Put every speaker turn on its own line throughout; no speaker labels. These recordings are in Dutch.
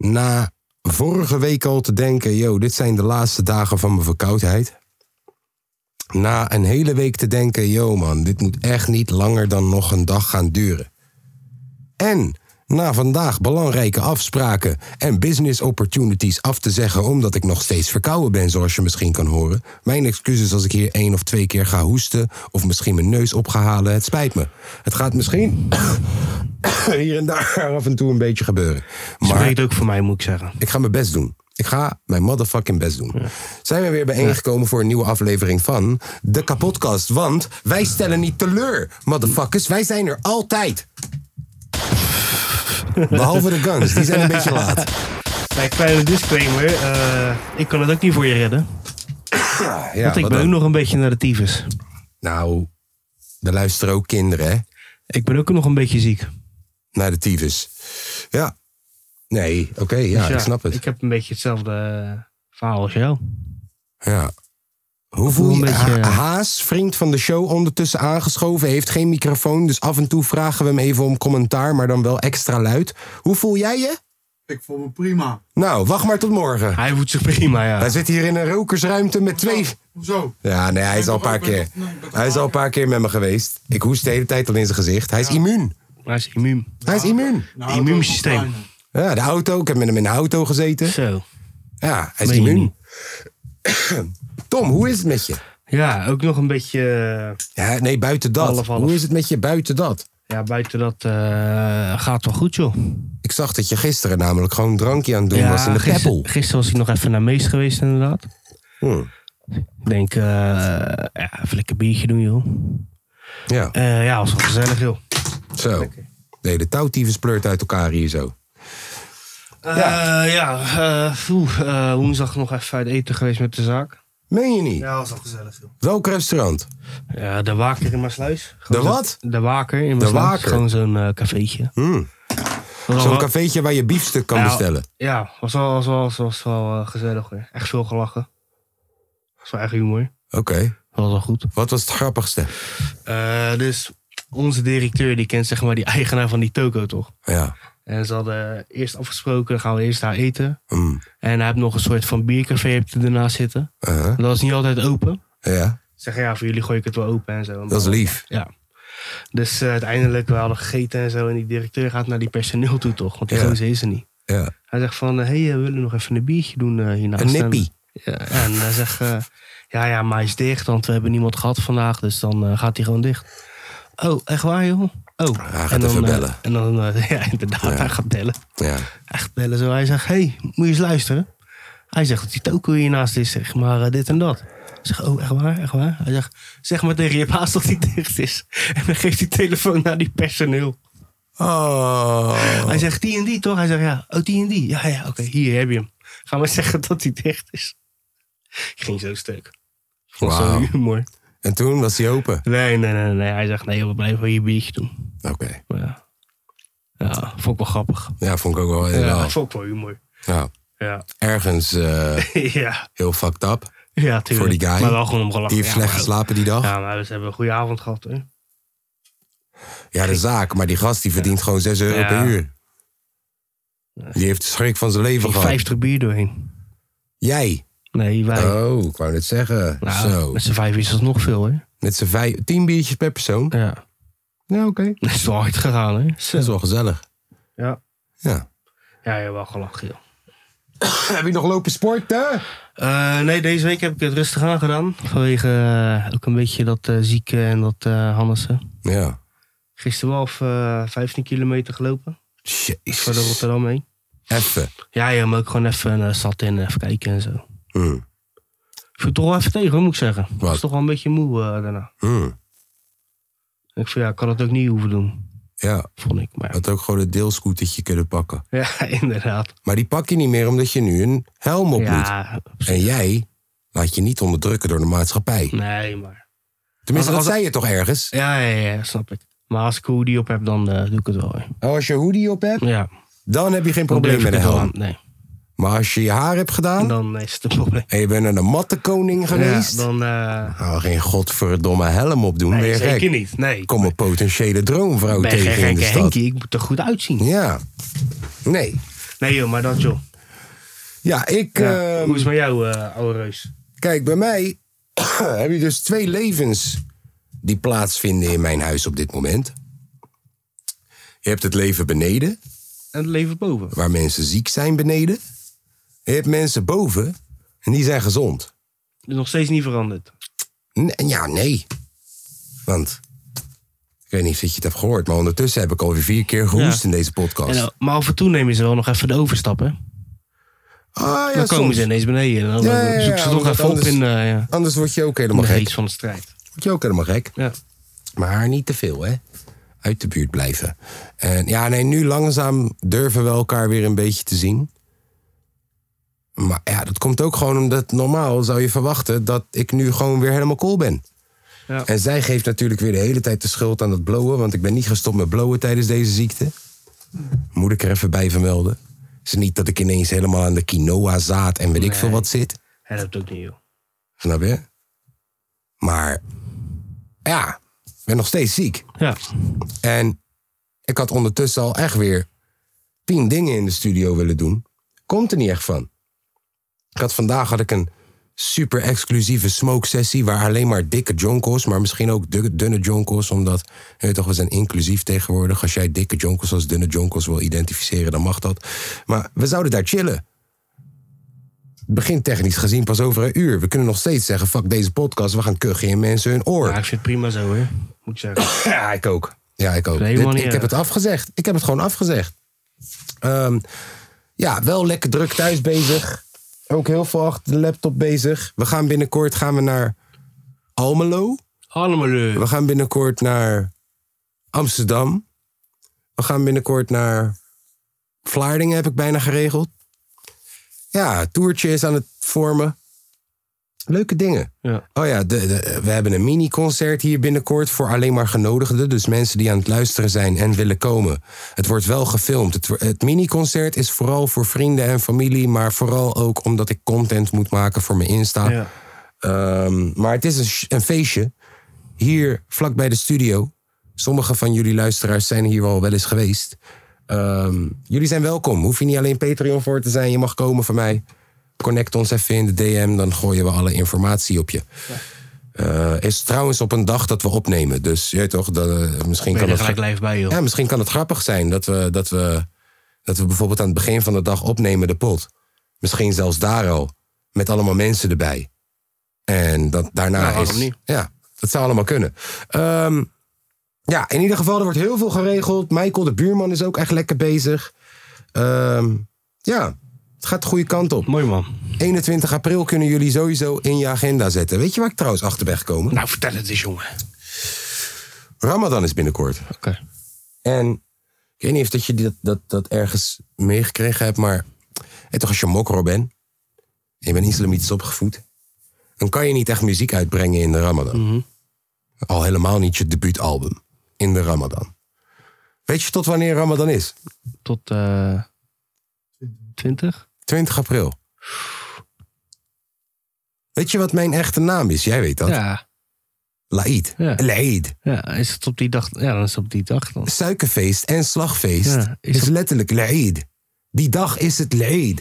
Na vorige week al te denken, yo, dit zijn de laatste dagen van mijn verkoudheid. Na een hele week te denken, yo man, dit moet echt niet langer dan nog een dag gaan duren. En na vandaag belangrijke afspraken en business opportunities af te zeggen omdat ik nog steeds verkouden ben, zoals je misschien kan horen. Mijn excuses als ik hier één of twee keer ga hoesten of misschien mijn neus op ga halen. Het spijt me. Het gaat misschien hier en daar af en toe een beetje gebeuren. Maar
Spreekt ook voor mij, moet ik zeggen.
ik ga mijn best doen. Ik ga mijn motherfucking best doen. Zijn we weer bijeengekomen voor een nieuwe aflevering van De Kapotkast. Want wij stellen niet teleur, motherfuckers. Wij zijn er altijd. Behalve de guns, die zijn een beetje laat.
Bij kleine disclaimer, eh, ik kan het ook niet voor je redden.
Ja, ja,
want ik
wat
ben
dan?
ook nog een beetje naar de tyfus.
Nou, er luisteren ook kinderen, hè?
Ik ben ook nog een beetje ziek.
Naar de tyfus. Ja. Nee, oké, ja,
Dus
ik snap het.
Ik heb een beetje hetzelfde eh, verhaal als jou.
Ja. Hoe voel
voel
je
een beetje-
Ha- Haas, vriend van de show, ondertussen aangeschoven, heeft geen microfoon. Dus af en toe vragen we hem even om commentaar, maar dan wel extra luid. Hoe voel jij je?
Ik voel me prima.
Nou, wacht maar tot morgen.
Hij voelt zich prima, ja.
Wij zitten hier in een rokersruimte met twee.
Oh, Hoezo? Nou,
Ja, nee, hij is al een paar keer. Hij is al een paar keer met me geweest. Ik hoest de hele tijd al in zijn gezicht. Hij is immuun.
Hij is immuun.
Hij is immuun.
Nou,
Immuunsysteem.
dat is wel fijn.
Ja, de auto. Ik heb met hem in de auto gezeten.
Zo.
Ja, hij is
Meen je
immuun.
niet.
Tom, hoe is het met je?
Ja, ook nog een beetje... eh,
Ja, nee, buiten dat.
Half, half.
Hoe is het met je buiten dat?
ja, buiten dat eh, gaat wel goed, joh.
Ik zag dat je gisteren namelijk gewoon een drankje aan het doen
ja,
was in de
gister-
peppel.
Gisteren was ik nog even naar Mees geweest, inderdaad.
Hm,
Ik denk, eh, ja, even lekker biertje doen, joh.
Ja,
Eh, ja, was wel gezellig, joh.
zo. De hele touwtieven spleurt uit elkaar hier zo.
Ja, ja eh, oeh, eh, woensdag nog even uit eten geweest met de zaak.
Meen je niet?
Ja, dat is wel gezellig, joh.
Welk restaurant?
Ja, de Waker in Maasluis. Gewoon
De
zo'n-
wat?
De Waker in Maasluis.
Waker.
Gewoon zo'n eh, cafeetje.
Hm,
Was al
Zo'n
wel-
cafeetje waar je biefstuk kan
Nou,
bestellen.
Ja, was wel, was wel, was wel, was wel, eh, gezellig hoor. Echt veel gelachen. Dat was eigen humor.
Oké,
Dat was wel goed.
wat was het grappigste?
Eh, dus onze directeur die kent zeg maar die eigenaar van die toko toch?
Ja,
En ze hadden eerst afgesproken, gaan we eerst daar eten.
hm,
En hij heeft nog een soort van biercafé hebt ernaast zitten.
eh,
Dat was niet altijd open.
ja,
Zeggen ja, voor jullie gooi ik het wel open en zo.
dat is lief.
Ja. Dus eh, uiteindelijk, we hadden gegeten en zo. En die directeur gaat naar die personeel toe, toch? Want die
Ja.
gozer is er niet.
Ja.
Hij zegt van, hé, hey, eh, we willen nog even een biertje doen eh, hiernaast.
Een nippie.
En, ja, en hij zegt, eh, ja, ja, maar hij is dicht, want we hebben niemand gehad vandaag. Dus dan eh, gaat hij gewoon dicht. Oh, echt waar, joh? Oh.
Hij gaat
en dan,
even
eh,
bellen.
en dan, eh, ja, inderdaad, hij gaat bellen.
Ja,
Hij gaat bellen zo. Hij zegt, hé, hey, moet je eens luisteren. Hij zegt dat die toko hiernaast is, zeg maar, eh, dit en dat. Ik zeg, oh, echt waar, echt waar? Hij zegt, zeg maar tegen je baas dat hij dicht is. En dan geeft hij telefoon naar die personeel.
Oh.
Hij zegt, die en die, toch? Hij zegt, ja, oh, die en die. Ja, ja, oké, hier heb je hem. Ga maar zeggen dat hij dicht is. Ik ging zo stuk. Vond wow.
Wauw.
zo humor.
En toen was hij open.
Nee, nee, nee, nee. Hij zegt, nee, we blijven wel je biertje doen.
Oké,
Maar ja. ja, vond ik wel grappig.
ja, vond ik ook wel
Ja,
helemaal.
vond ik wel humor.
Ja.
Ja,
Ergens eh,
ja.
heel fucked up.
Ja, tuurlijk.
Voor die guy.
Maar wel gewoon om
Die
gelachen.
heeft
Ja,
slecht
maar-
geslapen die dag.
Ja, maar ze hebben een goede avond gehad. Hè?
Ja, de zaak. Maar die gast die verdient gewoon 6 euro
Ja.
per uur. Die heeft de schrik van zijn leven
Van
gehad.
50 bier doorheen.
Jij?
Nee, wij.
Oh, ik wou net zeggen.
nou,
Zo.
Met z'n vijf is dat nog veel, hè?
Met z'n vijf, tien biertjes per persoon.
Ja.
Ja, oké.
Dat is wel hard gegaan, hè?
Dat is wel gezellig.
Ja.
Ja.
Ja, je hebt wel gelachen, joh.
Eh, Heb je nog lopen sporten?
Eh, nee, deze week heb ik het rustig aan gedaan. Vanwege eh, ook een beetje dat eh, zieke en dat eh Hannessen.
Ja.
Gisteren wel of, eh, 15 kilometer gelopen. Voor de
Jezus.
Rotterdam heen.
Even.
Ja, ja, maar ook gewoon even een stad in, eh, even kijken en zo.
Hm,
Ik viel toch wel even tegen, hoor, moet ik zeggen. Ik
Wat?
was toch wel een beetje moe eh, daarna.
hm.
Ik vond, ja, ik kan het ook niet hoeven doen.
Ja,
vond ik. Maar,
had ook gewoon het deelscootertje kunnen pakken.
ja, inderdaad.
Maar die pak je niet meer omdat je nu een helm op moet.
Ja,
En jij laat je niet onderdrukken door de maatschappij.
nee, maar...
Tenminste,
Als-
dat
als-
zei je toch ergens?
Ja, ja, ja, snap ik. Maar als ik een hoodie op heb, dan eh, doe ik het wel. hè.
Oh, Als je hoodie op hebt,
Ja.
dan heb je geen
dan
probleem
durf
met
ik
een
het wel
helm.
aan. Nee,
Maar als je je haar hebt gedaan
dan is het een probleem.
en je bent naar de mattenkoning geweest...
Ja, dan... eh,
Nou, geen godverdomme helm opdoen,
nee,
ben je
zeker
gek.
niet. Nee,
Ik kom een potentiële droomvrouw
ik ben geen
tegen in de
gekke
stad.
Henkie. Ik moet er goed uitzien.
Ja. Nee.
Nee joh, maar dat joh.
Ja, ik...
Ja.
ehm,
Hoe is het met jou, eh oude reus?
Kijk, bij mij heb je dus twee levens die plaatsvinden in mijn huis op dit moment. Je hebt het leven beneden,
En het leven boven.
waar mensen ziek zijn beneden. Je hebt mensen boven en die zijn gezond.
Is nog steeds niet veranderd.
N- ja, nee. Want, ik weet niet of je het hebt gehoord, maar ondertussen heb ik alweer vier keer gehoest
Ja.
in deze podcast.
En, eh, maar af en toe nemen ze wel nog even de overstap, hè?
ah, ja,
dan komen
soms.
ze ineens beneden. En dan
Ja, ja, ja,
zoeken ze toch
omdat
even op
anders-
in, eh, ja, in
Anders word je ook helemaal
de
gek.
geest van de strijd.
Word je ook helemaal gek.
Ja.
Maar niet te veel, hè? Uit de buurt blijven. En ja, nee, nu langzaam durven we elkaar weer een beetje te zien. Maar ja, dat komt ook gewoon omdat normaal zou je verwachten dat ik nu gewoon weer helemaal cool ben.
Ja.
En zij geeft natuurlijk weer de hele tijd de schuld aan dat blowen, want ik ben niet gestopt met blowen tijdens deze ziekte. Moet ik er even bij vermelden. Het is niet dat ik ineens helemaal aan de quinoa zaad en weet ik veel
Nee.
wat zit.
Helpt ook niet, joh.
Snap je? Maar ja, ik ben nog steeds ziek.
Ja.
En ik had ondertussen al echt weer tien dingen in de studio willen doen. Komt er niet echt van. Ik had vandaag had ik een super exclusieve smoke sessie waar alleen maar dikke jonkos, maar misschien ook du- dunne jonkos, omdat je weet toch we zijn inclusief tegenwoordig. Als jij dikke jonkos als dunne jonkos wil identificeren, dan mag dat. Maar we zouden daar chillen. Het begint technisch gezien pas over een uur. We kunnen nog steeds zeggen: fuck deze podcast, we gaan kuchen in mensen hun oor.
Maar ik vind het prima zo, hè? Moet ik zeggen.
Ja, ik ook. Ja, ik ook.
Nee,
Dit-
man,
ik
ja.
heb het afgezegd. Ik heb het gewoon afgezegd. Ehm, ja, wel lekker druk thuis bezig. Ook heel veel achter de laptop bezig. We gaan binnenkort gaan we naar Almelo.
Allemaal leuk.
We gaan binnenkort naar Amsterdam. We gaan binnenkort naar Vlaardingen, heb ik bijna geregeld. Ja, toertje is aan het vormen. Leuke dingen.
Ja.
Oh ja, de, de- we hebben een mini-concert hier binnenkort voor alleen maar genodigden. Dus mensen die aan het luisteren zijn en willen komen. Het wordt wel gefilmd. Het, wo- het mini-concert is vooral voor vrienden en familie. Maar vooral ook omdat ik content moet maken voor mijn Insta.
Ja.
Ehm, maar het is een, sh- een feestje. Hier vlakbij de studio. Sommige van jullie luisteraars zijn hier wel wel eens geweest. Ehm, jullie zijn welkom. Hoef je niet alleen Patreon voor te zijn. Je mag komen van mij. Connect ons even in de DM. Dan gooien we alle informatie op je. Eh, is trouwens op een dag dat we opnemen. Dus je weet toch, dat, eh, misschien
Ben
kan
je er
het
gelijk live bij, joh.
ja, misschien kan het grappig zijn dat we, dat, we, dat we bijvoorbeeld aan het begin van de dag opnemen de pot. Misschien zelfs daar al, met allemaal mensen erbij. En dat daarna
Ja, Nou, waarom
is.
niet?
Ja, dat zou allemaal kunnen. Ehm, ja, in ieder geval, er wordt heel veel geregeld. Michael, de buurman, is ook echt lekker bezig. Ehm, ja, het gaat de goede kant op.
Mooi, man.
21 april kunnen jullie sowieso in je agenda zetten. Weet je waar ik trouwens achter ben gekomen?
Nou, vertel het eens, jongen.
Ramadan is binnenkort.
Oké.
En ik weet niet of dat je dat, dat, dat ergens meegekregen hebt, maar en toch als je mokro bent, en je bent islamitisch opgevoed, dan kan je niet echt muziek uitbrengen in de Ramadan.
Mhm.
Al helemaal niet je debuutalbum in de Ramadan. Weet je tot wanneer Ramadan is?
Tot eh 20?
20 april. Weet je wat mijn echte naam is? Jij weet dat.
Ja.
Laid.
Ja.
Laid.
ja. Is het op die dag? Ja, dan is het op die dag dan.
Suikerfeest en slagfeest
Ja,
is,
is dat-
letterlijk L'Eid. Die dag is het L'Eid.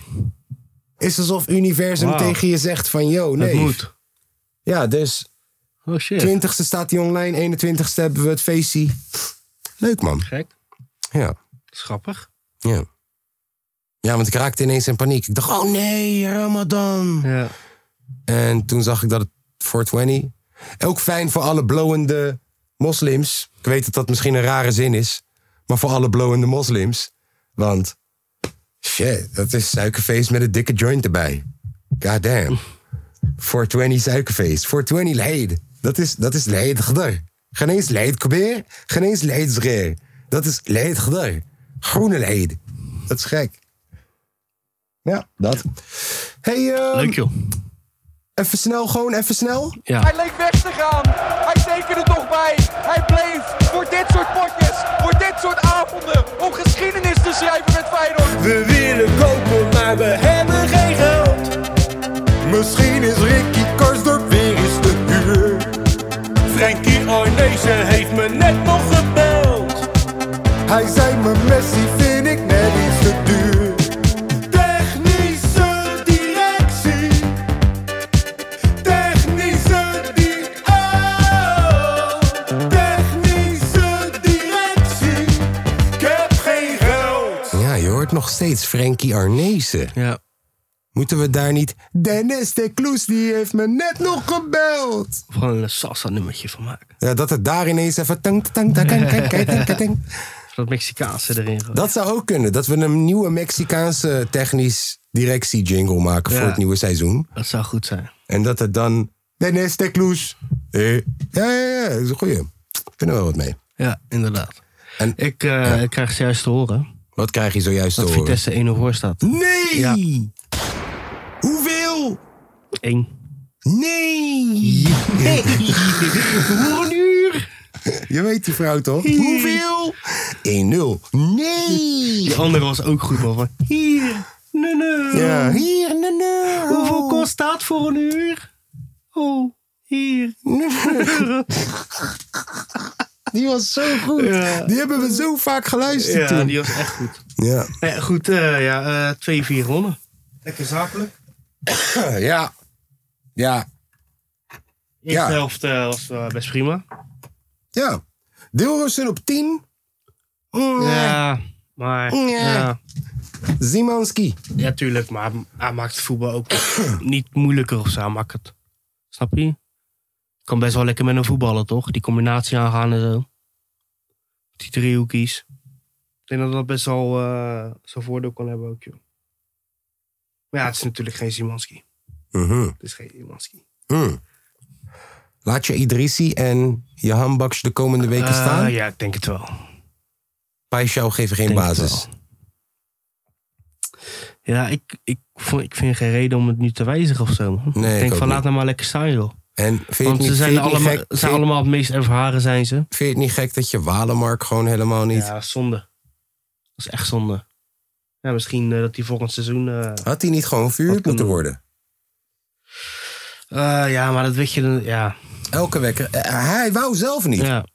Is alsof het universum
Wauw.
tegen je zegt van... Yo,
Het
nee.
moet.
Ja, dus
Oh shit.
20ste staat die online. 21ste hebben we het feestje. Leuk, man.
Gek.
Ja,
Schappig.
ja. Ja, want ik raakte ineens in paniek. Ik dacht, oh nee, Ramadan.
Ja.
En toen zag ik dat het 420. Ook fijn voor alle blowende moslims. Ik weet dat dat misschien een rare zin is. Maar voor alle blowende moslims. Want shit, dat is suikerfeest met een dikke joint erbij. Goddamn. 420 suikerfeest. 420 leid. Dat is, dat is leidiger. Geen eens leid probeer. Geen eens leidsreer. Dat is leed gedaan. Groene leed. Dat is gek. Ja, dat. Hey, eh,
Leuk joh.
even snel, gewoon even snel.
Ja.
Hij leek weg te gaan. Hij tekende toch bij. Hij bleef voor dit soort potjes, voor dit soort avonden, om geschiedenis te schrijven met Feyenoord.
We willen kopen, maar we hebben geen geld. Misschien is Ricky Karsdorp weer eens te huur. Frankie
oh,
Arnezen heeft me net nog gebeld. Hij zei me Messi vind ik net iets te duur. Technische directie. Technische di- oh. Technische directie. Ik heb geen geld.
Ja, je hoort nog steeds Frankie Arnezen.
ja.
Moeten we daar niet... Dennis de Kloes, die heeft me net nog gebeld.
Of Gewoon een salsa nummertje van maken.
Ja, dat het daar ineens even... tang, tang, tang, tang, tang, tang, tang, tang, tang.
Dat Mexicaanse erin. gooien.
Dat zou ook kunnen. Dat we een nieuwe Mexicaanse technisch directie jingle maken
Ja.
voor het nieuwe seizoen.
Dat zou goed zijn.
En dat het dan... Dennis de Kloes. Eh. Ja, ja, ja. Dat is een goeie. Kunnen we wel wat mee.
Ja, inderdaad.
En-
En ik, eh, ik krijg zojuist te horen
Wat krijg je zojuist te
dat
horen?
Vitesse 1-0 voor staat.
Nee!
Ja.
Hoeveel?
1.
Nee!
Voor een uur!
Je weet die vrouw toch? Hoeveel? 1-0. Nee!
Die andere was ook goed, man. Van, Hier, nee, nee.
Ja, hier, nee, nee.
Hoeveel kost dat voor een uur? Oh, hier.
Die was zo goed.
Ja.
Die hebben we zo vaak geluisterd
Ja,
toen.
die was echt goed.
Ja.
Ja, goed, eh, ja, eh 2-4 ronnen.
Lekker zakelijk.
ja. Ja. Ja.
Eerste helft eh, was eh, best prima.
Ja. Deelrussen op 10.
Mm. Ja, maar... Ja,
Zimanski.
ja tuurlijk, maar hij maakt het voetbal ook niet moeilijker of zo. Hij maakt het. Snap je? Kan best wel lekker met een voetballer, toch? Die combinatie aangaan en zo. Die driehoekies. Ik denk dat dat best wel eh zijn voordeel kan hebben ook, joh. Maar ja, het is natuurlijk geen Simanski.
Mhm.
Het is geen Simanski.
Mm. Laat je Idrissi en je handbaks de komende weken
Eh,
staan.
Ja, ik denk het wel.
Paisjouw geven geen
denk het
basis.
Ja, ik, ik, vond- ik vind geen reden om het nu te wijzigen of zo. Man.
Nee,
ik
ik
denk
ook
van
niet.
laat hem maar lekker staan, joh.
En vind je het
Want
niet-
ze
vind
zijn,
je het niet
allemaal,
gek-
ze zijn
vind-
allemaal het meest ervaren, zijn ze.
vind je het niet gek dat je Walemark gewoon helemaal niet...
Ja, zonde. Dat is echt zonde. Ja, misschien eh, dat hij volgend seizoen... eh,
Had hij niet gewoon verhuurd
Had hem-
moeten worden?
eh, ja, maar dat weet je dan... Ja,
Elke wekker... eh, hij wou zelf niet.
ja.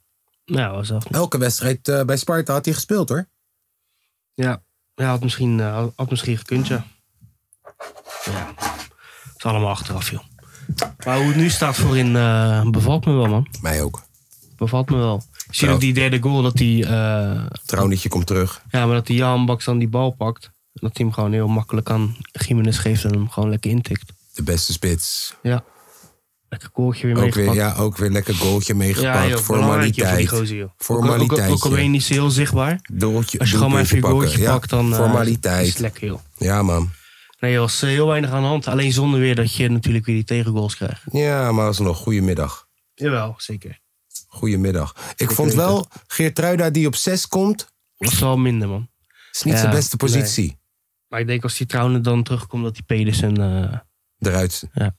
Nou, zelf niet.
Elke wedstrijd eh, bij Sparta had hij gespeeld hoor.
Ja, ja had, misschien, eh, had misschien gekund, ja. Ja. Het is allemaal achteraf, joh. Maar hoe het nu staat voorin eh bevalt me wel, man.
Mij ook.
Bevalt me wel. Ik zie
Ja.
ook die derde goal dat hij... eh,
Trouwnietje komt terug.
ja, maar dat die Jan Baks dan die bal pakt. Dat hij hem gewoon heel makkelijk aan Gimenez geeft en hem gewoon lekker intikt.
De beste spits.
Ja. Lekker koortje weer
Ook weer,
meegepakt.
ja, ook weer lekker goaltje meegepakt.
joh, belangrijk, joh, voor die
formaliteit.
gozer, joh. Ook,
Formaliteit.
al- ook al ben je niet zo heel zichtbaar.
Doeltje-
Als je gewoon maar even je
doelpunten
goaltje
pakken. Ja,
pakt, dan eh, is het
formaliteit.
lekker, joh.
Ja, man.
Nee, er was eh, heel weinig aan de hand. Alleen zonder weer dat je natuurlijk weer die tegengoals krijgt.
Ja, maar alsnog. Goedemiddag.
Jawel, zeker.
Goedemiddag. Ik vond wel, Geertruida die op 6 komt,
Dat is wel minder, man.
is niet
Ja,
zijn beste
nee.
positie.
Maar ik denk als die trouwen dan terugkomt, dat die Pedersen... eh,
Eruit.
Ja.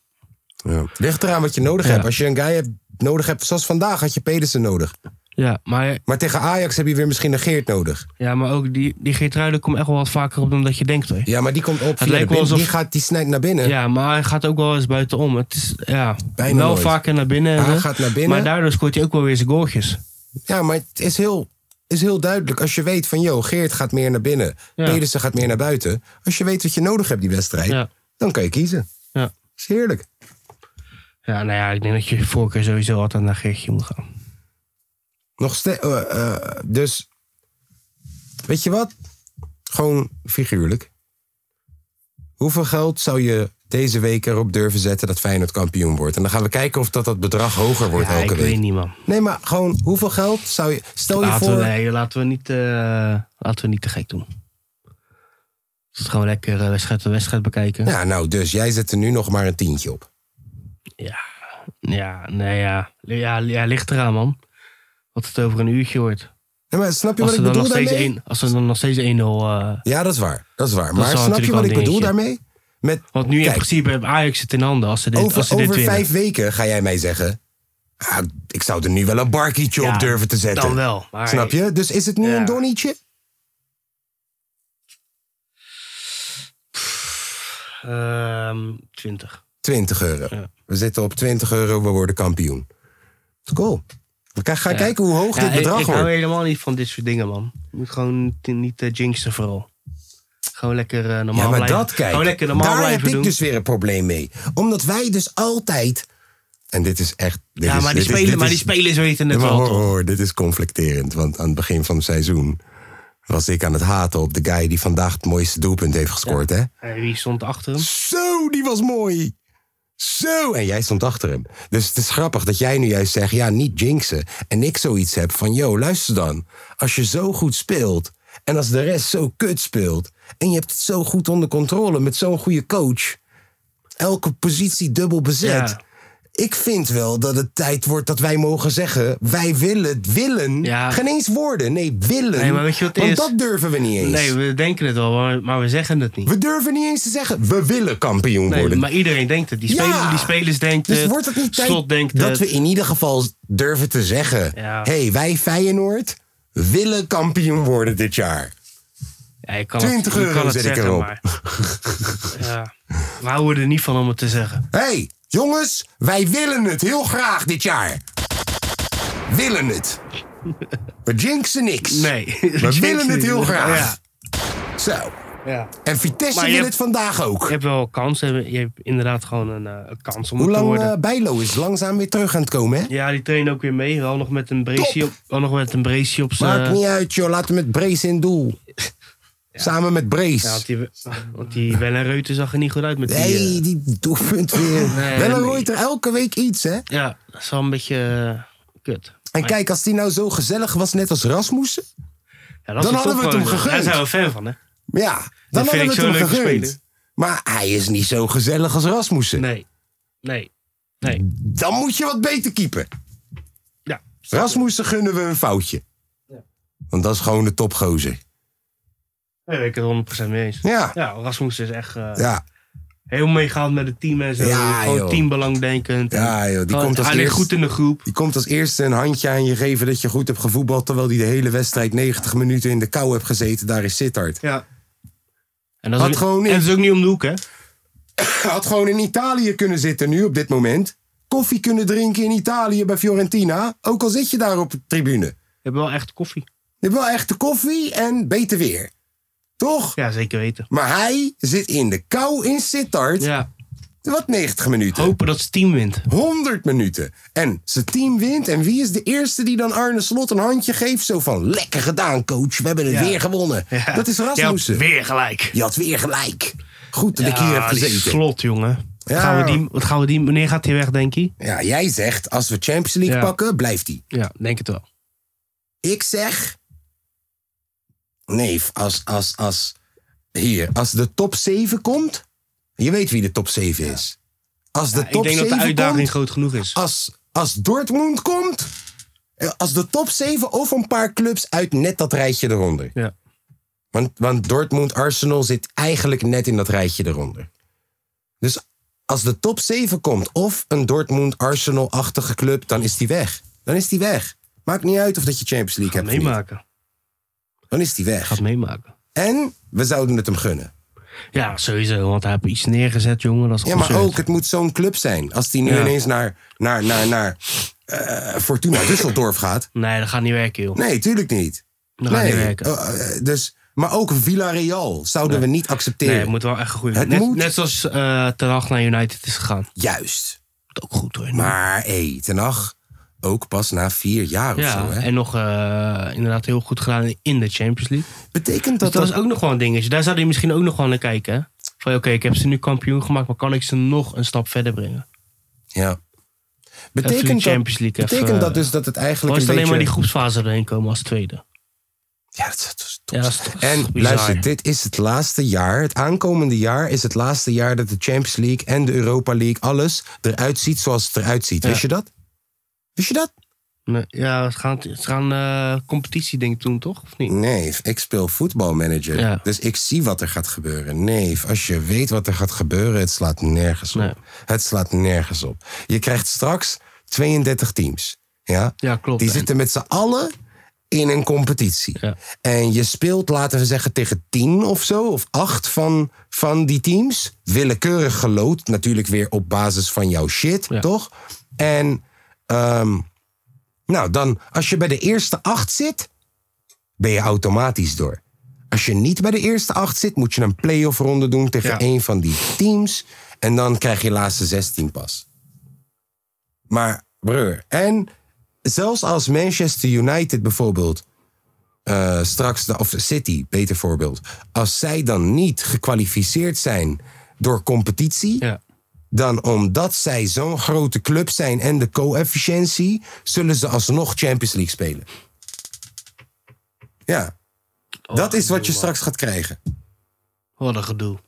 Ja. Ligt eraan wat je nodig
Ja.
hebt. Als je een guy hebt, nodig hebt, zoals vandaag, had je Pedersen nodig.
ja, maar,
Maar tegen Ajax heb je weer misschien een Geert nodig.
ja, maar ook die, die Geertruiden komt echt wel wat vaker op dan dat je denkt, hoor.
Ja, maar die komt op. via
lijkt
de
wel
bin-
alsof-
Die, gaat, die snijdt naar binnen.
Ja, maar hij gaat ook wel eens buitenom. Het is ja,
Bijna
wel
nooit.
vaker naar binnen. en
Hij
zo.
gaat naar binnen.
Maar daardoor scoort hij ook wel weer zijn goaltjes.
Ja, maar het is heel, is heel duidelijk. Als je weet van, joh, Geert gaat meer naar binnen.
Ja.
Pedersen gaat meer naar buiten. Als je weet wat je nodig hebt die wedstrijd,
Ja.
dan kan je kiezen.
Ja.
is heerlijk.
ja, nou ja, ik denk dat je voorkeur sowieso altijd naar Geertje moet gaan.
Nog ste- eh, eh, dus, weet je wat? Gewoon figuurlijk. Hoeveel geld zou je deze week erop durven zetten dat Feyenoord kampioen wordt? En dan gaan we kijken of dat, dat bedrag hoger wordt
ja, ik
elke week.
weet niet, man.
Nee, maar gewoon hoeveel geld zou je... Stel je
Laten
voor...
we, nee, laten, we niet, eh, laten we niet te gek doen. Het is gewoon lekker eh, wedstrijd de wedstrijd bekijken. Ja,
Ja, nou dus, jij zet er nu nog maar een tientje op.
ja nee, ja. Ja, ja, ligt eraan, man. Wat het over een uurtje wordt.
Nee, maar snap je
Als
wat
ze,
ik bedoel
dan nog steeds
daarmee?
één, als ze dan nog steeds 1-0... eh,
Ja, dat is waar. Dat is waar.
is
maar
wel
snap je
natuurlijk
wat ik
wel een
bedoel
dingetje.
daarmee? Met,
Want nu in
kijk,
principe heeft Ajax het in handen als ze dit, als
over,
ze dit
over
winnen.
vijf weken ga jij mij zeggen... ah, ik zou er nu wel een barkietje
Ja,
op durven te zetten.
Dan wel. Maar
Snap je? Dus is het nu
Ja.
een donnietje?
Ehm, 20.
20 euro.
Ja.
We zitten op 20 euro, we worden kampioen. Cool. We gaan gaan
Ja.
kijken hoe hoog
Ja,
dit
ik-
bedrag
ik hou
wordt.
helemaal niet van dit soort dingen, man. Je moet gewoon niet- niet eh, jinxen vooral. Gewoon lekker eh, normaal
Ja, maar
blijven.
dat kijk,
Gewoon lekker normaal
daar heb
blijven
ik
doen.
dus weer een probleem mee. Omdat wij dus altijd... En dit is echt... dit
ja,
is-
maar die,
dit is-
spelen,
dit
maar
is-
die spelers weten het
maar
wel,
hoor,
toch?
hoor, dit is conflicterend. Want aan het begin van het seizoen was ik aan het haten op de guy die vandaag het mooiste doelpunt heeft gescoord, hè?
Eh, Wie stond achter hem?
Zo, die was mooi. Zo. En jij stond achter hem. Dus het is grappig dat jij nu juist zegt, ja, niet jinxen. En ik zoiets heb van, yo, luister dan. Als je zo goed speelt en als de rest zo kut speelt... en je hebt het zo goed onder controle met zo'n goede coach... elke positie dubbel bezet...
Ja.
Ik vind wel dat het tijd wordt dat wij mogen zeggen... wij willen, willen,
Ja.
geen eens worden. Nee, willen,
Nee, maar weet je wat het
want
is?
dat durven we niet eens.
Nee, we denken het wel, maar, maar we zeggen het niet.
We durven niet eens te zeggen, we willen kampioen
Nee,
worden.
maar iedereen denkt het. Die spelers,
Ja.
die spelers denken
Dus
het.
wordt het niet tijd
Slot denkt
dat
het.
we in ieder geval durven te zeggen...
Ja.
hey, wij Feyenoord willen kampioen worden dit jaar.
Ja, je kan
20
het, je
euro
kan het
zet ik
zeggen,
erop.
maar... ja. We houden er niet van om het te zeggen.
hey, jongens, wij willen het heel graag dit jaar. Willen het. We jinxen niks.
Nee.
We willen het heel graag.
Ja.
Zo.
ja.
En Vitesse
Maar je
wil
hebt-
het vandaag ook.
Je hebt wel kans. hè. Je hebt inderdaad gewoon een, eh, een kans om
Hoe
het te
lang
worden.
eh, Bijlo is langzaam weer terug aan het komen, hè?
Ja, die trainen ook weer mee. Wel nog met een brace op, wel nog met een brace op
Maakt
zijn...
niet uit, joh. Laten we met Brace in doel. Samen met Brace.
Ja, want die, want die Wellen Reuten zag er niet goed uit met die...
Nee,
eh,
die doelpunt weer.
Nee,
Wel een
nee.
Reuter elke week iets, hè?
ja, dat is wel een beetje eh, kut.
En kijk, als die nou zo gezellig was, net als Rasmussen.
Ja,
Dan
dat is een
hadden we het
topgozer.
hem gegund.
Daar zijn we fan van, hè?
Ja, dan
vind
hadden
ik
we het
zo'n
hem
leuke
gegund.
speler.
Maar hij is niet zo gezellig als Rasmussen.
Nee. Nee. Nee.
Dan moet je wat beter keepen.
Ja.
Rasmussen gunnen we een foutje. Want dat is gewoon de topgozer.
Daar ben ik het 100% mee eens.
Ja.
Ja, Rasmussen is echt eh,
Ja,
heel meegaand met het team en zo.
Ja,
Gewoon
joh.
teambelangdenkend.
ja joh, die
Gewoon,
komt als
Oh, hij ligt
eerste.
goed in de groep.
Die komt als eerste een handje aan je geven dat je goed hebt gevoetbald. Terwijl die de hele wedstrijd 90 minuten in de kou hebt gezeten. Daar is Sittard.
Ja. En dat, is
Had
ook,
gewoon
en
niet.
dat is ook niet om de hoek, hè?
had gewoon in Italië kunnen zitten nu op dit moment. Koffie kunnen drinken in Italië bij Fiorentina. Ook al zit je daar op de tribune.
Je hebt wel echt koffie.
Je hebt wel echte koffie en beter weer. Toch?
Ja, zeker weten.
Maar hij zit in de kou in Sittard.
Ja.
Wat 90 minuten?
Hopen dat het team wint.
100 minuten. En zijn team wint. En wie is de eerste die dan Arne Slot een handje geeft? Zo van, lekker gedaan coach. We hebben het
Ja.
weer gewonnen.
Ja.
Dat is Rasmussen.
Ja, weer gelijk.
Je had weer gelijk. Goed dat ik hier heb
die
gezeten.
slot, jongen.
Ja.
Wat gaan we die, wat gaan we die, wanneer gaat hij weg, denk je?
Ja, jij zegt, als we Champions League
Ja.
pakken, blijft hij.
Ja, denk het wel.
Ik zeg. Nee, als, als, als. Hier, als de top 7 komt. Je weet wie de top 7 is. Als de
ik
top
denk dat
7
de uitdaging
komt. Ah.
groot genoeg is.
Als, als Dortmund komt. eh, Als de top 7 of een paar clubs uit net dat rijtje eronder.
Ja.
Want, want Dortmund, Arsenal zit eigenlijk net in dat rijtje eronder. Dus als de top 7 komt of een Dortmund, Arsenal-achtige club, dan is die weg. Dan is die weg. Maakt niet uit of dat je Champions League
Gaat
hebt. of niet.
meemaken.
Dan is die weg.
Gaat meemaken.
En we zouden het hem gunnen.
Ja, sowieso. Want hij heeft iets neergezet, jongen. Dat is
Ja, maar
absurd.
ook, het moet zo'n club zijn. Als die nu
Ja.
ineens naar, naar, naar, naar eh, Fortuna Düsseldorf gaat.
Nee, dat gaat niet werken, joh.
Nee, tuurlijk niet.
Dat gaat
Nee.
niet werken.
Eh, eh, dus, maar ook Villarreal zouden we niet accepteren.
nee, het moet wel echt een goede...
Het
Net,
moet-
net zoals eh Ten Hag naar United is gegaan.
Juist.
Dat ook goed, hoor.
Maar hé, ten Hag ook pas na vier jaar of
ja,
zo. Hè?
en nog eh, inderdaad heel goed gedaan in de Champions League.
Betekent dat
Dus dat
dat...
is ook nog wel een dingetje. Daar zou hij misschien ook nog wel naar kijken. hè? Van oké, ik heb ze nu kampioen gemaakt, maar kan ik ze nog een stap verder brengen?
Ja.
Even
Betekent,
de
dat,
Champions League even,
betekent dat dus dat het
Of
eigenlijk
is
een
het alleen
beetje...
maar die groepsfase erheen komen als tweede?
Ja, dat, dat is
Ja, dat is toch
En
bizar.
luister, dit is het laatste jaar. Het aankomende jaar is het laatste jaar dat de Champions League en de Europa League alles eruit ziet zoals het eruit ziet. Wist je dat? Wist je dat?
Nee, ja, ze gaan, ze gaan eh, competitiedingen doen, toch? Of niet?
Nee, ik speel voetbalmanager.
Ja.
Dus ik zie wat er gaat gebeuren. Nee, als je weet wat er gaat gebeuren, het slaat nergens op.
Nee.
Het slaat nergens op. Je krijgt straks 32 teams. Ja,
Ja, klopt.
Die
En-
zitten met z'n allen in een competitie.
Ja.
En je speelt, laten we zeggen, tegen 10 of zo, of 8 van, van die teams. Willekeurig geloot, natuurlijk weer op basis van jouw shit,
Ja.
toch? En ehm, nou, dan als je bij de eerste acht zit, ben je automatisch door. Als je niet bij de eerste acht zit, moet je een play-off ronde doen tegen
Ja.
een van die teams. En dan krijg je laatste 16 pas. Maar, broer. En zelfs als Manchester United bijvoorbeeld. eh, straks, de, of City, beter voorbeeld. Als zij dan niet gekwalificeerd zijn door competitie
Ja.
dan omdat zij zo'n grote club zijn en de co-efficiëntie, zullen ze alsnog Champions League spelen. Ja,
Oh,
dat is wat je straks gaat krijgen.
Wat een gedoe.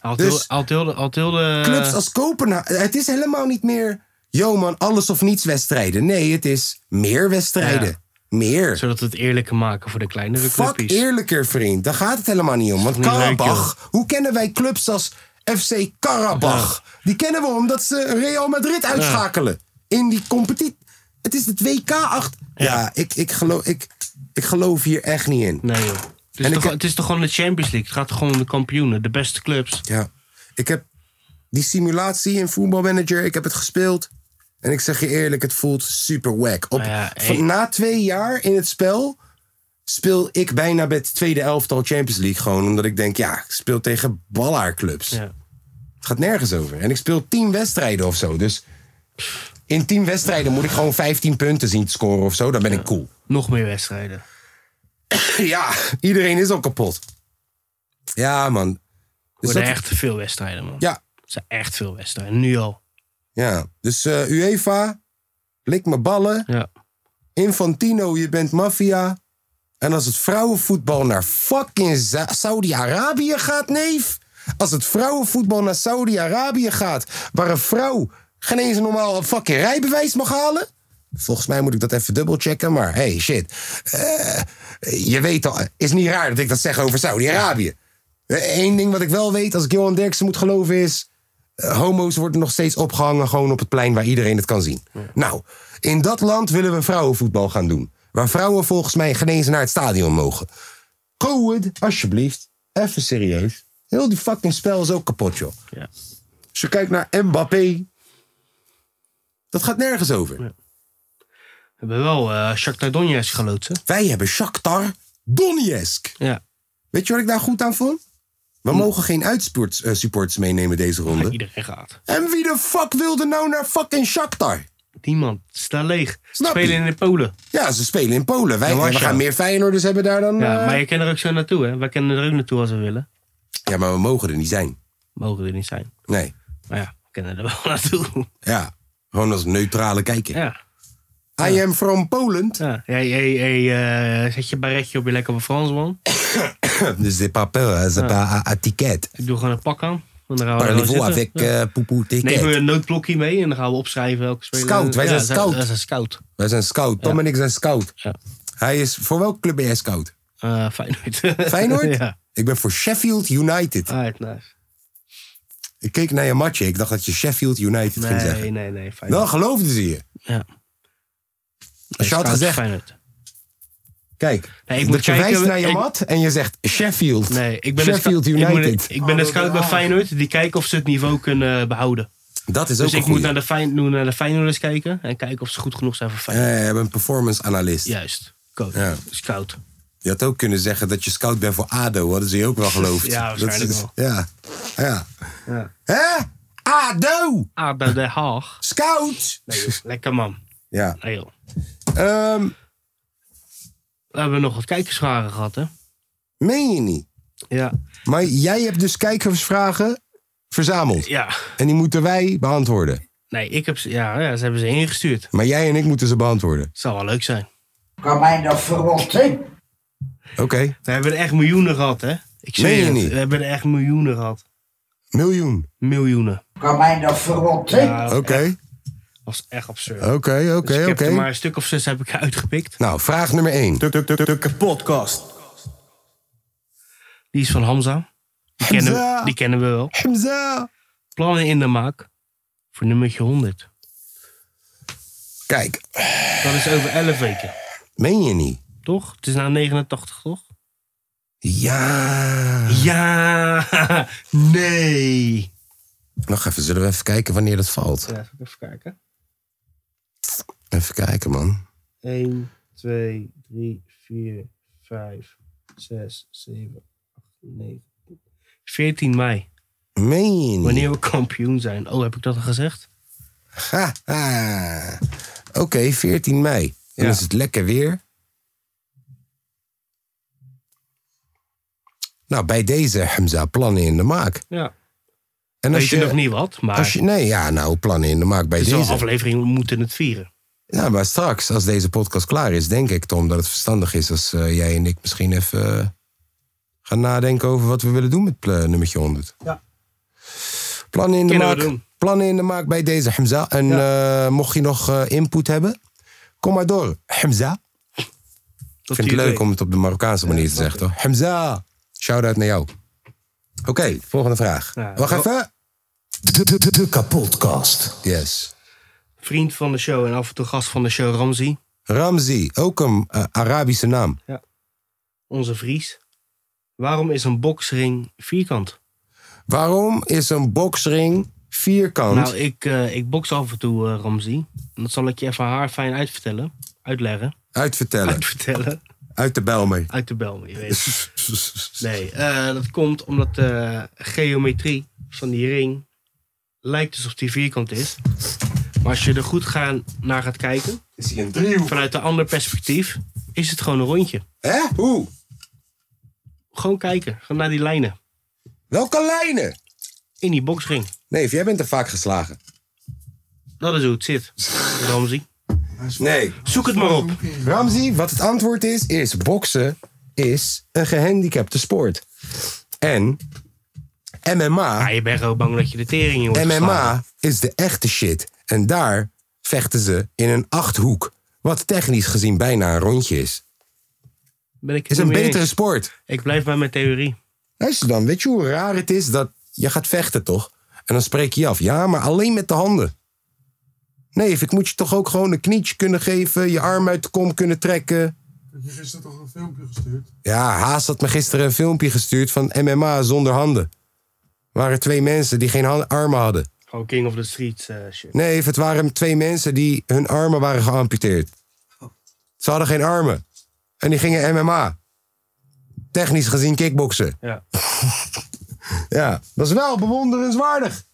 Al
Dus-
heel- al heel de- al heel de-
Clubs als Kopenhagen, het is helemaal niet meer, yo man, alles of niets wedstrijden. Nee, het is meer wedstrijden. Meer.
Zodat we het eerlijker maken voor de kleinere
Fuck
clubjes.
eerlijker, vriend. Daar gaat het helemaal niet om. Want
Niet leuk,
Karabach, hoe kennen wij clubs als FC Karabach? Die kennen we omdat ze Real Madrid uitschakelen. In die competitie. Het is het WK acht. Ja, ik, ik, geloof, ik, ik geloof hier echt niet in.
Nee joh. Het is,
En ik
toch,
heb-
het is toch gewoon de Champions League? Het gaat toch gewoon om de kampioenen, de beste clubs.
Ja. Ik heb die simulatie in voetbalmanager, ik heb het gespeeld. En ik zeg je eerlijk, het voelt super wack. Op,
Nou ja,
van-
hey.
na twee jaar in het spel speel ik bijna met het tweede elftal Champions League. Gewoon omdat ik denk, ja, ik speel tegen ballaarclubs.
Ja.
Het gaat nergens over. En ik speel tien wedstrijden of zo. Dus in tien wedstrijden moet ik gewoon 15 punten zien te scoren of zo. Dan ben ik cool.
Nog meer wedstrijden.
Ja, iedereen is al kapot. Ja, man.
Er
Dus
worden
dat-
echt veel wedstrijden, man.
ja,
Er zijn echt veel wedstrijden. Nu al.
Ja, dus eh, UEFA, lik mijn ballen.
Ja.
Infantino, je bent maffia. En als het vrouwenvoetbal naar fucking Za- Saudi-Arabië gaat, neef. Als het vrouwenvoetbal naar Saudi-Arabië gaat, waar een vrouw geen eens een normaal fucking rijbewijs mag halen. Volgens mij moet ik dat even dubbelchecken, maar hey, shit. Eh, je weet al, is niet raar dat ik dat zeg over Saudi-Arabië. Eén ding wat ik wel weet, als ik Johan Derksen moet geloven, is Eh, homo's worden nog steeds opgehangen gewoon op het plein waar iedereen het kan zien. Nou, in dat land willen we vrouwenvoetbal gaan doen. Waar vrouwen volgens mij genezen naar het stadion mogen. Goed, alsjeblieft. Even serieus. Heel die fucking spel is ook kapot, joh.
Ja.
Als je kijkt naar Mbappé. Dat gaat nergens over.
We hebben wel eh Shakhtar Donetsk geloot, hè?
Wij hebben Shakhtar Donetsk.
Ja.
Weet je wat ik daar goed aan vond? We mogen geen uitsports eh, supports meenemen deze ronde.
Iedereen gaat.
En wie de fuck wilde nou naar fucking Shakhtar?
Niemand. Het staat leeg.
Snap
Spelen in de Polen.
Ja, ze spelen in Polen. Wij, we
Warschau.
gaan meer Feyenoorders hebben daar dan...
Ja,
eh,
maar je kan er ook zo naartoe, hè? Wij kunnen er ook naartoe als we willen.
ja, maar we mogen er niet zijn.
Mogen er niet zijn.
Nee,
Maar ja, we kunnen er wel naartoe.
ja. Gewoon als neutrale kijker.
Ja.
I am from Poland.
ja. Hey, hey, hey, eh, zet je baretje op je lekker Frans, man.
Dus dit papel, ze hebben een ticket.
Ik doe gewoon een pak aan. Want dan gaan we gewoon
Parlez-vous
Oh, zitten.
avec
Ja.
eh, poepoe ticket.
Nemen we een noodblokje mee en dan gaan we opschrijven welke speler.
Scout, wij zijn
dat-
scout.
Dat is een scout.
Wij zijn scout. Tom en ik zijn scout.
Ja.
Hij is... Voor welke club ben jij scout?
Eh, Feyenoord.
Feyenoord?
ja. Ah.
Ik ben voor Sheffield United.
Alright, nice.
Ik keek naar je matje. Ik dacht dat je Sheffield United ging
Nee,
zeggen.
nee, nee. Feyenoord.
Dan geloofden ze je.
Ja.
Als je had
Scout
gezegd...
Feyenoord.
Kijk,
Nee, ik moet
dat je
kijken,
wijst naar je
ik-
mat en je zegt Sheffield.
Nee, ik ben
Sheffield
een scout, ik moet-
United.
Ik, ben een scout bij Feyenoord. Die kijken of ze het niveau kunnen eh, behouden.
Dat is ook
Dus
een
ik moet
goeie.
naar de, Fijn, moet naar de Feyenoorders kijken. En kijken of ze goed genoeg zijn voor
Ja,
Feyenoord.
ja, je bent een performance analist.
Juist. Coach.
Ja.
Scout.
Je had ook kunnen zeggen dat je scout bent voor ADO. Hadden ze je ook wel geloofd.
Ja, waarschijnlijk
Dat is- Ja. ja. Hè? ADO!
ADO Den Haag.
Scout!
Nee, joh. Lekker man.
Ja.
Nee, joh.
Ehm,
We hebben nog wat kijkersvragen gehad, hè?
meen je niet?
Ja.
Maar jij hebt dus kijkersvragen verzameld.
Ja.
En die moeten wij beantwoorden.
Nee, ik heb ze... Ja, ja, ze hebben ze ingestuurd.
Maar jij en ik moeten ze beantwoorden.
Het zou wel leuk zijn.
Kan mij dat verrotten?
Oké.
We hebben er echt miljoenen gehad, hè? Ik
Meen je
het.
niet?
We hebben er echt miljoenen gehad.
Miljoen.
Miljoenen.
Kan mij dat verrotten?
Ja,
Oké.
was echt absurd.
Oké, oké,
Oh, Dus ik heb
oké.
er maar een stuk of zes heb ik uitgepikt.
Nou, vraag nummer 1.
De, de, de, de, de podcast.
Die is van Hamza. Die,
Hamza!
Kennen, we- die kennen we wel.
Hamza!
Plannen in de maak voor nummertje 100.
Kijk,
Dat is over 11 weken,
meen je niet?
toch? Het is na 89, toch?
Ja.
Ja! Nee!
Nog even, zullen we even kijken wanneer dat valt?
Ja, even kijken.
Even kijken, man.
1, 2, 3, 4, 5, 6, 7, 8, 9. 14 mei.
Meen je niet?
Wanneer we kampioen zijn. Oh, heb ik dat al gezegd?
Haha. Oké, 14 mei. En
Ja.
dan is het lekker weer. Nou, bij deze, Hamza, plannen in de maak.
Ja.
En
Weet je nog niet wat, maar
Als je, nee, ja, nou, plannen in de maak bij
zo'n
deze.
aflevering we moeten het vieren.
Nou, maar straks, als deze podcast klaar is, denk ik, Tom, dat het verstandig is als eh, jij en ik misschien even eh, gaan nadenken over wat we willen doen met eh, nummertje 100.
Ja.
Plannen in de
Kunnen we
maak.
doen.
Plannen in de maak bij deze, Hamza. En eh, mocht je nog eh, input hebben, kom maar door, Hamza.
Tot
Ik vind het leuk om het op de Marokkaanse manier te zeggen, toch? Hamza, shout-out naar jou. Oké, volgende vraag.
Ja. Oh.
Wacht even.
De, de, de, de kapotkast.
Yes.
Vriend van de show en af en toe gast van de show, Ramzi.
Ramzi, ook een eh, Arabische naam.
Onze Vries. Waarom is een boksring vierkant?
Waarom is een boksring vierkant?
Nou, ik, eh, ik boks af en toe, eh, Ramzi. En dat zal ik je even haar fijn uitvertellen. Uitleggen.
Uitvertellen. Uit,
Uitvertellen.
de bel mee.
Uit de bel, je weet. Nee, eh, dat komt omdat de geometrie van die ring lijkt alsof die vierkant is. Maar als je er goed gaan, naar gaat kijken,
Is hij een driehoek?
vanuit een ander perspectief, is het gewoon een rondje.
Hè? Hoe?
Gewoon kijken, gewoon naar die lijnen
Welke lijnen?
in die boksring.
Nee, jij bent er vaak geslagen.
Dat is hoe het zit, Ramzi.
Nee.
Zoek het maar op.
Ramzi, wat het antwoord is, is boksen is een gehandicapte sport. En
Ja,
MMA,
Ah, je bent gewoon bang dat je de tering in wordt geslagen.
MMA is de echte shit. En daar vechten ze in een achthoek. Wat technisch gezien bijna een rondje is.
Ben ik het
Is
niet
een
mee eens.
betere sport.
Ik blijf bij mijn theorie.
Luister dan, weet je hoe raar het is dat je gaat vechten, toch? En dan spreek je je af, ja, maar alleen met de handen. Nee, ik moet je toch ook gewoon een knietje kunnen geven, je arm uit de kom kunnen trekken.
Heb je gisteren toch een filmpje gestuurd?
Ja, Haas had me gisteren een filmpje gestuurd van MMA zonder handen. Er waren twee mensen die geen han- armen hadden.
Gewoon King of the Streets eh, shit.
Nee, het waren twee mensen die hun armen waren geamputeerd. Ze hadden geen armen. En die gingen MMA. Technisch gezien kickboksen.
Ja.
Ja, dat is wel bewonderenswaardig.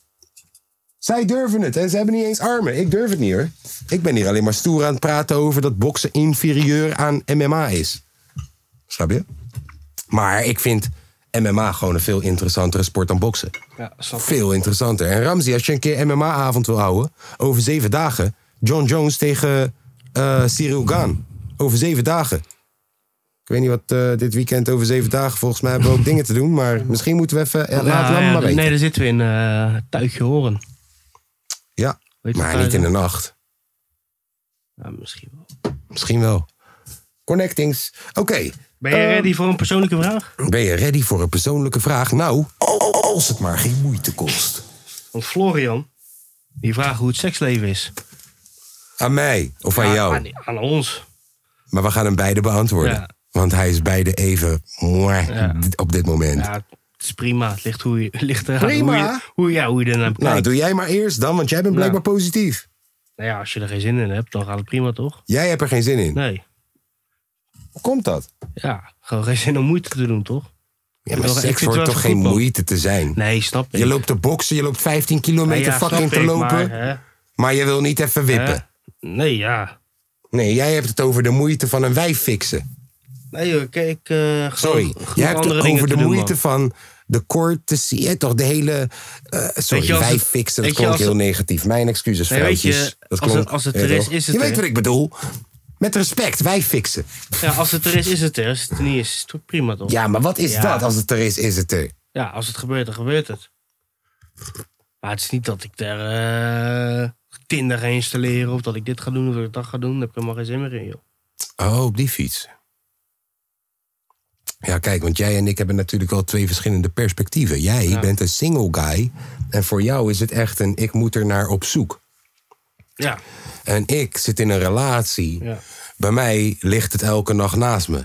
Zij durven het en ze hebben niet eens armen. Ik durf het niet hoor. Ik ben hier alleen maar stoer aan het praten over dat boksen inferieur aan MMA is. Snap je? Maar ik vind MMA gewoon een veel interessantere sport dan boksen.
Ja, snap ik.
Veel interessanter. En Ramzi, als je een keer MMA-avond wil houden, over zeven dagen. John Jones tegen eh Cyril Gaan. Over zeven dagen. Ik weet niet wat eh, dit weekend over zeven dagen. Volgens mij hebben we ook dingen te doen. Maar misschien moeten we even. eh, laat laat
Nou,
me
ja,
maar weten.
nee, daar zitten we in eh Tuitje Horen.
ja,
Weet je
maar
wat eh,
niet in
daar-
de nacht.
Ja, misschien wel.
Misschien wel. Connectings. Oké,
Ben
Ehm.
je ready voor een persoonlijke vraag?
ben je ready voor een persoonlijke vraag? Nou,
Als het maar geen moeite kost.
Want Florian, die vraagt hoe het seksleven is.
aan mij of aan jou.
Aan, aan ons.
Maar we gaan hem beide beantwoorden.
Ja.
Want hij is beide even mwah,
Ja.
d- op dit moment.
Ja, het is prima. Het ligt, hoe je, het ligt eraan
Prima.
hoe je, hoe, ja, hoe je ernaar kijkt.
Nou, doe jij maar eerst dan, want jij bent blijkbaar positief.
Nou ja, als je er geen zin in hebt, dan gaat het prima, toch?
Jij hebt er geen zin in.
Nee.
Hoe komt dat?
Ja, gewoon geen zin om moeite te doen, toch?
Ja,
wel-
maar
ik vind
seks
het wel
hoort toch
even
geen
goed, man.
moeite te zijn?
Nee, snap ik.
Je loopt te boksen, je loopt 15
Nou
kilometer
ja, snap
fucking te
ik,
lopen,
maar, hè,
maar je wil niet even wippen.
hè? Nee, ja.
Nee, jij hebt het over de moeite van een wijf fixen.
Nee, joh, kijk, eh gewoon
Sorry,
genoeg
jij hebt
andere
het
dingen
over
te
de
doen,
moeite
man.
van de courtesy, hè, toch de hele... eh sorry,
Weet je, als
wij
het-
fixen, dat
weet je,
klonk
als
heel
het-
negatief. Mijn excuses,
Nee, weet je,
vrouwtjes. Dat
als
klonk,
het- als het
hè,
er is,
toch?
is het
Je weet
er.
wat ik bedoel. Met respect, wij fixen.
Ja, als het er is, is het er. Als het er niet is, is het toch prima, toch?
Ja, maar wat is
Ja.
dat? Als het er is, is het er.
Ja, als het gebeurt, dan gebeurt het. Maar het is niet dat ik daar eh, Tinder ga installeren of dat ik dit ga doen of dat ik dat ga doen. Daar heb ik helemaal geen zin meer in, joh.
Oh, op die fiets. Ja, kijk, want jij en ik hebben natuurlijk wel twee verschillende perspectieven. Jij bent een single guy. En voor jou is het echt een ik moet er naar op zoek.
Ja.
En ik zit in een relatie.
Ja.
Bij mij ligt het elke nacht naast me.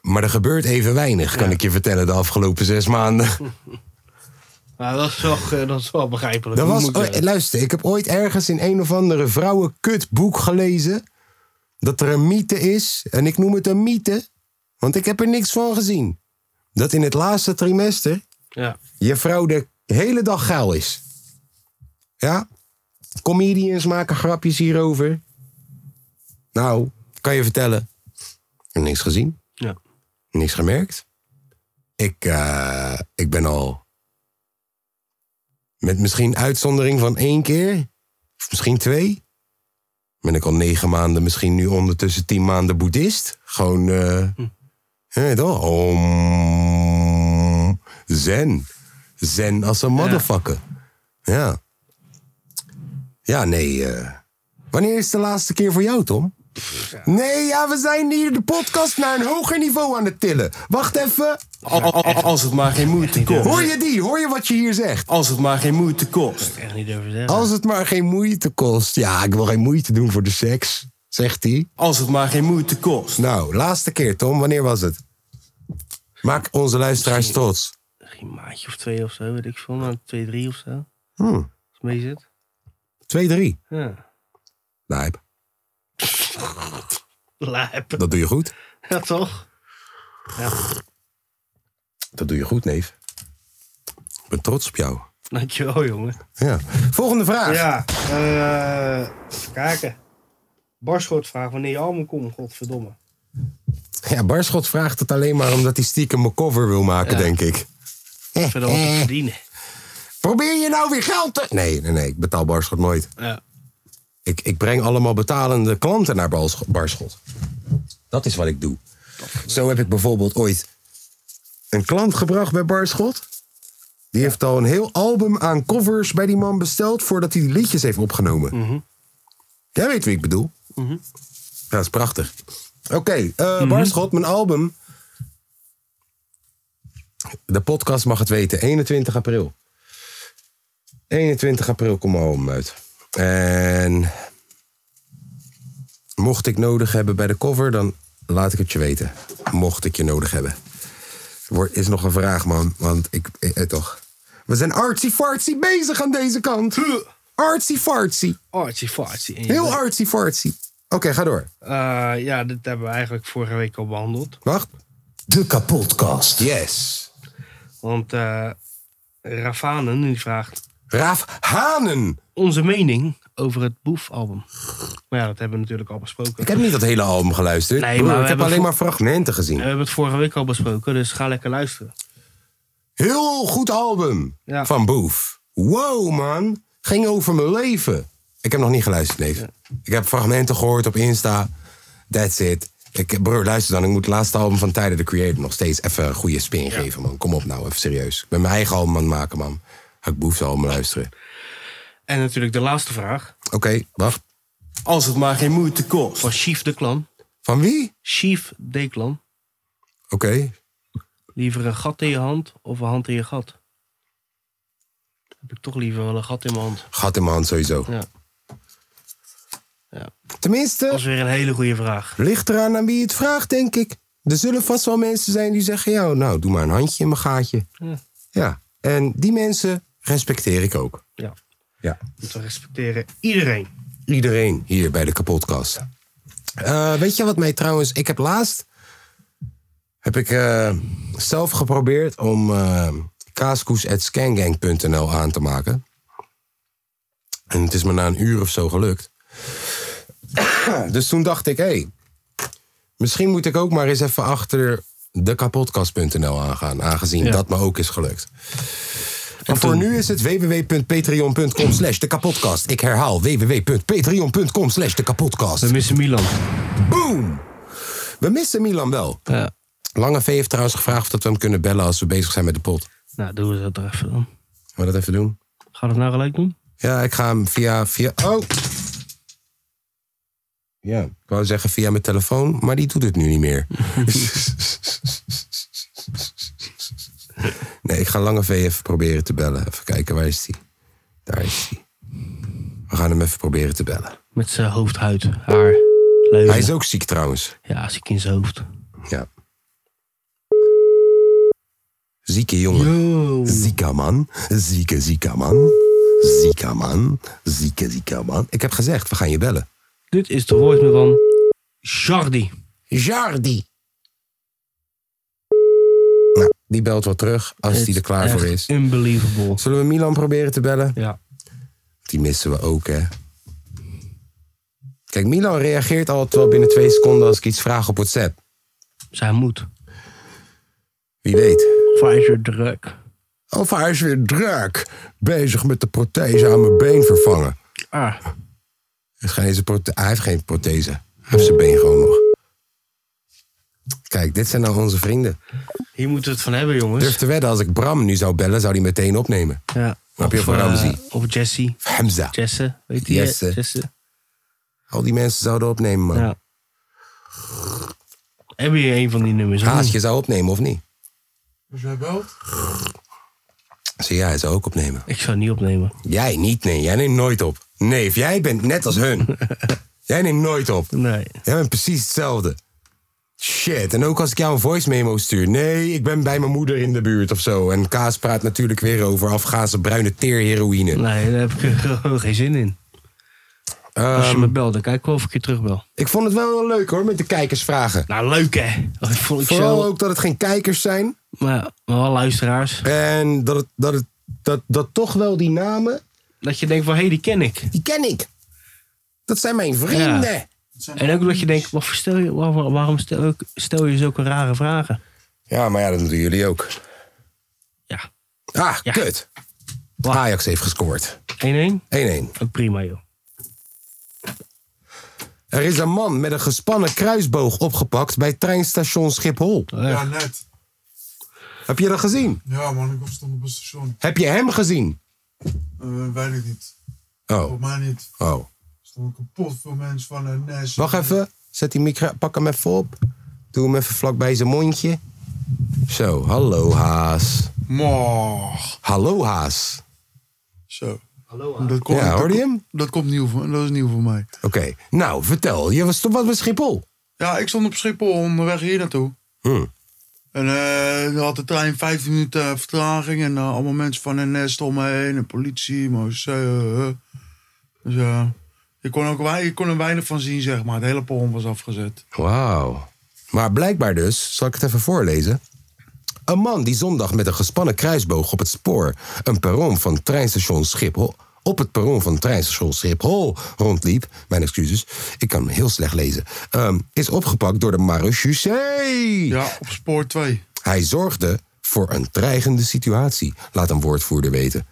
Maar er gebeurt even weinig, kan ik je vertellen, de afgelopen zes maanden.
Nou, dat, is wel, eh, dat is wel begrijpelijk.
Dat
Hoe
was,
moet ik
oh, luister, ik heb ooit ergens in een of andere vrouwenkutboek gelezen. dat er een mythe is. En ik noem het een mythe, want ik heb er niks van gezien. Dat in het laatste trimester
ja.
je vrouw de hele dag geil is. Ja? Comedians maken grapjes hierover. Nou, kan je vertellen. Ik heb niks gezien,
Ja.
niks gemerkt. Ik, eh, ik ben al. Met misschien uitzondering van één keer, of misschien twee. Ben ik al negen maanden, misschien nu ondertussen tien maanden boeddhist. Gewoon. eh hè, toch? Om. Zen. Zen als een motherfucker. Ja. Ja, nee. eh. Wanneer is de laatste keer voor jou, Tom? Nee, ja, we zijn hier de podcast naar een hoger niveau aan het tillen. Wacht even.
Als het maar geen moeite kost.
Hoor je die? Hoor je wat je hier zegt?
Als het maar geen moeite kost.
Echt niet durven zeggen.
Als het maar geen moeite kost. Ja, ik wil geen moeite doen voor de seks, zegt hij.
Als het maar geen moeite kost.
Nou, laatste keer, Tom. Wanneer was het? Maak onze luisteraars trots.
Misschien een maatje of twee of zo, weet ik veel. Nou, twee, drie of zo.
Hmm.
Als het mee zit.
2-3.
Ja.
Lijp.
Lijp.
Dat doe je goed.
Ja, toch?
Dat doe je goed, neef. Ik ben trots op jou.
Dankjewel, jongen.
Ja. Volgende vraag.
Ja, eh kijken. Barschot vraagt wanneer je allemaal komt, godverdomme.
Ja, Barschot vraagt het alleen maar omdat hij stiekem een cover wil maken,
Ja.
denk ik. Eh,
Verder wat te
eh,
verdienen.
probeer je nou weer geld te... Nee, nee, nee. Ik betaal Barschot nooit.
Ja.
Ik, ik breng allemaal betalende klanten naar Bals- Barschot. Dat is wat ik doe. Zo heb ik bijvoorbeeld ooit een klant gebracht bij Barschot. Die heeft al een heel album aan covers bij die man besteld... voordat hij die liedjes heeft opgenomen. Jij weet wie ik bedoel. Ja, dat is prachtig. Oké, eh, Barschot, mijn album. De podcast mag het weten. 21 april. 21 april komt mijn album uit. En mocht ik nodig hebben bij de cover, dan laat ik het je weten. Mocht ik je nodig hebben. Wordt- Is nog een vraag, man. Want ik... Eh, eh, toch. We zijn artsy-fartsy bezig aan deze kant. Artsy-fartsy.
Archie fartie. En je
Heel
bent-
artsy-fartsy. Oké, ga door.
Eh, ja, dit hebben we eigenlijk vorige week al behandeld.
Wacht.
De kapotkast.
Yes.
Want eh Ravanen die vraagt
Raaf Hanen.
onze mening over het Boef-album. Maar ja, dat hebben we natuurlijk al besproken.
Ik heb niet dat hele album geluisterd.
Nee,
Broer,
maar we
ik heb
hebben
alleen
vo-
maar fragmenten
We
gezien.
hebben het vorige week al besproken, dus ga lekker luisteren.
Heel goed album
Ja.
van Boef. Wow, man. Ging over mijn leven. Ik heb nog niet geluisterd, neef. Ik heb fragmenten gehoord op Insta. That's it. Ik, broer, luister dan. Ik moet het laatste album van Tijden de Creator nog steeds even een goede spin geven, man. Kom op nou, even serieus. Ik ben mijn eigen album aan het maken, man. Ga ik Boef's album luisteren.
En natuurlijk de laatste vraag
Oké, wacht.
Als het maar geen moeite kost.
van Chief de Klan.
Van wie?
Chief de Klan.
Oké.
Liever een gat in je hand of een hand in je gat? Heb ik toch liever wel een gat in mijn hand.
Gat in mijn hand sowieso.
Ja.
Tenminste,
Dat is weer een hele goede vraag.
Ligt eraan aan wie je het vraagt, denk ik. Er zullen vast wel mensen zijn die zeggen: ja, nou, doe maar een handje in mijn gaatje. Ja. En die mensen respecteer ik ook.
Ja.
Ja.
Want we respecteren iedereen.
Iedereen hier bij de kapotkast. Eh, weet je wat mij trouwens. Ik heb laatst. Heb ik eh, zelf geprobeerd om eh kaaskoes.scangang.nl aan te maken. En het is me na een uur of zo gelukt. dus toen dacht ik, hé, hey, misschien moet ik ook maar eens even achter de kapotkast.nl aangaan. Aangezien
Ja.
dat me ook is gelukt. En voor nu is het www.patreon.com slash de kapotkast. Ik herhaal www.patreon.com slash de kapotkast.
We missen Milan.
Boom! We missen Milan wel.
Ja.
Lange V heeft trouwens gevraagd of dat we hem kunnen bellen als we bezig zijn met de pot.
Nou, doen we dat er even dan.
Gaan we dat even doen?
Gaan we dat nou gelijk doen?
Ja, ik ga hem via, via... Oh! Ja, ik wou zeggen via mijn telefoon, maar die doet het nu niet meer. nee, ik ga Lange V even proberen te bellen. Even kijken, waar is die? Daar is die. We gaan hem even proberen te bellen.
Met zijn hoofdhuid, haar, leuven.
Hij is ook ziek trouwens.
Ja, ziek in zijn hoofd.
Ja. Zieke jongen. Zieke man. Zieke, zieke man. Zieke man. Zieke, zieke man. Ik heb gezegd, we gaan je bellen.
Dit is de voicemail van Jardi.
Jardi. Nou, die belt wel terug als
It's
die er klaar voor
echt
is.
Unbelievable.
Zullen we Milan proberen te bellen?
Ja.
Die missen we ook, hè. Kijk, Milan reageert altijd wel binnen twee seconden als ik iets vraag op WhatsApp.
Zij moet.
Wie weet.
Of hij is er druk.
Of hij is weer druk bezig met de prothese aan mijn been vervangen.
Ah,
Hij heeft geen prothe- hij heeft geen prothese. Hij heeft zijn been gewoon nog. Kijk, dit zijn nou onze vrienden.
hier moeten we het van hebben,
Durf
jongens.
te wedden, als ik Bram nu zou bellen, zou hij meteen opnemen.
Ja.
Snap je,
Of,
van
eh,
Ramzi.
Of Jesse.
Hamza.
Jesse, weet je? hè?
Jesse.
Jesse.
Al die mensen zouden opnemen, man.
Ja. Heb je een van die nummers? of niet?
Haasje zou opnemen, of niet?
Als jij belt,
Oh, Zie jij, hij zou ook opnemen.
Ik zou het niet opnemen.
Jij niet, nee. Jij neemt nooit op. Nee, jij bent net als hun. jij neemt nooit op.
Nee.
Jij bent precies hetzelfde. Shit, en ook als ik jou een voice memo stuur. Nee, ik ben bij mijn moeder in de buurt of zo. En Kaas praat natuurlijk weer over Afghaanse bruine teerheroïne.
Nee, daar heb ik gewoon geen zin in. Als je
Ehm,
me belt, dan kijk ik wel of ik je terugbel.
ik vond het wel leuk hoor, met de kijkersvragen.
Nou, leuk hè? Dat vond ik
Vooral
zo.
ook dat het geen kijkers zijn.
Maar, maar wel luisteraars.
En dat, het, dat, het, dat, dat toch wel die namen,
Dat je denkt van, hé, hey, die ken ik.
die ken ik. Dat zijn mijn vrienden. Ja,
En ook dat je denkt, wat voor stel je, waar- waar- waarom stel, ik- stel je zulke rare vragen?
maar ja, dat doen jullie ook.
Ja,
Ah,
Ja.
kut.
Wat?
Ajax heeft gescoord.
1-1?
1-1.
Ook prima, joh.
Er is een man met een gespannen kruisboog opgepakt bij treinstation Schiphol.
ja, net.
Heb je dat gezien?
Ja, man, ik was stond op het station.
Heb je hem gezien?
Eh weet ik niet.
Oh,
Volgens mij niet.
oh.
Er stonden kapot veel mensen van een NS.
Wacht even. Zet die micro, pak hem even op. Doe hem even vlak bij zijn mondje. Zo, hallo haas.
Moch.
Hallo haas.
Zo. Hallo, dat komt,
Ja, hoorde je hem?
Dat komt nieuw voor, dat is nieuw voor mij.
Oké, nou vertel. Je was toch wat met Schiphol?
Ja, ik stond op Schiphol onderweg hier naartoe.
Hm.
En eh dan had de trein 15 minuten vertraging en eh, allemaal mensen van NS om me heen en politie, maar zo, eh, eh. Dus ja, je kon, ook, wei- je kon er weinig van zien, zeg maar. Het hele perron was afgezet.
Wauw. Maar blijkbaar dus, zal ik het even voorlezen? Een man die zondag met een gespannen kruisboog op het spoor een perron van treinstation Schiphol op het perron van treinstation Schiphol rondliep, mijn excuses, ik kan hem heel slecht lezen, ehm, is opgepakt door de marechaussee.
Ja, op spoor 2.
Hij zorgde voor een dreigende situatie, laat een woordvoerder weten.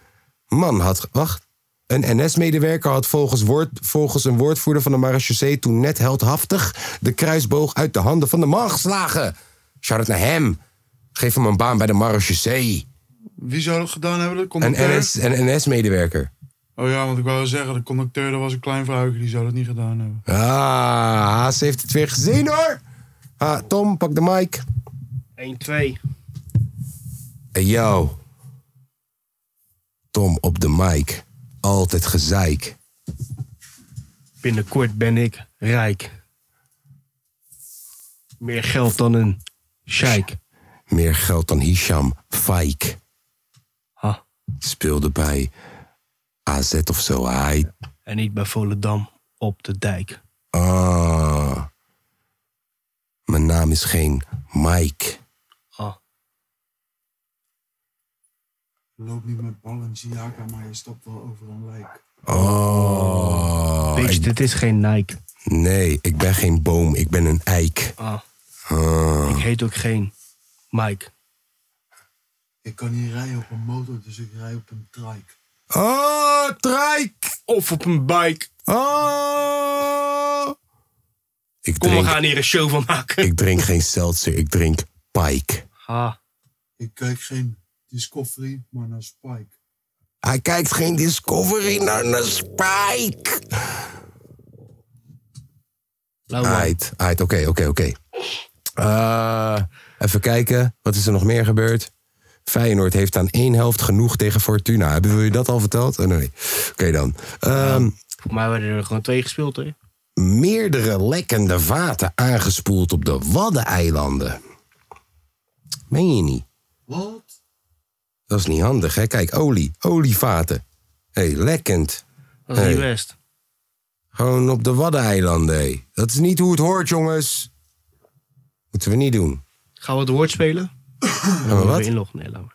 Man had. Wacht. Een NS-medewerker had volgens, woord, volgens een woordvoerder van de marechaussee toen net heldhaftig de kruisboog uit de handen van de man geslagen. Shout out naar hem. Geef hem een baan bij de marechaussee.
Wie zou dat gedaan hebben? De conducteur?
Een NS Een NS-medewerker.
Oh ja, want ik wou zeggen, de conducteur dat was een klein vrouwtje, die zou dat niet gedaan hebben.
ah, Haas heeft het weer gezien hoor. Ah, Tom, pak de mic.
1-2.
En jou. Tom op de mic. Altijd gezeik.
Binnenkort ben ik rijk. Meer geld dan een sheik.
Meer geld dan Hisham Faik
Ha.
speelde bij AZ of zo. Hij.
En niet bij Volendam op de dijk.
Ah. Mijn naam is geen Mike.
Ah.
Loop niet met Balenciaga, maar je stapt wel over een lijk.
Oh.
Bitch,
ik-
dit is geen Nike.
nee, ik ben geen boom. Ik ben een eik.
Ah.
Ah.
Ik heet ook geen Mike.
Ik kan niet rijden op een motor, dus ik rij op een trike.
Oh, trike.
Of op een bike.
Oh. Ik
Kom, we
drink,
gaan hier een show van maken.
ik drink geen seltzer. Ik drink Pike.
Ah.
Ik kijk geen Discovery, maar naar Spike.
Hij kijkt geen Discovery naar een spike.
Lauw man.
Ait, ait, oké, oké, oké. Eh, Even kijken, wat is er nog meer gebeurd? Feyenoord heeft aan één helft genoeg tegen Fortuna. Hebben we je dat al verteld? Oh, nee. Oké dan. Ehm,
Voor mij werden er gewoon twee gespeeld, hè?
meerdere lekkende vaten aangespoeld op de Waddeneilanden. Meen je niet?
Wat?
Dat is niet handig, hè? Kijk, olie. Olievaten. Hé, hey, lekkend.
Dat is niet
Hey.
best.
Gewoon op de Waddeneilanden, hé. Dat is niet hoe het hoort, jongens. Moeten we niet doen.
Gaan we het woord spelen?
Gaan we
Even
wat?
inloggen. Nee, laat maar.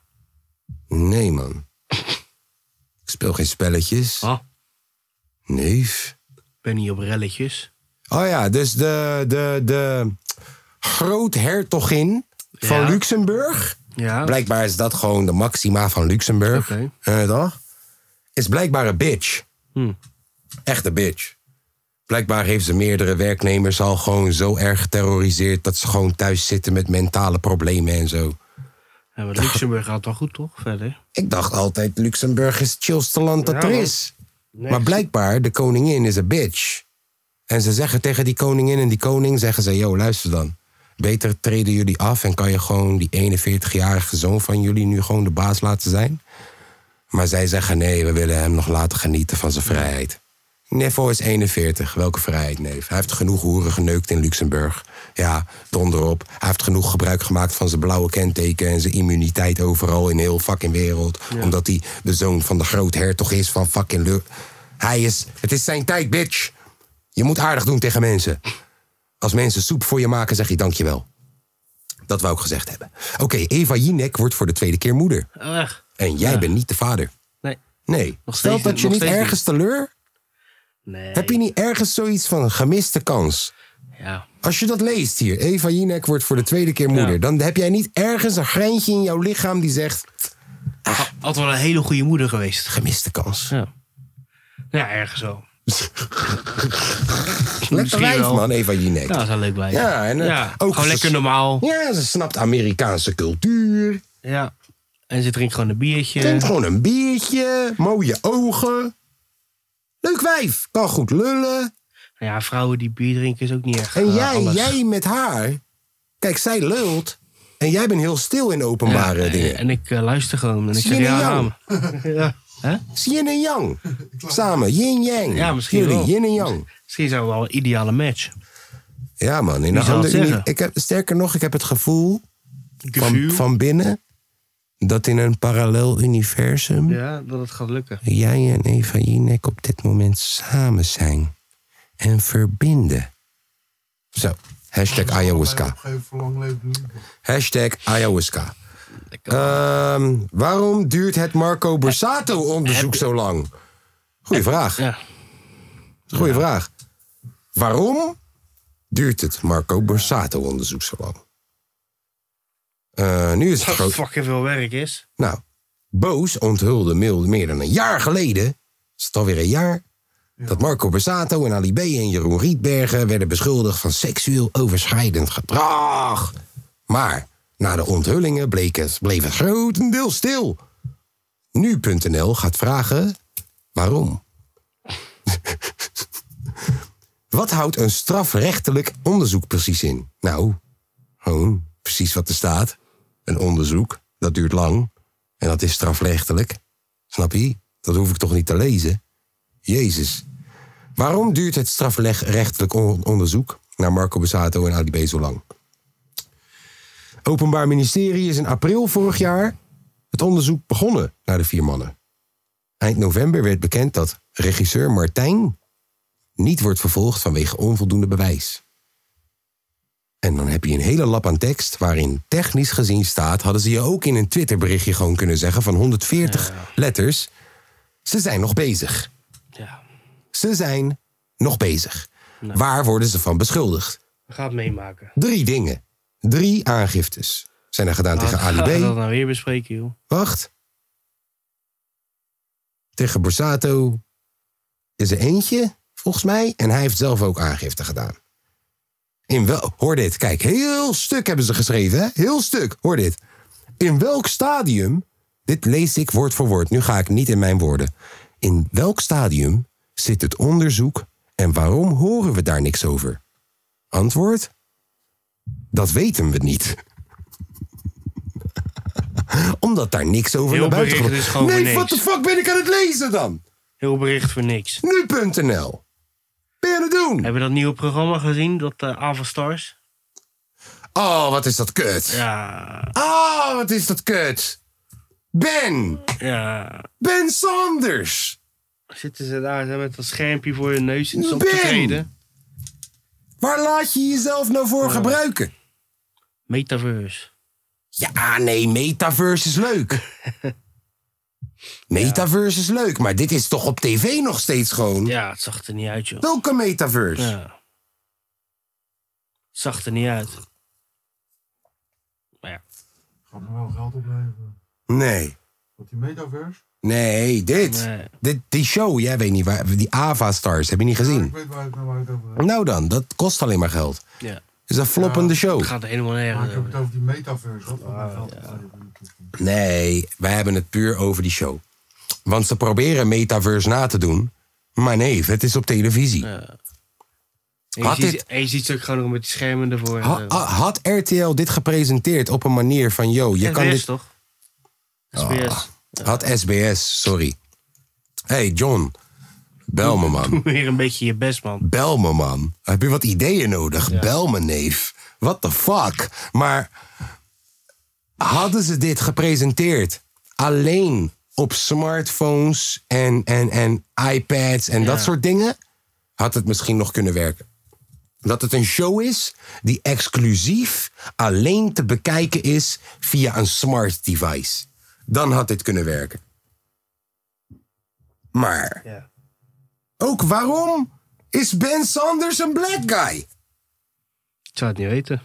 Nee, man. Ik speel geen spelletjes.
Ah,
Neef.
ben niet op relletjes.
Oh ja, dus de, de, de groothertogin van
Ja.
Luxemburg.
Ja.
Blijkbaar is dat gewoon de maxima van Luxemburg.
Oké.
Eh, toch? Is blijkbaar een bitch.
Hm.
Echte bitch. Blijkbaar heeft ze meerdere werknemers al gewoon zo erg geterroriseerd... dat ze gewoon thuis zitten met mentale problemen en zo.
Ja, maar Luxemburg gaat wel goed, toch? Verder.
Ik dacht altijd, Luxemburg is het chillste land dat
Ja,
er
man.
is. Maar blijkbaar, de koningin is een bitch. En ze zeggen tegen die koningin en die koning, zeggen ze... Yo, luister dan. Beter treden jullie af en kan je gewoon die 41-jarige zoon van jullie... nu gewoon de baas laten zijn? Maar zij zeggen, nee, we willen hem nog laten genieten van zijn vrijheid. Nevo is 41. Welke vrijheid, neef? Hij heeft genoeg hoeren geneukt in Luxemburg. Ja, donder op. Hij heeft genoeg gebruik gemaakt van zijn blauwe kenteken... en zijn immuniteit overal in de heel fucking wereld. Omdat hij de zoon van de groothertog is van fucking... Lu hij is... Het is zijn tijd, bitch. Je moet aardig doen tegen mensen. Als mensen soep voor je maken, zeg je dankjewel. Dat wou ik gezegd hebben. Oké, Eva Jinek wordt voor de tweede keer moeder.
Oh, echt?
En jij bent niet de vader.
Nee.
Nee.
Nog
Stel
steeds-
dat je
nog
niet
steeds
ergens teleur...
Nee.
Heb je niet ergens zoiets van een gemiste kans?
Ja.
Als je dat leest hier, Eva Jinek wordt voor de tweede keer moeder... dan heb jij niet ergens een greintje in jouw lichaam die zegt... Ah.
Had wel een hele goede moeder geweest.
gemiste kans.
Ja. Ja, ergens wel.
Lekker wijf,
wel.
man, Eva Jinek.
Ja, dat
Ja.
is wel leuk bij.
en eh, ook
ook gewoon
ze-
lekker normaal.
ze snapt Amerikaanse cultuur.
Ja. En ze drinkt gewoon een biertje.
Drinkt gewoon een biertje, mooie ogen. Leuk wijf, kan goed lullen.
Ja, vrouwen die bier drinken is ook niet echt.
En
eh,
jij,
alles.
jij met haar. Kijk, zij lult. En jij bent heel stil in openbare
Ja,
dingen.
En ik eh, luister gewoon. En ik
Zie je
zeg ja,
nou?
naam. ja. Hè?
Yin en yang. Samen, yin yang.
Ja, misschien
Jullie,
wel.
yin en yang.
Misschien zijn we wel een ideale match.
Ja, man. In
Wie
een
zou
ander,
het
in-
zeggen?
ik heb, sterker nog, ik heb het gevoel van,
Gevoel.
van binnen... dat in een parallel universum...
Ja, dat het gaat lukken.
jij en Eva Jinek op dit moment samen zijn. En verbinden. Zo. Hashtag ayahuasca.
Geef voor lang leven. Liebe.
Hashtag ayahuasca. Ehm, waarom duurt het Marco Borsato-onderzoek zo lang? Goeie vraag.
Ja.
Goeie vraag. Waarom duurt het Marco Borsato-onderzoek zo lang? Eh, nu is het
Dat
groot.
fucking veel werk is.
Nou, Boos onthulde mail meer dan een jaar geleden, is het alweer een jaar, dat Marco Borsato en Ali B. en Jeroen Rietbergen werden beschuldigd van seksueel overschrijdend gedrag. Maar na de onthullingen bleek het, bleef het grotendeels stil. Nu.nl gaat vragen waarom. wat houdt een strafrechtelijk onderzoek precies in? Nou, gewoon Oh, precies wat er staat. Een onderzoek, dat duurt lang. En dat is strafrechtelijk. Snap je? Dat hoef ik toch niet te lezen? Jezus. Waarom duurt het strafrechtelijk on- onderzoek naar Marco Bussato en Ali B. zo lang? Openbaar Ministerie is in april vorig jaar het onderzoek begonnen naar de vier mannen. Eind november werd bekend dat regisseur Martijn niet wordt vervolgd vanwege onvoldoende bewijs. En dan heb je een hele lap aan tekst waarin technisch gezien staat... hadden ze je ook in een Twitterberichtje gewoon kunnen zeggen van 140 letters... ze zijn nog bezig.
Ja,
Ze zijn nog bezig. Waar worden ze van beschuldigd?
we gaan het meemaken.
Drie dingen. Drie aangiftes zijn er gedaan tegen
Gaan we
Ali B.
dat nou weer bespreken, joh.
Wacht. Tegen Borsato is er eentje, volgens mij. En hij heeft zelf ook aangifte gedaan. In wel, hoor dit, kijk, heel stuk hebben ze geschreven, hè? Heel stuk, hoor dit. In welk stadium Dit lees ik woord voor woord, nu ga ik niet in mijn woorden. In welk stadium zit het onderzoek en waarom horen we daar niks over? Antwoord? Dat weten we niet. Omdat daar niks over
Heel
naar buiten gebracht-
bericht is gewoon
Nee,
niks.
wat de fuck ben ik aan het lezen dan?
Heel bericht voor niks.
Nu.nl. Ben je aan het doen?
Hebben we dat nieuwe programma gezien? Dat eh Ava Stars?
Oh, wat is dat kut.
Ja,
Oh, wat is dat kut. Ben.
ja.
Ben Sanders.
Zitten ze daar hè, met dat schermpje voor hun neus in op
Ben!
te treden?
Waar laat je jezelf nou voor gebruiken?
Metaverse.
Ja, nee, metaverse is leuk. Metaverse is leuk, maar dit is toch op tv nog steeds gewoon?
Ja, het zag er niet uit, joh.
Welke metaverse?
Ja. Het zag er niet uit. Maar ja.
Gaat me wel geld opleveren.
Nee.
Wat die metaverse?
Nee, dit.
Nee.
dit. Die show, jij weet niet waar. Die Ava-stars, heb je niet gezien?
weet waar ik nou waar ik het over heb.
Nou dan, dat kost alleen maar geld.
ja.
Is een floppende show.
Het gaat er helemaal nergens over.
over die metaverse. Wat gaat me geld opleveren?
Nee, wij hebben het puur over die show. Want ze proberen metaverse na te doen. Maar nee, het is op televisie.
En je,
Had
ziet,
dit-
en je ziet ze ook gewoon nog met die schermen ervoor. en eh,
Ha-
zo.
ha- had RTL dit gepresenteerd op een manier van... Yo, je kan
SBS,
dit... Ah.
toch? SBS.
Had SBS, sorry. hey John, bel me man.
Weer een beetje je best, man.
Bel me man. Heb je wat ideeën nodig? Bel me neef. What the fuck? Maar hadden ze dit gepresenteerd alleen op smartphones en, en, en iPads en dat soort dingen... had het misschien nog kunnen werken. Dat het een show is die exclusief alleen te bekijken is via een smart device. Dan had dit kunnen werken. Maar
Ja.
ook waarom is Ben Sanders een black guy?
Ik zou het niet weten.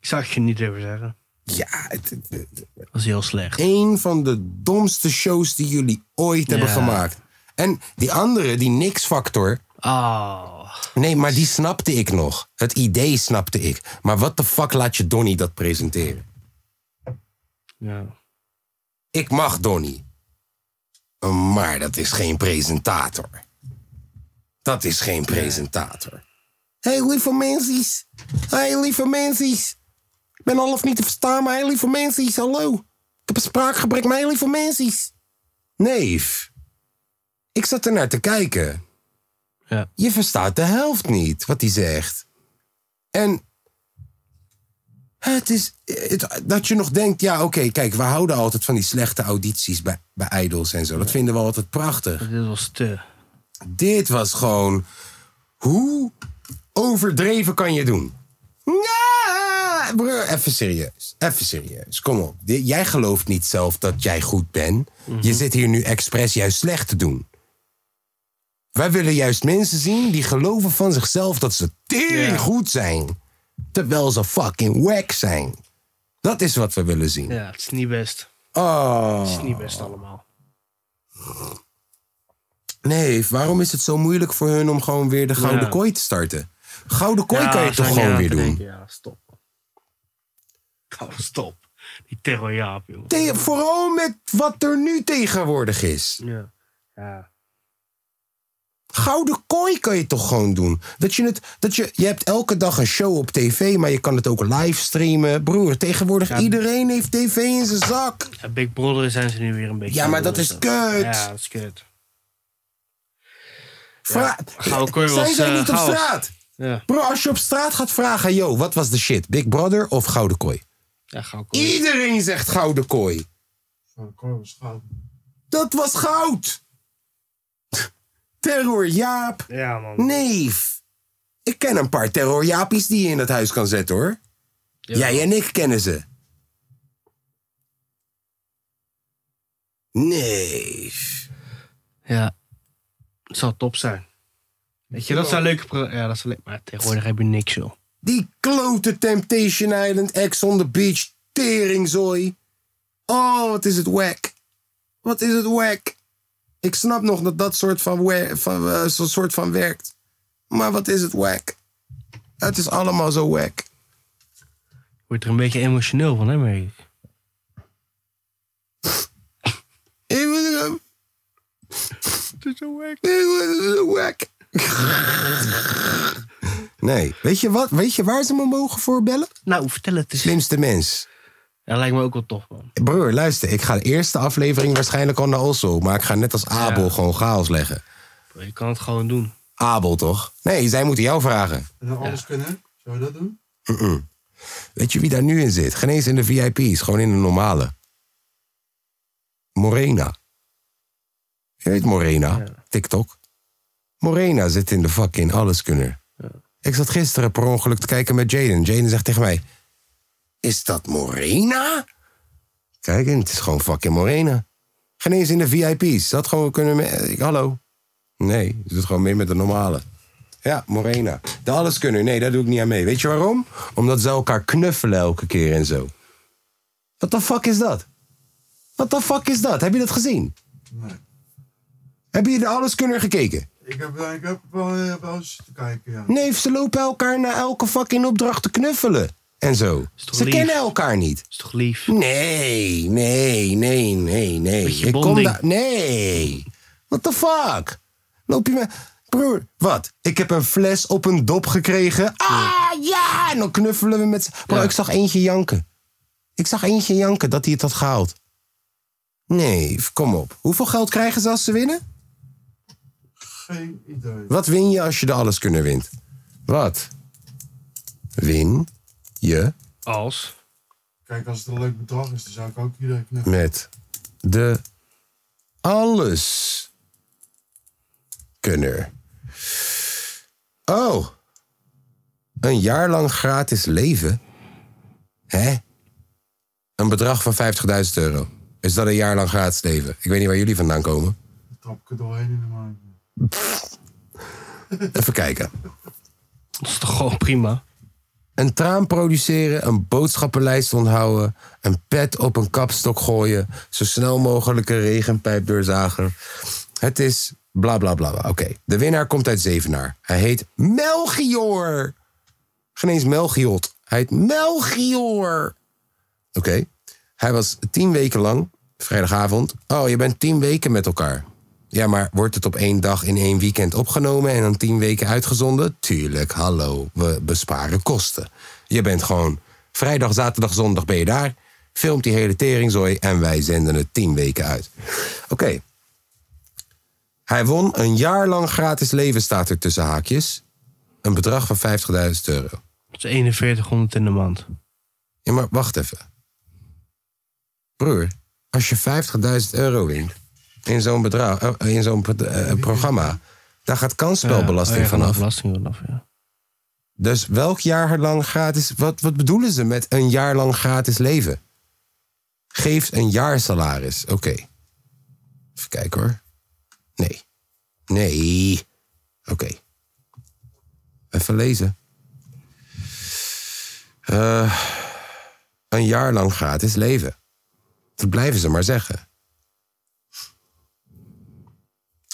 Ik zou het je niet over zeggen.
Ja, het, het- het-
Dat was heel slecht.
een van de domste shows die jullie ooit hebben
Ja.
gemaakt. En die andere, die niks-factor,
Ah.
Nee, maar die snapte ik nog. Het idee snapte ik. Maar wat de fuck laat je Donnie dat presenteren?
Ja.
Ik mag Donnie. Maar dat is geen presentator. Dat is geen presentator. Hé, hey, lieve mensies. Hé, hey, lieve mensies. Ik ben half niet te verstaan, maar hé, lieve mensies, hallo. Ik heb een spraakgebrek, maar hé, lieve mensies. Neef, ik zat ernaar te kijken.
Ja.
Je verstaat de helft niet wat hij zegt. En het is het- dat je nog denkt, ja oké, kijk, we houden altijd van die slechte audities bij, bij idols en zo. Dat vinden we altijd prachtig.
Dit was te.
Dit was gewoon, hoe overdreven kan je doen? Ja, broer, even serieus. Even serieus, kom op. Di- Jij gelooft niet zelf dat jij goed bent.
Mhm.
Je zit hier nu expres juist slecht te doen. Wij willen juist mensen zien die geloven van zichzelf dat ze tering
Ja.
goed zijn. Terwijl ze fucking wack zijn. Dat is wat we willen zien.
Ja, het is niet best.
Oh.
Het is niet best allemaal.
Nee, waarom is het zo moeilijk voor hun om gewoon weer de gouden
Ja.
kooi te starten? Gouden kooi
Ja,
kan je
zou
toch
niet
gewoon
aan
weer
te
doen?
denken. Ja, stop. Oh, stop. Die terrorjaap, joh.
Te- vooral met wat er nu tegenwoordig is.
Ja. Ja.
Gouden kooi kan je toch gewoon doen? Dat je, het, dat je, je hebt elke dag een show op tv, maar je kan het ook live streamen. Broer, tegenwoordig iedereen heeft tv in zijn zak.
Ja, Big Brother zijn ze nu weer een beetje.
Ja, maar
aan
dat
het
is
doen.
kut.
Ja, dat is kut.
Vra-
Gouden kooi
Zijn
was,
zij
eh,
niet op
chaos.
straat?
Ja,
Bro, als je op straat gaat vragen, yo, wat was de shit? Big Brother of Gouden Kooi?
ja gauw kooi.
Iedereen zegt Gouden Kooi.
Van Carl Schout.
Dat was goud. Terror Jaap.
Ja, man.
Neef. Ik ken een paar terrorjaapies die je in dat huis kan zetten hoor. Jij en ik kennen ze. Neef.
Ja. Het zou top zijn. Weet je, dat zijn leuke pro- Ja, dat is leuk. Maar tegenwoordig heb je niks, joh.
Die klote Temptation Island, X on the Beach, teringzooi. Oh, wat is het wack. Wat is het wack. Ik snap nog dat dat soort van, wer- van, eh, zo'n soort van werkt. Maar wat is het wack. Het is allemaal zo wack.
Je wordt er een beetje emotioneel van, hè, merk ik.
eh,
zo wack.
Wack. Nee, weet je, wat, weet je waar ze me mogen voor bellen?
Nou, vertel het eens.
Slimste mens.
Dat lijkt me ook wel tof, man.
Broer, luister, ik ga de eerste aflevering waarschijnlijk al naar Oslo. Maar ik ga net als Abel
Ja.
gewoon chaos leggen.
Bro, je kan het gewoon doen.
Abel toch? Nee, zij moeten jou vragen.
En dan alles kunnen? Zou je dat doen?
Weet je wie daar nu in zit? Geen eens in de VIP's, gewoon in de normale. Morena. Je weet Morena, TikTok. Morena zit in de fucking alleskunner. Ik zat gisteren per ongeluk te kijken met Jaden. Jaden zegt tegen mij... Is dat Morena? Kijk, en het is gewoon fucking Morena. Geen eens in de VIP's. Dat gewoon kunnen... me- Ik, hallo? Nee, ze doet gewoon mee met de normale. Ja, Morena. De alles kunnen. Nee, daar doe ik niet aan mee. Weet je waarom? Omdat ze elkaar knuffelen elke keer en zo. Wat de fuck is dat? Wat de fuck is dat? Heb je dat gezien?
Nee.
Heb je de alleskunner gekeken?
Ik heb, ik heb wel, eh, wel eens te kijken, ja.
Nee, ze lopen elkaar na elke fucking opdracht te knuffelen. En zo.
toch
Ze
lief?
kennen elkaar niet.
Is toch lief?
Nee, nee, nee, nee, nee.
Beetje
ik kom
bonding.
daar. Nee. What the fuck? Loop je me. Broer, wat? Ik heb een fles op een dop gekregen. Ah, ja! En dan knuffelen we met. z'n- Bro,
Ja.
ik zag eentje janken. Ik zag eentje janken dat hij het had gehaald. Nee, kom op. Hoeveel geld krijgen ze als ze winnen?
Geen idee.
Wat win je als je de alles kunnen wint? Wat? Win je
Als.
Kijk, als het een leuk bedrag is, dan zou ik ook iedereen knuffelen.
met de alles kunner. Oh, een jaar lang gratis leven? Hè? Een bedrag van 50.000 euro. Is dat een jaar lang gratis leven? Ik weet niet waar jullie vandaan komen.
Dan trap ik er doorheen in de maand.
Even kijken.
Dat is toch gewoon prima?
Een traan produceren, een boodschappenlijst onthouden, een pet op een kapstok gooien, zo snel mogelijk een regenpijp doorzagen. Het is bla bla bla. bla. Oké, de winnaar komt uit Zevenaar. Hij heet Melchior. Geen eens Melchiot. Hij heet Melchior. Oké, hij was tien weken lang, vrijdagavond. Oh, je bent tien weken met elkaar. Ja, maar wordt het op één dag in één weekend opgenomen en dan tien weken uitgezonden? Tuurlijk, hallo, we besparen kosten. Je bent gewoon vrijdag, zaterdag, zondag ben je daar. Filmt die hele teringzooi en wij zenden het tien weken uit. Oké. Hij won een jaar lang gratis leven, staat er tussen haakjes. Een bedrag van 50.000 euro.
Dat is 4100 in de maand.
Ja, maar wacht even. Broer, als je 50.000 euro wint in zo'n bedrag, eh, in zo'n eh, programma, daar gaat kansspelbelasting
Ja, oh ja,
vanaf.
Belasting vanaf, ja.
Dus welk jaar lang gratis? Wat, wat bedoelen ze met een jaar lang gratis leven? Geef een jaarsalaris. Oké. Even kijken hoor. Nee. Nee. Oké. Even lezen. Eh, een jaar lang gratis leven. Dat blijven ze maar zeggen.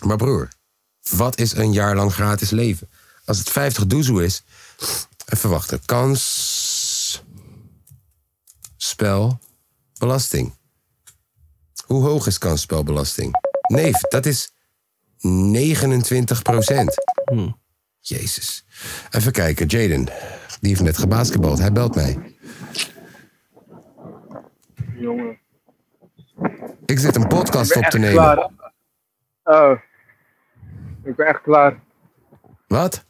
Maar broer, wat is een jaar lang gratis leven? Als het 50 doezoe is, Even wachten. Kans. Spel. Belasting. Hoe hoog is kansspelbelasting? Nee, dat is 29 procent. Jezus. Even kijken, Jaden. Die heeft net gebasketbald. Hij belt mij. Jongen. Ik zit een podcast op te nemen.
Oh. Ik ben echt klaar.
Wat?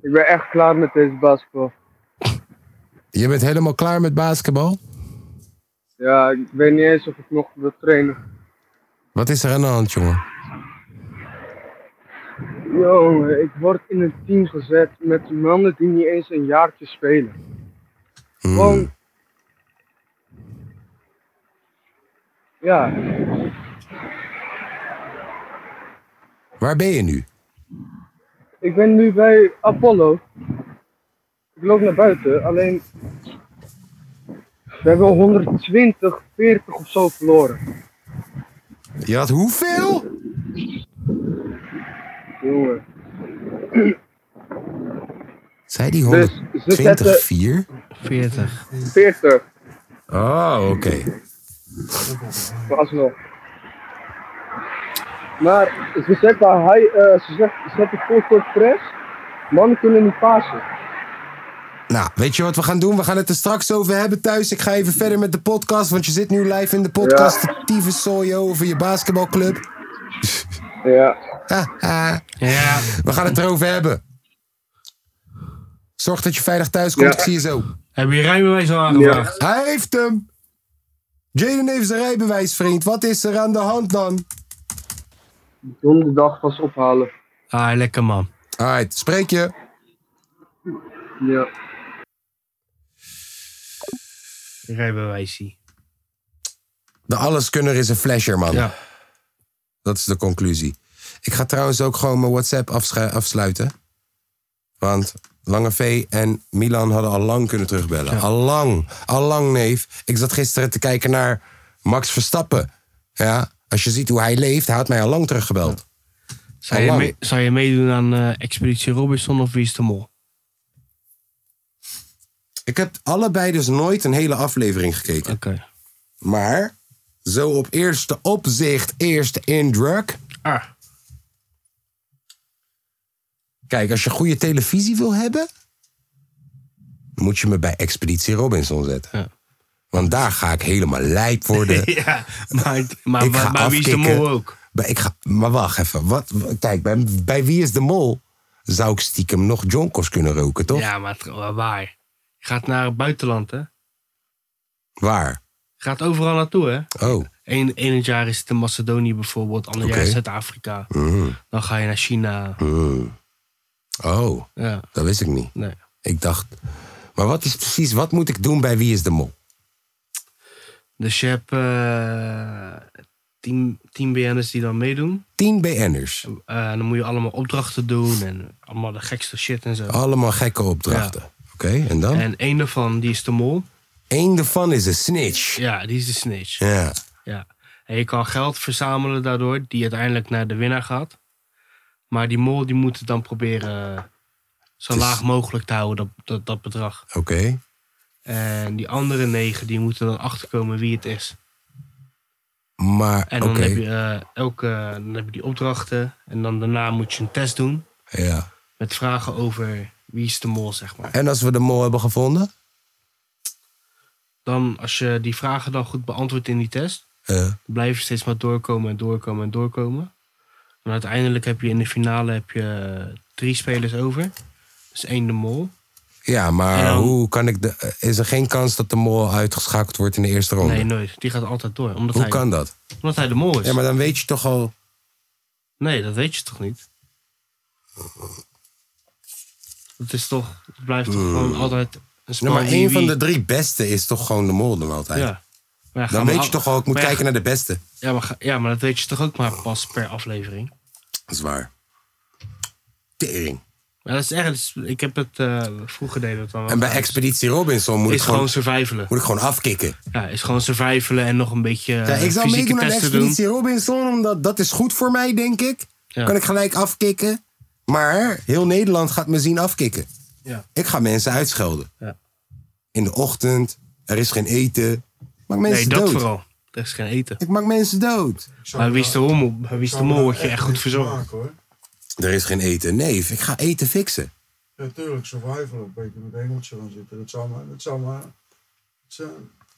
Ik ben echt klaar met deze basketbal.
Je bent helemaal klaar met basketbal?
Ja, ik weet niet eens of ik nog wil trainen.
Wat is er aan de hand, jongen?
Jongen, ik word in een team gezet met mannen die niet eens een jaartje spelen. Gewoon. Ja,
Waar ben je nu?
ik ben nu bij Apollo. Ik loop naar buiten, alleen. We hebben 120, 40 of zo verloren.
Je had hoeveel?
Jongen.
Zij die
Dus ze
124?
40.
40,
Oh, oké.
maar alsnog. Maar ze zetten, hij, eh, ze zetten, ze zetten vol kort press. Mannen kunnen niet passen.
Nou, weet je wat we gaan doen? We gaan het er straks over hebben thuis. Ik ga even verder met de podcast, want je zit nu live in de podcast. Ja. Tieve over je basketbalclub.
Ja.
ja. We gaan het erover hebben. Zorg dat je veilig thuis komt.
Ja.
Ik zie je zo.
Heb je je rijbewijs al aangevraagd?
Hij heeft hem. Jaden heeft zijn rijbewijs, vriend. Wat is er aan de hand dan?
Donderdag pas ophalen.
Ah, lekker man.
Alright, spreek je.
Ja.
Rijbewijsie.
De alleskunner is een flasher, man.
Ja.
Dat is de conclusie. Ik ga trouwens ook gewoon mijn WhatsApp afschu- afsluiten. Want Lange V en Milan hadden al lang kunnen terugbellen. Al lang, al lang, neef. Ik zat gisteren te kijken naar Max Verstappen. Ja, als je ziet hoe hij leeft, hij had mij al lang teruggebeld.
Zou je, mee- zou je meedoen aan eh, Expeditie Robinson of Wie is de Mol?
Ik heb allebei dus nooit een hele aflevering gekeken.
Oké.
Maar zo op eerste opzicht, eerste indruk.
Ah.
Kijk, als je goede televisie wil hebben, moet je me bij Expeditie Robinson zetten. Want daar ga ik helemaal lijp worden.
ja, maar, maar,
Ik ga
maar, maar Wie is de
afkicken.
Mol ook?
Bij, ik ga, maar wacht even. Wat, kijk, bij, bij Wie is de Mol zou ik stiekem nog jonkos kunnen roken, toch?
Ja, maar tr- maar waar? Je gaat naar het buitenland, hè? Je
Waar?
gaat overal naartoe, hè?
Oh.
Eén ene jaar is het in Macedonië bijvoorbeeld, ander jaar
Oké.
is Zuid-Afrika.
Mm.
Dan ga je naar China.
Mm. Oh,
Ja.
dat wist ik niet.
Nee.
Ik dacht, maar wat is precies, wat moet ik doen bij Wie is de Mol?
Dus je hebt eh tien, tien BN'ers die dan meedoen.
10 BN'ers.
Eh, en dan moet je allemaal opdrachten doen en allemaal de gekste shit en zo.
Allemaal gekke opdrachten. Oké, en dan?
En één daarvan, die is de mol.
Eén daarvan is een snitch.
Ja, die is de snitch.
Ja.
Ja. En je kan geld verzamelen daardoor, die uiteindelijk naar de winnaar gaat. Maar die mol die moet het dan proberen eh, zo
Het is-
laag mogelijk te houden, dat, dat, dat bedrag.
Oké.
En die andere negen, die moeten dan achterkomen wie het is.
Maar,
En
oké.
dan, heb je, eh, elke, dan heb je die opdrachten. En dan daarna moet je een test doen
Ja.
met vragen over wie is de mol, zeg maar.
En als we de mol hebben gevonden?
Dan, als je die vragen dan goed beantwoordt in die test,
Ja.
dan blijf je steeds maar doorkomen en doorkomen en doorkomen. En uiteindelijk heb je in de finale heb je eh, drie spelers over. Dus één de mol.
ja, maar
En dan-
hoe kan ik de... eh, Is er geen kans dat de mol uitgeschakeld wordt in de eerste ronde?
Nee, nooit. Die gaat altijd door. Omdat
hoe
hij,
kan dat?
Omdat hij de mol is.
Ja, maar dan weet je toch al...
Nee, dat weet je toch niet? Het is toch, het blijft toch gewoon altijd een spel
Nou, Mm. maar
wie-
één van
wie-
de drie beste is toch gewoon de mol dan altijd?
Ja. Maar ja, gaan
Dan
we
weet
al-
je toch al, ik moet
maar ja,
kijken naar de beste.
Ja maar, ga- ja, maar dat weet je toch ook maar pas per aflevering.
Dat is waar. Tering.
Maar dat is echt, dat is- ik heb het eh, vroeger deed dat dan wel.
En bij
Ja, is-
Expeditie Robinson moet ik
is gewoon,
gewoon,
survivalen.
moet ik gewoon afkicken.
Ja, is gewoon survivalen en nog een beetje
Ja,
eh,
ik zou
fysieke
meedoen aan
testen doen.
Expeditie Robinson, omdat dat is goed voor mij, denk ik.
Ja.
Kan ik gelijk afkicken. Maar heel Nederland gaat me zien afkicken.
Ja.
Ik ga mensen uitschelden.
Ja.
In de ochtend, er is geen eten. Ik maak mensen
Nee, dat
dood.
vooral. Er is geen eten.
Ik maak mensen dood.
Maar wie is de mol? Bij Wie is de mol word je echt goed verzorgd.
Er is geen eten. Nee, ik ga eten fixen.
Ja, tuurlijk, survival een beetje met Engeltje gaan zitten. Dat zou maar, dat zou maar, dat zou,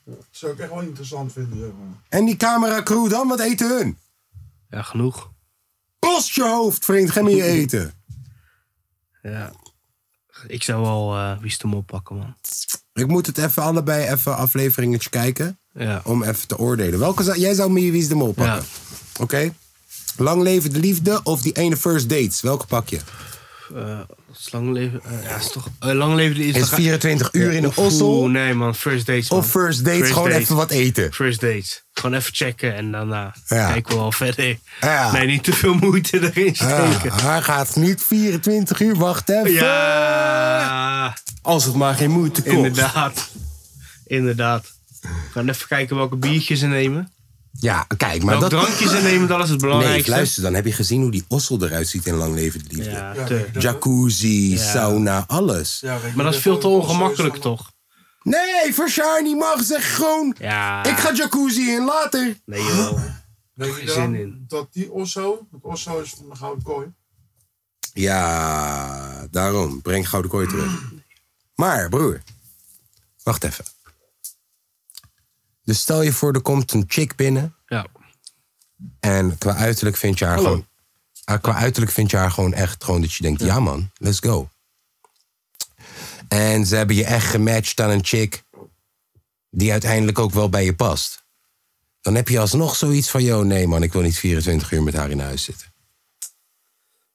dat zou ik echt wel interessant vinden, zeg maar.
En die cameracrew dan, wat eten hun?
Ja, genoeg.
Post je hoofd, vriend. Geef me je eten.
Ja. Ik zou wel eh wie is de mol pakken, man.
Ik moet het even allebei even afleveringetjes kijken.
Ja.
Om even te oordelen. Welke zou, jij zou meer Wie is de Mol pakken. Oké. Lang leven de liefde of die ene first dates? Welke pak je?
Eh, dat is lang leven. eh, ja, is toch. eh, lang leven is,
Is 24 uur in een ossel?
Oeh, nee, man. First dates. man.
Of first dates, gewoon
dates.
even wat eten?
First dates. Gewoon even checken en daarna
Ja.
kijken we wel verder.
Ja.
Nee, niet te veel moeite erin
Ah,
steken.
hij gaat niet 24 uur wachten.
Ja,
even. Als het maar geen moeite kost.
inderdaad. Inderdaad. Gewoon even kijken welke biertjes ze nemen.
Ja, kijk, maar
Welke
dat...
drankjes ze nemen, dat is het
Nee,
belangrijkste.
luister, dan heb je gezien hoe die ossel eruit ziet in Lang Leven de Liefde.
Ja, te-
Jacuzzi,
Ja.
sauna, alles.
Ja, weet je,
Maar dat is veel te
gewoon-
ongemakkelijk, toch?
Nee, Vershaar, die mag zeg gewoon...
Ja.
Ik ga jacuzzi in later.
Nee, joh.
Weet je
geen zin
dan
in.
dat die Osso, want Osso is van de Gouden Kooi.
Ja, daarom. Breng Gouden Kooi terug.
Mm.
Maar, broer. Wacht even. Dus stel je voor, er komt een chick binnen.
Ja.
En qua uiterlijk vind je haar
Hallo.
gewoon... ah, qua uiterlijk vind je haar gewoon echt gewoon dat je denkt... Ja, man, let's go. En ze hebben je echt gematcht aan een chick... die uiteindelijk ook wel bij je past. Dan heb je alsnog zoiets van... Yo, nee man, ik wil niet 24 uur met haar in huis zitten.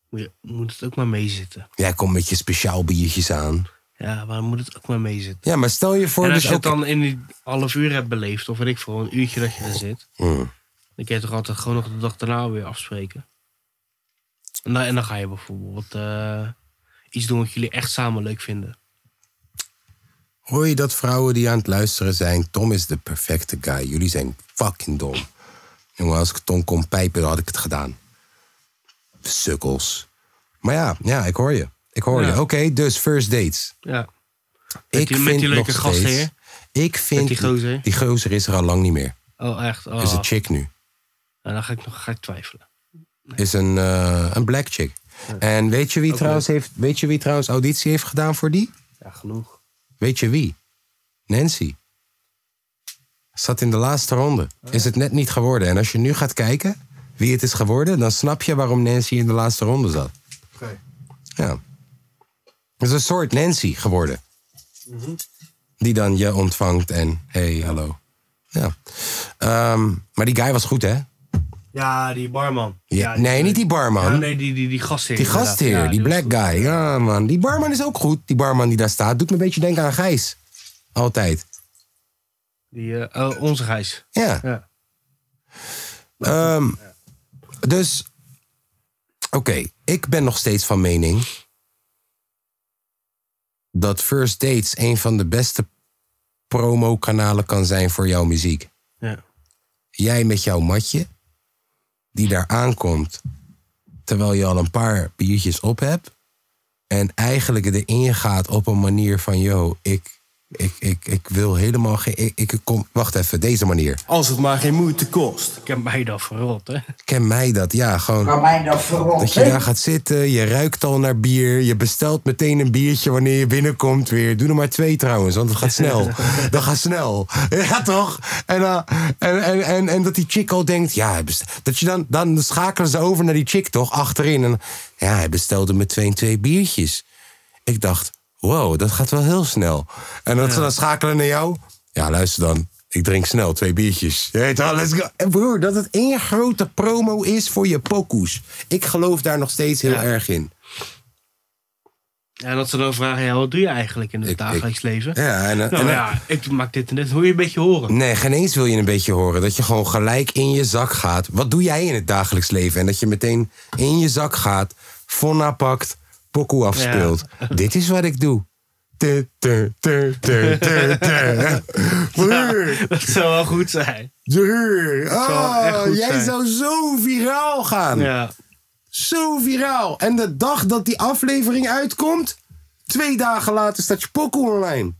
Moet, je- moet het ook maar meezitten.
Jij komt met je speciaal biertjes aan.
Ja, maar moet het ook maar meezitten.
Ja, maar stel je voor...
En als
dus
je het
ook-
dan in die half uur hebt beleefd, of weet ik veel, een uurtje dat je er zit,
Hm.
dan kun je toch altijd gewoon nog de dag daarna weer afspreken. En dan, en dan ga je bijvoorbeeld eh, iets doen wat jullie echt samen leuk vinden.
Hoor je dat vrouwen die aan het luisteren zijn? Tom is de perfecte guy. Jullie zijn fucking dom. Jongen, als ik Tom kon pijpen, dan had ik het gedaan. Sukkels. Maar ja, ja ik hoor je. Ik hoor
Ja.
je. Oké, dus first dates.
Ja.
ik
die- met die leuke
nog
gastheer.
steeds- Ik vind...
die gozer.
Die gozer is er al lang niet meer.
Oh, echt? Oh.
Is een chick nu.
Nou, dan ga ik nog ga ik twijfelen.
Is een, eh, een black chick. En weet je, wie trouwens heeft, weet je wie trouwens auditie heeft gedaan voor die?
Ja, genoeg.
Weet je wie? Nancy. Zat in de laatste
Oh,
ronde. Is het net niet geworden. En als je nu gaat kijken wie het is geworden, dan snap je waarom Nancy in de laatste ronde zat.
Oké.
Ja. Het is een soort Nancy geworden.
Mhm.
Die dan je ontvangt en hey, hallo. Ja. Ehm, maar die guy was goed, hè?
Ja, die barman.
Ja, nee, niet die barman.
Ja, nee, die, die, die gastheer.
Die
inderdaad.
gastheer,
Ja,
die, black guy. Ja, man. Die barman is ook goed. Die barman die daar staat. Doet me een beetje denken aan Gijs. Altijd.
Die, eh, oh, onze Gijs.
Ja.
Ja.
Ehm, dus, oké, ik ben nog steeds van mening dat First Dates een van de beste promokanalen kan zijn voor jouw muziek.
Ja.
Jij met jouw matje, die daar aankomt terwijl je al een paar biertjes op hebt en eigenlijk erin gaat op een manier van, yo, ik, ik, ik, ik wil helemaal geen, ik, ik kom, wacht even, deze manier.
Als het maar geen moeite kost. Ik heb mij dat verrot, hè?
Ken mij dat, ja, gewoon.
Kan mij dat verrot,
Dat je
hè?
daar gaat zitten, je ruikt al naar bier, je bestelt meteen een biertje wanneer je binnenkomt weer. Doe er maar twee trouwens, want het gaat snel. dat gaat snel. Ja, toch? En, eh, en, en, en, en dat die chick al denkt, ja, hij best- dat je dan, dan schakelen ze over naar die chick toch, achterin. En, ja, hij bestelde me twee en twee biertjes. Ik dacht, wow, dat gaat wel heel snel. En dat ze dan schakelen naar jou. Ja, luister dan. Ik drink snel twee biertjes. Je weet wel, let's go. En broer, dat het één grote promo is voor je pokoes. Ik geloof daar nog steeds heel erg in.
Ja, En dat ze dan vragen, ja, wat doe je eigenlijk in het
Ik-
dagelijks leven?
Ja, en,
nou
en- eh,
ja, ik maak dit en dit. Hoe je een beetje horen.
Nee, geen eens wil je een beetje horen. Dat je gewoon gelijk in je zak gaat. Wat doe jij in het dagelijks leven? En dat je meteen in je zak gaat, fonna pakt, pokoe afspeelt. Dit is wat ik doe. Tu, tu, tu, tu, tu, tu. Broer.
Dat zou wel goed zijn.
Duur.
zou echt
Ah,
goed
jij
zijn.
zou zo viraal gaan.
Ja.
Zo viraal. En de dag dat die aflevering uitkomt, twee dagen later staat je pokoe online.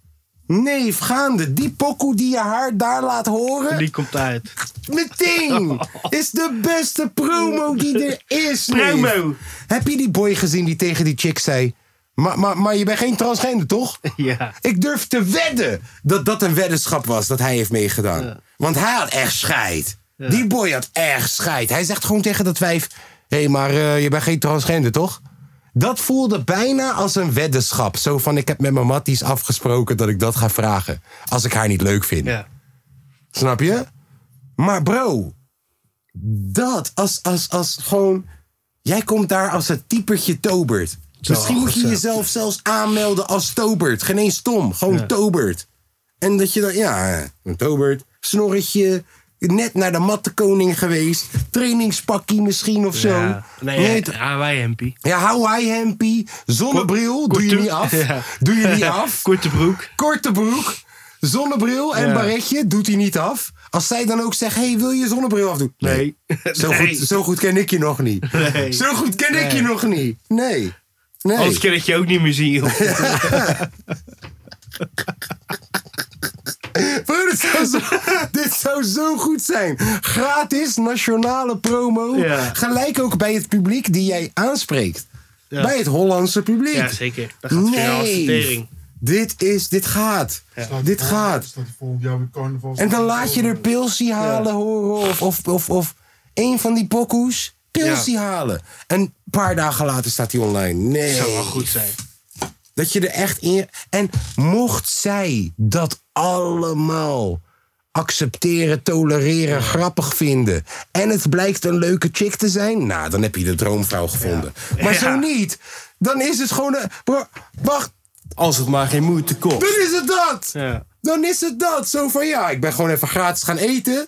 Nee, gaande. Die pokoe die je haar daar laat horen,
Die komt uit.
meteen is de beste promo die er is. neef.
Promo.
Heb je die boy gezien die tegen die chick zei... Maar, maar, maar je bent geen transgender, toch?
Ja.
Ik durf te wedden dat dat een weddenschap was dat hij heeft meegedaan. Want hij had echt scheid. Die boy had echt scheid. Hij zegt gewoon tegen dat wijf: hé, hey, maar eh, je bent geen transgender, toch? Dat voelde bijna als een weddenschap. Zo van: ik heb met mijn matties afgesproken dat ik dat ga vragen. Als ik haar niet leuk vind.
Ja.
Snap je? Maar bro, dat als, als, als gewoon. Jij komt daar als het typertje Tobert. Misschien moet je jezelf zelfs aanmelden als Tobert. Geen eens Tom, gewoon Tobert. En dat je dan, ja, een Tobert, snorretje, net naar de mattenkoning geweest, trainingspakkie misschien of zo.
Ja. Nee,
Nee,
ja, ja, wij hempie.
ja, Hawaii hempie, zonnebril, doe je
Korte-
niet af.
Ja.
Doe je niet af.
Korte broek.
Korte broek, zonnebril en
Ja.
baretje doet hij niet af. Als zij dan ook zegt, hey, wil je zonnebril afdoen?
Nee.
Zo,
Nee.
Goed, zo goed ken ik je nog niet.
Nee.
Zo goed ken ik je nog niet. Nee.
Anders
Nee.
kan ik je ook niet meer zien, joh.
Broer, dat zou zo, dit zou zo goed zijn. Gratis nationale promo.
Ja.
Gelijk ook bij het publiek die jij aanspreekt. Bij het Hollandse publiek.
Ja, zeker. Dat gaat weer als de tering.
Dit is, dit gaat. Dit gaat.
Staat er volgend jaar weer carnaval.
En dan laat je er pilsie halen horen. Of, of, of, of een van die pokoes pilsie halen. En een paar dagen later staat hij online. Nee.
Zou wel goed zijn.
Dat je er echt in. En mocht zij dat allemaal accepteren, tolereren, grappig vinden. En het blijkt een leuke chick te zijn. Nou, dan heb je de droomvrouw gevonden. Maar zo
Ja.
niet. Dan is het gewoon. Een, bro, wacht.
Als het maar geen moeite kost.
Dan is het dat.
Ja.
Dan is het dat. Zo van ja, ik ben gewoon even gratis gaan eten.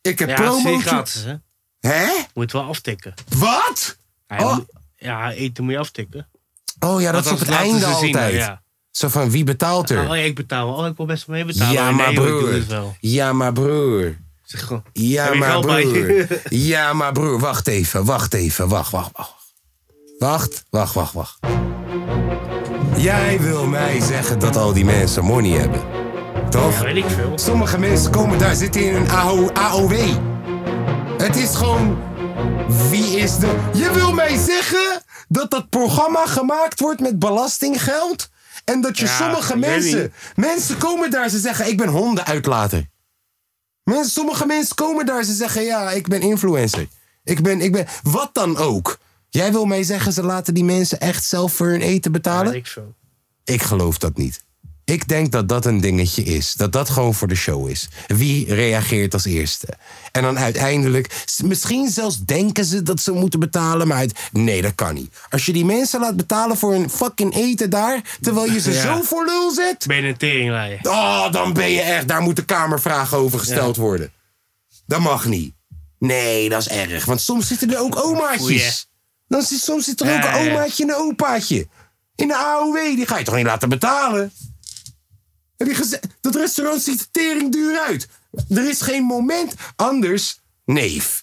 Ik heb
Ja,
promo.
het is niet gratis, hè?
Hè?
Moet wel aftikken.
Wat?
Ja,
Oh.
moet- ja, eten moet je aftikken.
Oh ja, dat
Want
is op het
laten
einde
ze zien,
altijd.
Ja.
Zo van wie betaalt er?
Oh, ja, ik betaal. wel. Oh, ik wil best wel mee betalen.
ja,
Nee,
maar
joh, ik doe
broer.
het wel.
Ja, maar broer.
Zeg gewoon.
Ja,
Heb je
maar
geld bij
broer.
je?
Ja, maar broer. Wacht even, wacht even. Wacht, wacht, wacht. Wacht, wacht, wacht, wacht. Jij wil mij zeggen dat al die mensen money hebben. Toch?
Ja, weet ik veel.
Sommige mensen komen daar zitten in een AO AOW. Het is gewoon. Wie is de. Je wil mij zeggen dat dat programma gemaakt wordt met belastinggeld? En dat je
Ja,
sommige
ik weet
mensen.
niet.
Mensen komen daar, ze zeggen: Ik ben hondenuitlater. Mensen, sommige mensen komen daar, ze zeggen: Ja, ik ben influencer. Ik ben, ik ben. Wat dan ook. Jij wil mij zeggen, ze laten die mensen echt zelf voor hun eten betalen?
Weet ik veel.
Ik geloof dat niet. Ik denk dat dat een dingetje is. Dat dat gewoon voor de show is. Wie reageert als eerste? En dan uiteindelijk, s- misschien zelfs denken ze dat ze moeten betalen, maar uit, nee, dat kan niet. Als je die mensen laat betalen voor hun fucking eten daar, terwijl je ze
Ja.
zo voor lul zet,
Ben je een teringlaaien?
oh, dan ben je echt, daar moeten kamervragen over gesteld worden. Dat mag niet. Nee, dat is erg. Want soms zitten er ook omaatjes.
Oeie.
Dan zit, soms zit er ook
Ja,
een
ja, ja.
omaatje en een opaatje. In de AOW, die ga je toch niet laten betalen? Heb je gezegd? Dat restaurant ziet er tering duur uit. Er is geen moment anders. Neef.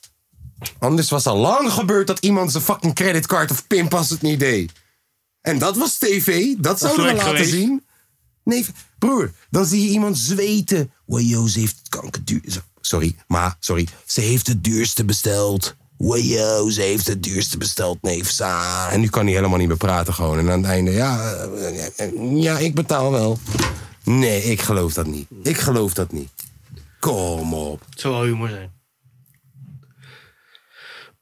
Anders was al lang gebeurd dat iemand zijn fucking creditcard of pinpas het niet deed. En dat was tv. Dat zouden we
leuk
laten
geweest.
zien. Nee, broer, dan zie je iemand zweten. Wajo, ze heeft het kankerduur. zo- Sorry, maar sorry. Ze heeft het duurste besteld. Wajo, ze heeft het duurste besteld, neef. Sa. En nu kan hij helemaal niet meer praten gewoon. En aan het einde, ja, eh, eh, ja, ik betaal wel. Nee, ik geloof dat niet. Ik geloof dat niet. Kom op.
Het zou wel humor zijn.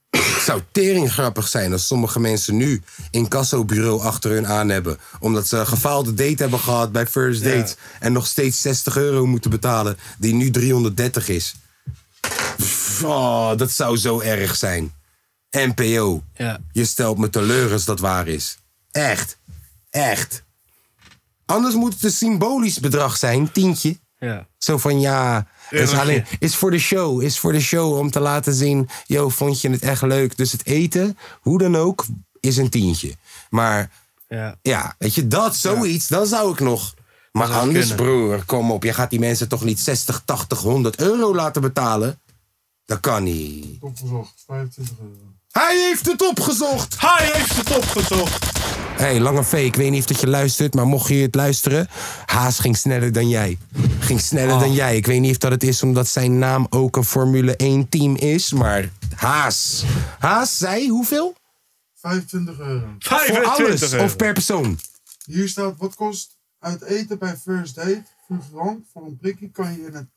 Het zou tering grappig zijn als sommige mensen nu een kassobureau achter hun aan hebben. Omdat ze een gefaalde date hebben gehad bij First Date. En nog steeds 60 euro moeten betalen, die nu 330 is. Pff, Oh, dat zou zo erg zijn. NPO.
Ja.
Je stelt me teleur als dat waar is. Echt. Echt. Anders moet het een symbolisch bedrag zijn, tientje.
Ja.
Zo van ja, is,
Eurotje.
alleen, is voor de show, is voor de show om te laten zien, yo, vond je het echt leuk? Dus het eten, hoe dan ook, is een tientje. Maar
Ja.
ja, weet je, dat zoiets, dan zou ik nog. Maar anders,
kunnen.
broer, kom op, je gaat die mensen toch niet 60, 80, 100 euro laten betalen? Dat kan niet.
Opgezocht, 25 euro.
Hij heeft het opgezocht!
Hij heeft het opgezocht.
hey, lange V, ik weet niet of dat je luistert, maar mocht je het luisteren, Haas ging sneller dan jij. Ging sneller
Oh.
dan jij. Ik weet niet of dat het is omdat zijn naam ook een Formule 1 team is, maar Haas. Haas zei hoeveel?
25 euro.
Voor
25
alles
euro.
of per persoon.
Hier staat, wat kost uit eten bij First Date? Restaurant, voor een prikkie kan je in het,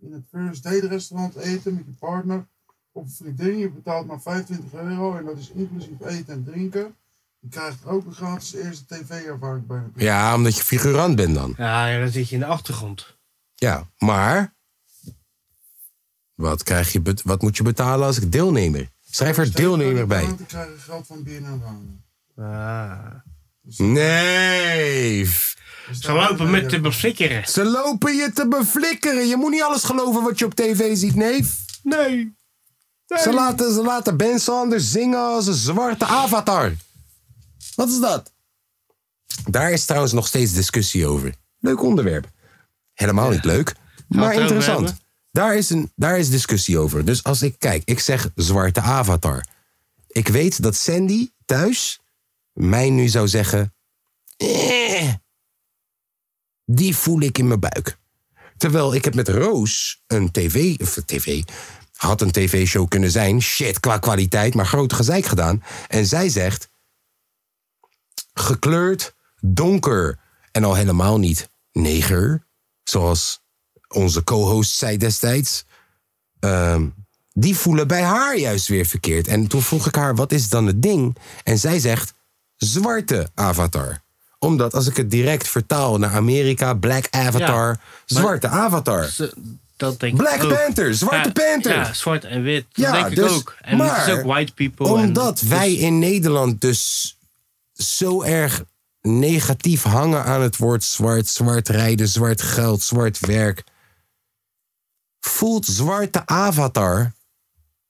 in het First Date restaurant eten met je partner of een vriendin. Je betaalt maar 25 euro en dat is inclusief eten en drinken. Je krijgt ook een gratis eerste tv-ervaring bij de prikkie.
Ja, omdat je figurant bent dan.
Ja, ja, dan zit je in de achtergrond.
Ja, maar wat, krijg je, bet- wat moet je betalen als ik deelnemer? Schrijf er deelnemer bij.
Dan krijg je geld van binnen en wonen.
Ah.
Nee.
Ze lopen met de beflikkeren.
Ze lopen je te beflikkeren. Je moet niet alles geloven wat je op tv ziet, neef.
Nee.
Ze laten, ze laten Ben Sanders zingen als een zwarte avatar. Wat is dat? Daar is trouwens nog steeds discussie over. Leuk onderwerp. Helemaal niet leuk, maar
het erover
interessant.
hebben?
Daar is, een, daar is discussie over. Dus als ik kijk, ik zeg zwarte avatar. Ik weet dat Sandy thuis mij nu zou zeggen... "Eh, die voel ik in mijn buik. Terwijl ik heb met Roos een tv, of tv, had een tv-show kunnen zijn. Shit, qua kwaliteit, maar groot gezeik gedaan. En zij zegt, gekleurd, donker. En al helemaal niet neger, zoals onze co-host zei destijds. Ehm, die voelen bij haar juist weer verkeerd. En toen vroeg ik haar, wat is dan het ding? En zij zegt, zwarte avatar. Omdat als ik het direct vertaal naar Amerika, black avatar, zwarte avatar.
Dat denk ik
Black
ook.
Panther, Zwarte
Ja,
Panther.
Ja, zwart en wit. Dat
Ja,
denk ik
dus-
ook. En
maar-
het is ook white people. en-
Omdat wij in Nederland dus zo erg negatief hangen aan het woord zwart, zwart rijden, zwart geld, zwart werk. Voelt zwarte avatar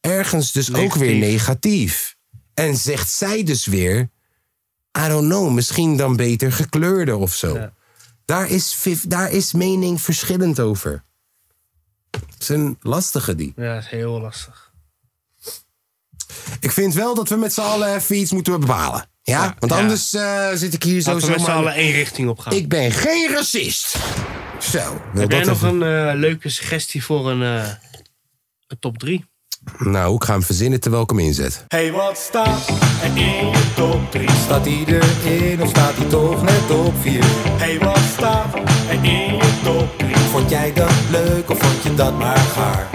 ergens dus ook weer negatief. En zegt zij dus weer, I don't know, misschien dan beter gekleurde of zo. Daar, is, vif- daar is mening verschillend over. Het is een lastige die.
Ja, dat is heel lastig.
Ik vind wel dat we met z'n allen even iets moeten bepalen. Ja? Want
ja.
anders eh, zit ik hier zo
Laten we met z'n
zomaar-
allen één richting op gaan.
Ik ben geen racist. Zo.
Heb
dat
jij nog
even-
een eh, leuke suggestie voor een, eh, een top 3?
Nou, ik ga hem verzinnen terwijl ik hem inzet.
Hey, wat staat er in je top 3?
Staat hij erin of staat hij toch net op 4?
Hey, wat staat er in je top 3?
Vond jij dat leuk of vond je dat maar gaar?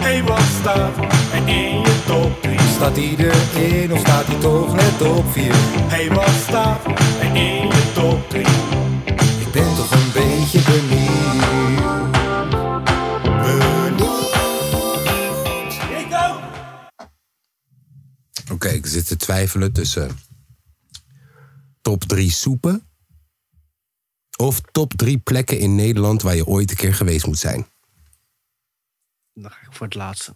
Hey, wat staat er in je top 3?
Staat hij erin of staat hij toch net op 4?
Hey, wat staat er in je top 3?
Ik ben toch een beetje benieuwd.
Ik ook!
Oké, ik zit te twijfelen tussen top drie soepen of top drie plekken in Nederland waar je ooit een keer geweest moet zijn.
Dan ga ik voor het laatste.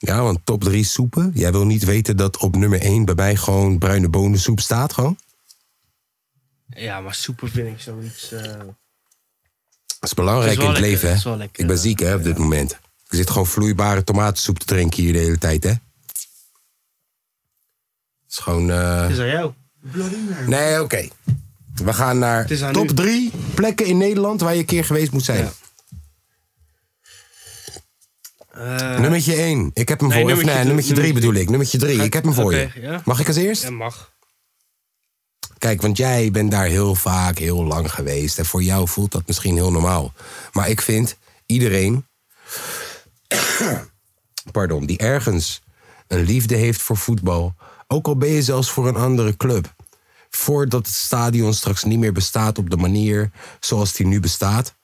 Ja, want top drie soepen. Jij wil niet weten dat op nummer 1 bij mij gewoon bruine bonensoep staat gewoon.
Ja, maar super vind ik zoiets. eh,
Dat is belangrijk
Het is
in
wel
het leven,
lekker, het is
hè?
wel lekker,
ik ben ziek, hè, op dit moment. Ik zit gewoon vloeibare tomatensoep te drinken hier de hele tijd, hè? Het is gewoon... eh,
Het is aan jou.
Nee, oké. We gaan naar
is aan
top
u.
drie plekken in Nederland waar je een keer geweest moet zijn.
Eh,
Nummertje 1. Ik heb hem
nee,
voor. Nummertje,
nummertje
nee, nummertje 3
drie- nummertje-
bedoel ik. Nummertje 3.
Ga-
Ik heb hem voor
oké,
je.
ja.
Mag ik als eerst?
Ja, mag.
Kijk, want jij bent daar heel vaak heel lang geweest. En voor jou voelt dat misschien heel normaal. Maar ik vind iedereen. pardon, die ergens een liefde heeft voor voetbal. Ook al ben je zelfs voor een andere club. Voordat het stadion straks niet meer bestaat op de manier zoals die nu bestaat.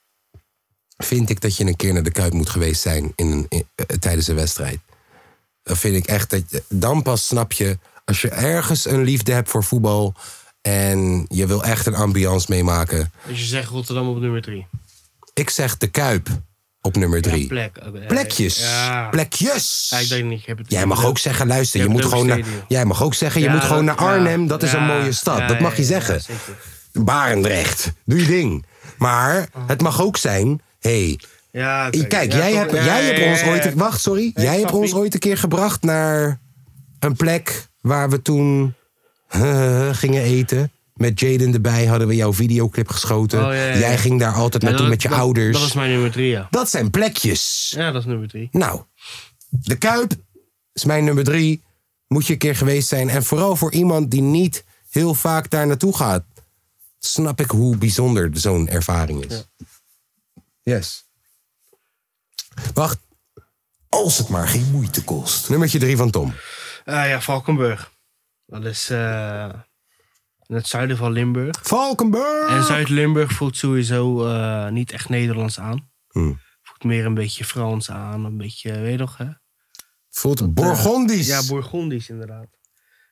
Vind ik dat je een keer naar de Kuip moet geweest zijn in een, in- eh, tijdens een wedstrijd. Dan vind ik echt dat je- dan pas snap je als je ergens een liefde hebt voor voetbal en je wil echt een ambiance meemaken.
Dus je zegt Rotterdam op nummer 3.
Ik zeg de Kuip op nummer drie.
Plek. oké, ja,
Plekjes.
Ja.
Plekjes.
Ja, ik denk niet. Ik heb het
Jij mag ook zeggen, luister, je,
hebt
moet
het
gewoon
over
naar,
stadion.
jij mag ook zeggen, je
Ja,
moet gewoon
dat-
naar Arnhem.
ja,
dat is een
ja,
mooie stad.
ja,
dat mag je
ja, ja,
zeggen.
zeker.
Barendrecht, doe je ding. Maar het mag ook zijn, hey,
Ja, oké.
Kijk,
Ja,
jij,
toch-
hebt,
ja,
jij
ja,
hebt
ja,
ons
ja,
ooit.
ja.
Wacht, sorry. jij hebt
snap
ons
niet.
ooit een keer gebracht naar een plek waar we toen gingen eten. Met Jaden erbij hadden we jouw videoclip geschoten.
Oh, ja, ja, ja.
Jij ging daar altijd
Ja,
naartoe
dat-
met je
dat-
ouders.
Dat is mijn nummer 3, ja.
Dat zijn plekjes.
Ja, dat is nummer 3.
Nou, de Kuip is mijn nummer drie. Moet je een keer geweest zijn. En vooral voor iemand die niet heel vaak daar naartoe gaat. Snap ik hoe bijzonder zo'n ervaring is. Yes. Wacht. Als het maar geen moeite kost. Nummertje drie van Tom.
Eh, ja, Valkenburg. Dat is eh, in het zuiden van Limburg.
Valkenburg!
En Zuid-Limburg voelt sowieso eh, niet echt Nederlands aan.
Hmm.
Voelt meer een beetje Frans aan. Een beetje, weet je nog, hè?
Voelt Borgondisch.
Ja, Bourgondisch inderdaad.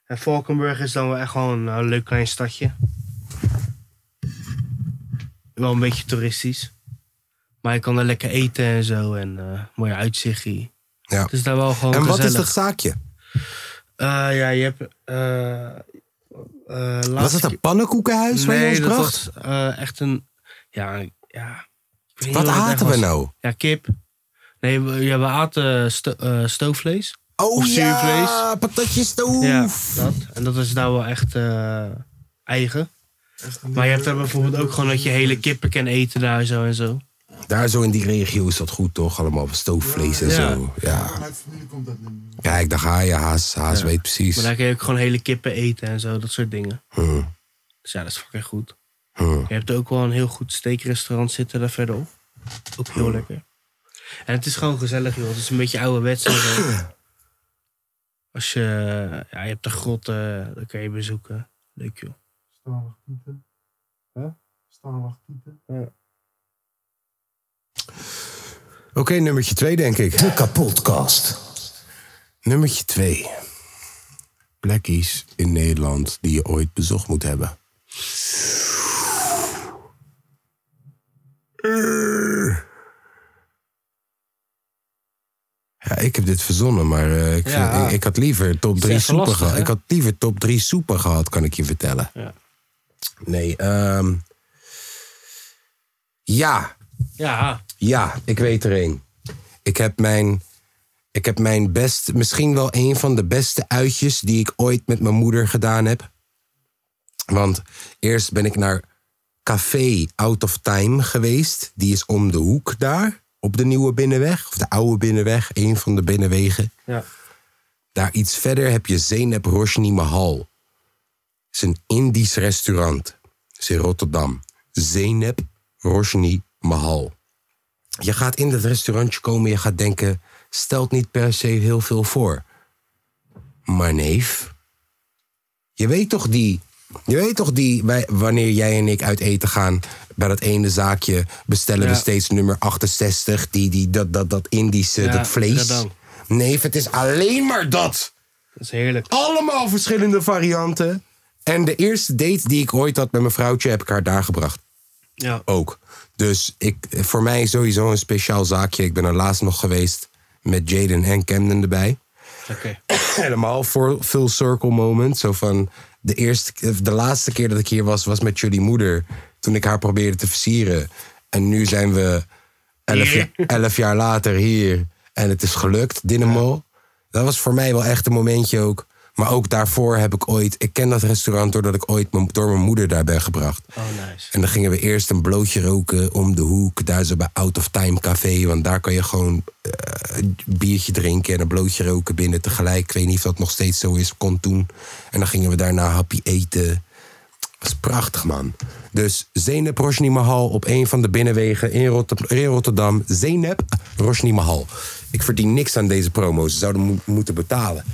En Valkenburg is dan wel echt gewoon een eh, leuk klein stadje. Wel een beetje toeristisch. Maar je kan er lekker eten en zo. En eh mooie uitzichtje.
Ja.
Het is daar wel gewoon
en wat is
gezellig.
dat zaakje?
Eh, ja, je hebt... eh, eh,
Was
laatste
het
keer-
een pannenkoekenhuis waar je ons
dat
bracht?
was eh, echt een... Ja, ja. Ik weet niet
Wat
het echt
aten we
was.
nou?
Ja, kip. Nee, we, ja, we aten sto eh, stoofvlees.
Oh
Of zuurvlees.
ja, patatje stoof.
Ja, dat. En dat is nou wel echt eh, eigen. Maar je hebt daar bijvoorbeeld ook gewoon dat je hele kippen kan eten daar zo en zo.
Daar zo in die regio is dat goed, toch? Allemaal van stoofvlees en zo. Ja.
Mijn familie komt uit Limburg.
Kijk, daar ga je. ah Haas, haas
Ja.
weet precies. Hm.
Maar daar kun je ook gewoon hele kippen eten en zo, dat soort dingen.
Huh,
Dus ja, dat is fucking goed.
huh.
Je hebt ook wel een heel goed steakrestaurant zitten daar verderop. Ook heel lekker. En het is gewoon gezellig, joh. Het is een beetje ouderwets. en zo. Als je... Ja, je hebt de grotten, dat kan je bezoeken. Leuk, joh.
Staanwachttieten. Hè? Staanwachttieten.
Oké, nummertje twee, denk ik. De kapotcast. Nummertje twee. Plekkies in Nederland die je ooit bezocht moet hebben. Ja, ik heb dit verzonnen, maar eh, ik,
Ja.
vind- ik, ik had liever top
is
drie
echt
soepen
lastig,
gehad.
hè?
Ik had liever top drie soepen gehad, kan ik je vertellen.
Ja.
Nee, ehm ja,
Ja.
ja, ik weet er een. Ik heb mijn, ik heb mijn best, misschien wel een van de beste uitjes die ik ooit met mijn moeder gedaan heb. Want eerst ben ik naar Café Out of Time geweest. Die is om de hoek daar, op de nieuwe binnenweg. Of de oude binnenweg, een van de binnenwegen.
Ja.
Daar iets verder heb je Zeynep Roshni Mahal. Het is een Indisch restaurant. Het is in Rotterdam. Zeynep Roshni Mahal. Je gaat in dat restaurantje komen je gaat denken... stelt niet per se heel veel voor. Maar neef... Je weet toch die... Je weet toch die... Wij, wanneer jij en ik uit eten gaan... bij dat ene zaakje... bestellen we
Ja.
steeds nummer 68... Die, die, dat, dat, dat Indische,
Ja,
Eh, dat vlees.
dat dan.
Neef, het is alleen maar dat...
Dat is heerlijk.
Allemaal verschillende varianten. En de eerste date die ik ooit had met mijn vrouwtje, heb ik haar daar gebracht.
Ja.
Ook. Dus ik, voor mij sowieso een speciaal zaakje. Ik ben er laatst nog geweest met Jaden en Camden erbij.
Oké.
Helemaal voor full circle moment. Zo van de, eerste, eh, de laatste keer dat ik hier was, was met jullie moeder. Toen ik haar probeerde te versieren. En nu zijn we elf,
Hier.
ja- elf jaar later hier. En het is gelukt, Dynamo. Dat was voor mij wel echt een momentje ook. Maar ook daarvoor heb ik ooit... Ik ken dat restaurant doordat ik ooit mijn- door mijn moeder daar ben gebracht.
Oh, nice.
En dan gingen we eerst een blootje roken om de hoek. Daar zo bij Out of Time Café. Want daar kan je gewoon eh, een biertje drinken en een blootje roken binnen tegelijk. Ik weet niet of dat nog steeds zo is. Kon toen. En dan gingen we daarna happy eten. Dat is prachtig, man. Dus Zeynep Roshni Mahal op een van de binnenwegen in, Rotter- in Rotterdam. Zeynep Roshni Mahal. Ik verdien niks aan deze promo's. Ze zouden mo- moeten betalen.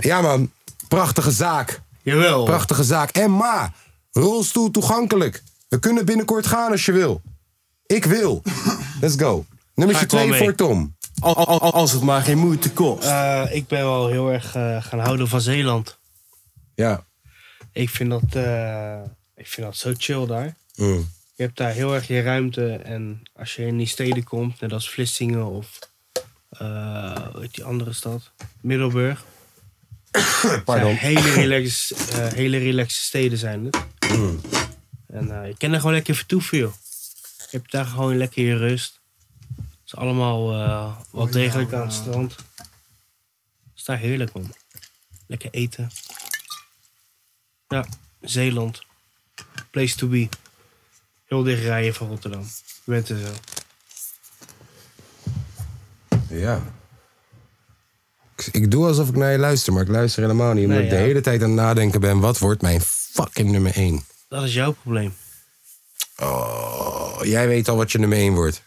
ja, man. Prachtige zaak.
Oh.
Jawel.
Prachtige zaak. En ma, rolstoel toegankelijk. We kunnen binnenkort gaan als je wil. Ik wil. Let's go.
Ga
Nummertje
ik wel
2
mee.
voor Tom.
Al, al, al- als het maar geen moeite kost.
Eh, ik ben wel heel erg eh, gaan houden van Zeeland.
Ja.
Ik vind dat, eh, ik vind dat zo chill daar.
Mm.
Je hebt daar heel erg je ruimte. En als je in die steden komt, net als Vlissingen of eh, hoe heet die andere stad, Middelburg.
Pardon.
Zijn hele relax, eh, hele relaxe steden zijn het.
Mm.
En eh, je kan er gewoon lekker vertoeven, joh. Je hebt daar gewoon lekker je rust. Het is allemaal eh wel degelijk aan het strand. Het is daar heerlijk, man. Lekker eten. Ja, Zeeland. Place to be. Heel dicht rijden van Rotterdam. Je bent er zo.
Ja. Ik, ik doe alsof ik naar je luister, maar ik luister helemaal niet. Omdat
Nee,
ik de
ja.
hele tijd aan het nadenken ben. Wat wordt mijn fucking nummer 1?
Dat is jouw probleem.
Oh, jij weet al wat je nummer 1 wordt.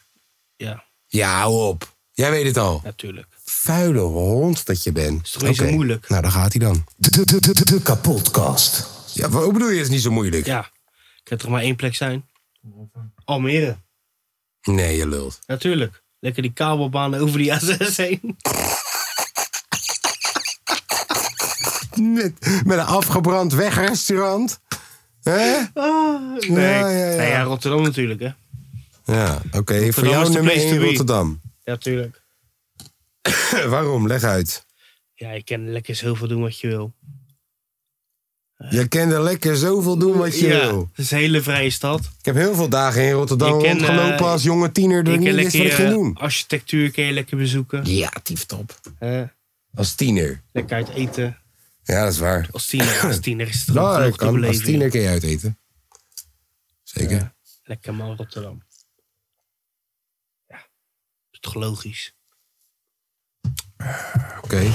Ja,
Ja, hou op. Jij weet het al.
natuurlijk.
Vuile hond dat je bent.
toch niet zo
Oké.
moeilijk?
Nou, daar gaat hij dan. De, de, de, de, de kapotkast. Ja, wat bedoel je? Is niet zo moeilijk.
Ja, ik heb toch maar één plek zijn? Almere.
Nee, je lult.
Natuurlijk. Lekker die kabelbanen over die A6 heen.
Met, met een afgebrand wegrestaurant. Hè?
Nee,
Ja, ja, ja.
Nee, ja, Rotterdam natuurlijk, hè?
Ja, oké. Voor
is
jou
de
nummer
place to
1
be.
Rotterdam.
Ja, natuurlijk.
Waarom? Leg uit.
Ja, je kan lekker zoveel doen wat je wil.
Je kan er lekker zoveel doen wat je
ja,
wil.
het is een hele vrije stad.
Ik heb heel veel dagen in Rotterdam
Je kan, eh,
rondgelopen als jonge tiener.
Je
Dat ik
kan
niet wist wat ik
lekker
ging
eh,
doen.
architectuur kan je lekker bezoeken.
Ja, tieftop.
hè?
Als tiener.
lekker uit eten.
Ja, dat is waar.
Als tiener, als tiener is het gewoon
Nou,
genoeg
dat
te
kan. Als
beleven.
tiener kun je uiteten. Zeker.
Ja. Lekker man, Rotterdam. is toch logisch?
Oké.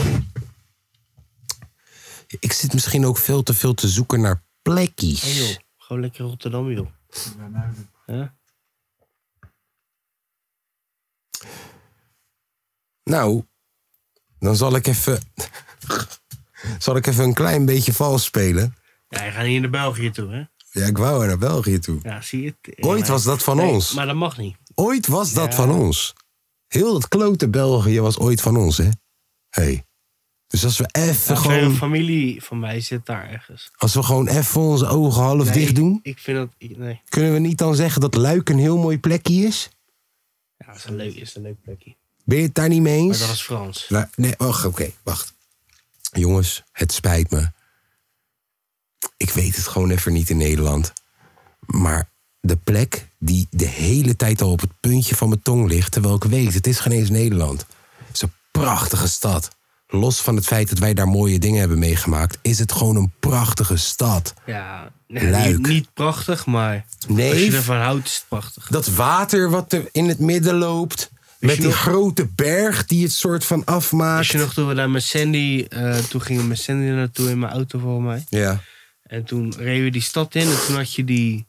Ik zit misschien ook veel te veel te zoeken naar
Hey
plekjes.
joh, gewoon lekker Rotterdam joh. Ja?
Nou, dan zal ik even. zal ik even een klein beetje vals spelen.
ja, je gaat niet naar België toe hè?
Ja, ik wou naar België toe.
Ja, zie je het?
Ooit
maar-
was dat van
Nee,
ons.
Maar dat mag niet.
Ooit was dat
Ja.
van ons. Heel dat klote België was ooit van ons, hè? Hey. Dus als we even
Nou,
gewoon.
Een familie van mij zit daar ergens.
Als we gewoon even onze ogen half
Nee,
dicht doen.
Ik vind dat... ik- nee,
Kunnen we niet dan zeggen dat Luik een heel mooi plekje is?
ja, dat is een leuk, is een leuk plekje.
Ben je het daar niet mee eens?
Maar dat is Frans.
Nou, nee, wacht, oké, wacht. Jongens, het spijt me. Ik weet het gewoon even niet in Nederland. Maar de plek die de hele tijd al op het puntje van mijn tong ligt... terwijl ik weet, het is geen eens Nederland. Het is een prachtige stad. Los van het feit dat wij daar mooie dingen hebben meegemaakt... is het gewoon een prachtige stad.
Ja,
Luik.
nee, niet, niet prachtig, maar
Nee.
als je ervan houdt is het prachtig.
Dat water wat er in het midden loopt... met
je
die
nog-
grote berg die het soort van afmaakt.
Als je nog toen we daar met Sandy, eh, toen gingen we met Sandy naartoe in mijn auto volgens mij.
Ja.
En toen reden we die stad in en toen had je die,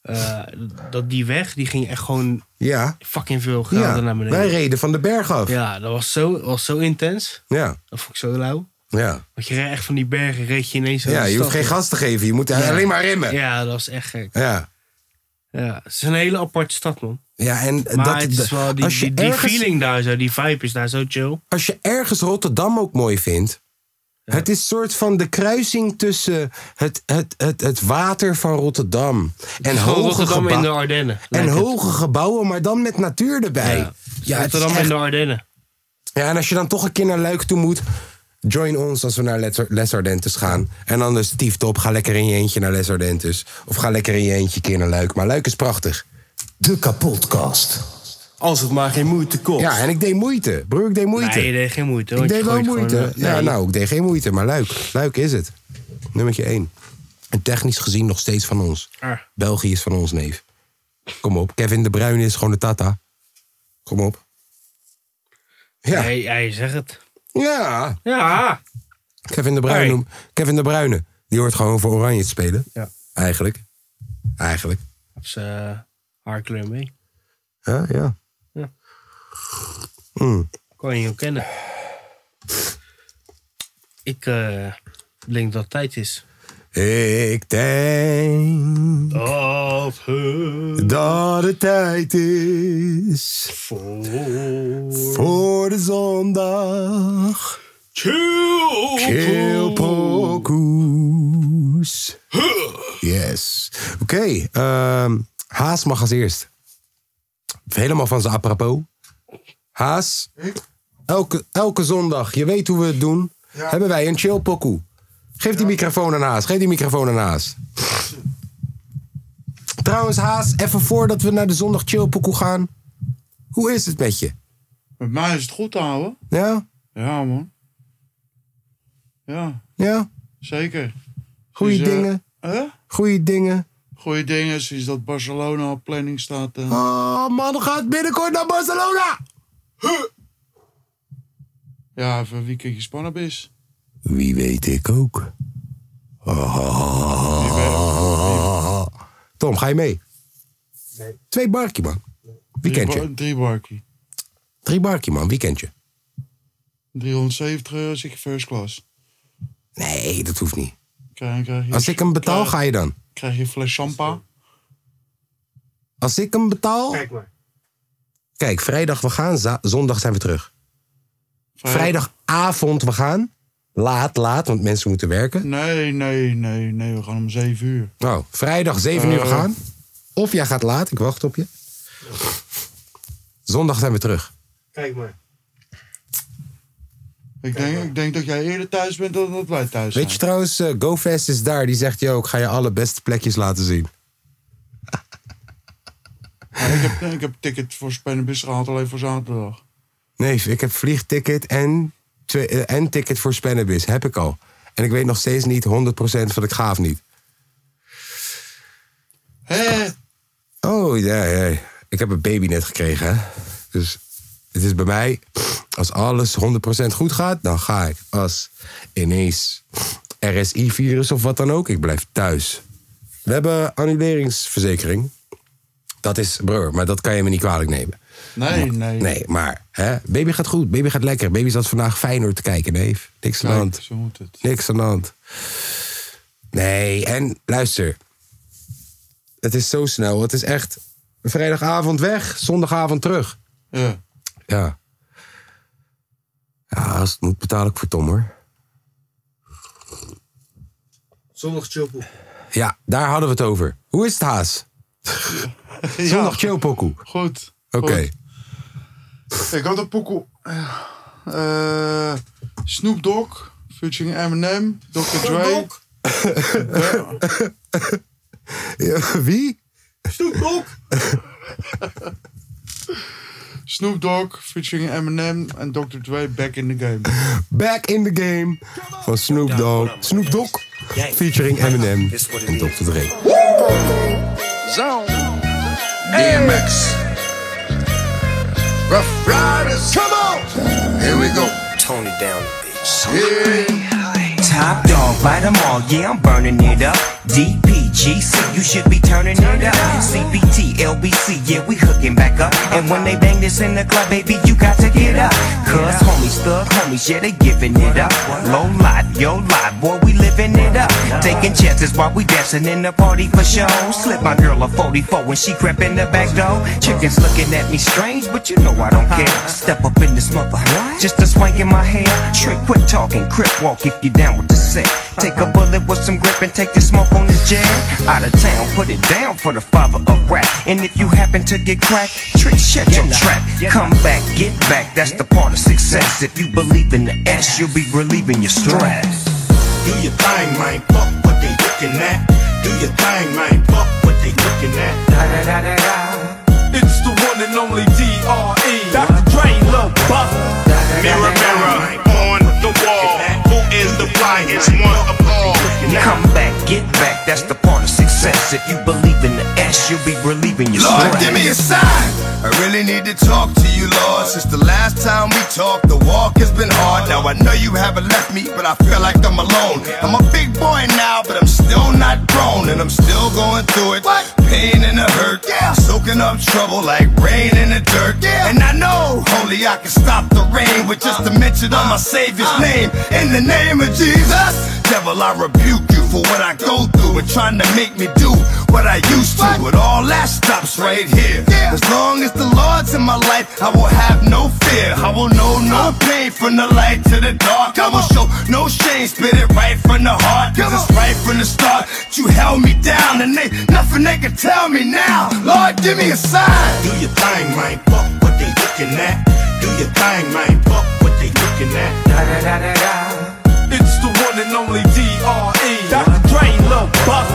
eh, dat die weg, die ging echt gewoon
Ja.
fucking veel graden
ja.
naar beneden.
Wij reden van de berg af.
Ja, dat was zo, was zo intens.
Ja.
Dat vond ik zo lauw.
Ja.
Want je reed echt van die bergen, reed je ineens zo
Ja,
de
je hoeft
stad
geen
in.
gas te geven. Je moet alleen maar remmen. Ja.
Ja, dat was echt gek.
Ja,
Ja, het is een hele aparte stad, man.
en
Maar
dat,
het is wel die,
als, je
die, die
ergens,
feeling daar zo, die vibe is daar zo chill.
als je ergens Rotterdam ook mooi vindt. Het is soort van de kruising tussen het, het, het, het water van Rotterdam. En
Gewoon
hoge,
Rotterdam
gebou-
in de Ardennen.
en
lijkt het.
hoge gebouwen, maar dan met natuur erbij. Ja,
Ja.
het is
Rotterdam
echt-
in de Ardennen.
ja en als je dan toch een keer naar Luik toe moet. Join ons als we naar Les- Les Ardentes gaan. En anders tieftop, ga lekker in je eentje naar Les Ardentes. Of ga lekker in je eentje een keer naar Luik. Maar Luik is prachtig. De kapotcast.
Als het maar geen moeite kost.
Ja, en ik deed moeite. Broer, ik deed moeite.
Nee, je deed geen moeite.
ik
want je
deed wel
gooit gewoon,
moeite.
eh,
Ja,
nee.
nou, ik deed geen moeite, maar Luik. Luik is het. Nummertje 1. En technisch gezien nog steeds van ons.
Ah.
België is van ons, neef. Kom op. Kevin de Bruyne is gewoon de tata. Kom op. Ja.
Nee, hij zegt het.
Ja.
Ja.
Kevin de Bruyne.
Hey.
noem- Kevin de Bruyne. Die hoort gewoon voor Oranje te spelen.
Ja.
Eigenlijk. Eigenlijk.
Of ze eh, haar kleur mee.
Ja, ja.
Ja.
Mm.
Kan je hem kennen. Ik eh, denk dat het tijd is.
Ik denk
Dat het
dat het tijd is.
voor...
Voor de zondag. Keelpokoes. Yes. Oké, ehm, Haas mag als eerst. Helemaal van zijn apropos. Haas, elke, elke zondag, je weet hoe we het doen, hebben wij een chillpokoe. Geef die microfoon aan Haas, geef die microfoon aan Haas. Trouwens, Haas, even voordat we naar de zondag chillpokoe gaan. Hoe is het met je?
Met mij is het goed, ouwe.
Ja?
Ja, man. Ja,
Ja?
zeker.
Goeie
Dus, eh,
dingen.
Hè?
Goeie dingen.
Goeie dingen, sinds dat Barcelona op planning staat. eh.
Oh, man gaat binnenkort naar Barcelona.
Ja, even een weekendje Spanabis.
Wie weet ik ook. Tom, ga je mee? Twee barkie, man.
Drie,
Weekendje.
bar- drie barkie.
Drie barkie, man. Weekendje.
370 euro zit je first class.
Nee, dat hoeft niet.
Krijg, krijg je,
Als ik hem betaal,
krijg,
ga je dan?
krijg je een fles champa.
Als ik hem betaal...
Kijk maar.
Kijk, vrijdag we gaan, za- zondag zijn we terug. Vrijdagavond we gaan. Laat, laat, want mensen moeten werken.
Nee, nee, nee, nee. We gaan om 7 uur.
Nou, vrijdag 7 uur
Eh.
gaan. Of jij gaat laat, ik wacht op je. Zondag zijn we terug.
Kijk maar.
Ik denk, ik denk dat jij eerder thuis bent dan dat wij thuis zijn.
Weet je trouwens, eh, GoFest is daar. Die zegt, yo, ik ga je alle beste plekjes laten zien.
Maar ik, heb, ik heb ticket voor Spanabis gehaald alleen voor zaterdag.
Nee, ik heb vliegticket en, twee- eh, en ticket voor Spannabis. Heb ik al. En ik weet nog steeds niet 100% wat ik gaaf niet.
Hé?
Oh, ja, ja. Ik heb een baby net gekregen, hè. Dus Het is bij mij, als alles 100% goed gaat, dan ga ik als ineens RSI-virus of wat dan ook, ik blijf thuis. We hebben annuleringsverzekering. Dat is, broer, maar dat kan je me niet kwalijk nemen.
Nee, nee.
Nee, maar hè, baby gaat goed, baby gaat lekker. Baby zat vandaag Feyenoord te kijken, nee. Niks aan de hand.
Zo moet het.
Niks aan de hand. Nee, en luister. Het is zo snel. Het is echt vrijdagavond weg, zondagavond terug.
Ja.
Ja. Ja, als het moet betaal ik voor Tom hoor.
Zondag chilpoe.
Ja, daar hadden we het over. Hoe is het haas? Zondag chill pokoe.
Goed.
Oké.
Ik had een pokoe. Eh, Snoop Dogg, featuring Eminem, Dr. Dre.
Ja, Wie?
Snoop Dogg. Snoop Dogg, featuring Eminem en Dr. Dre, Back in the Game.
Back in the game van Snoop Dogg. Snoop Dogg featuring Eminem en Dr. Dre.
Zone. DMX. Rough Riders. Come on. Here we go. Tone it down a bit.
Top dog, bite 'em all, yeah, I'm burning it up. DPGC, you should be turning it up. CPT, LBC, yeah, we hooking back up. And when they bang this in the club, baby, you got to get up. Cuz homies, thug homies, yeah, they giving it up. Low life, yo life, boy, we living it up. Taking chances while we dancing in the party for show. Slip my girl a 44 when she crept in the back door. Chickens looking at me strange, but you know I don't care. Step up in this mother, just a swank in my hair. Trick, quit talking, crip walk if you down with the set. Take a bullet with some grip and take the smoke on this jam. Out of town, put it down for the father of rap. And if you happen to get cracked, trick, shut your trap. Come back, get back, that's the part of success. If you believe in the S, you'll be relieving your stress.
Do your thing, man. Fuck what they looking at. Do your thing, man. Fuck what they looking at. It's the one and only D.R.E. Dr. Dre, Lil Buff. Mirror, mirror on the wall. Who is the flyest one of all?
Come back, get back, that's the part of success. If you believe in the S, you'll be relieving your
Lord,
stress.
give me a sign. I really need to talk to you, Lord. Since the last time we talked, the walk has been hard. Now I know you haven't left me, but I feel like I'm alone. I'm a big boy now, but I'm still not grown, and I'm still going through it. Pain and the hurt, soaking up trouble like rain in the dirt. And I know only I can stop the rain with just a mention of my Savior's name. In the name of Jesus, devil, I rebuke you for what I go through and trying to make me do what I used to. But all that stops right here. As long as the Lord's in my life, I will have no fear. I will know no pain from the light to the dark. I will show no shame, spit it right from the heart. Cause it's right from the start. that You held me down and they nothing they can tell me now. Lord, give me a sign.
Do your thing, man. Fuck what they looking at. Do your thing, man. Fuck what they looking at. It's the one and only E. D.R.E. Dr. Dre, Lil Buff.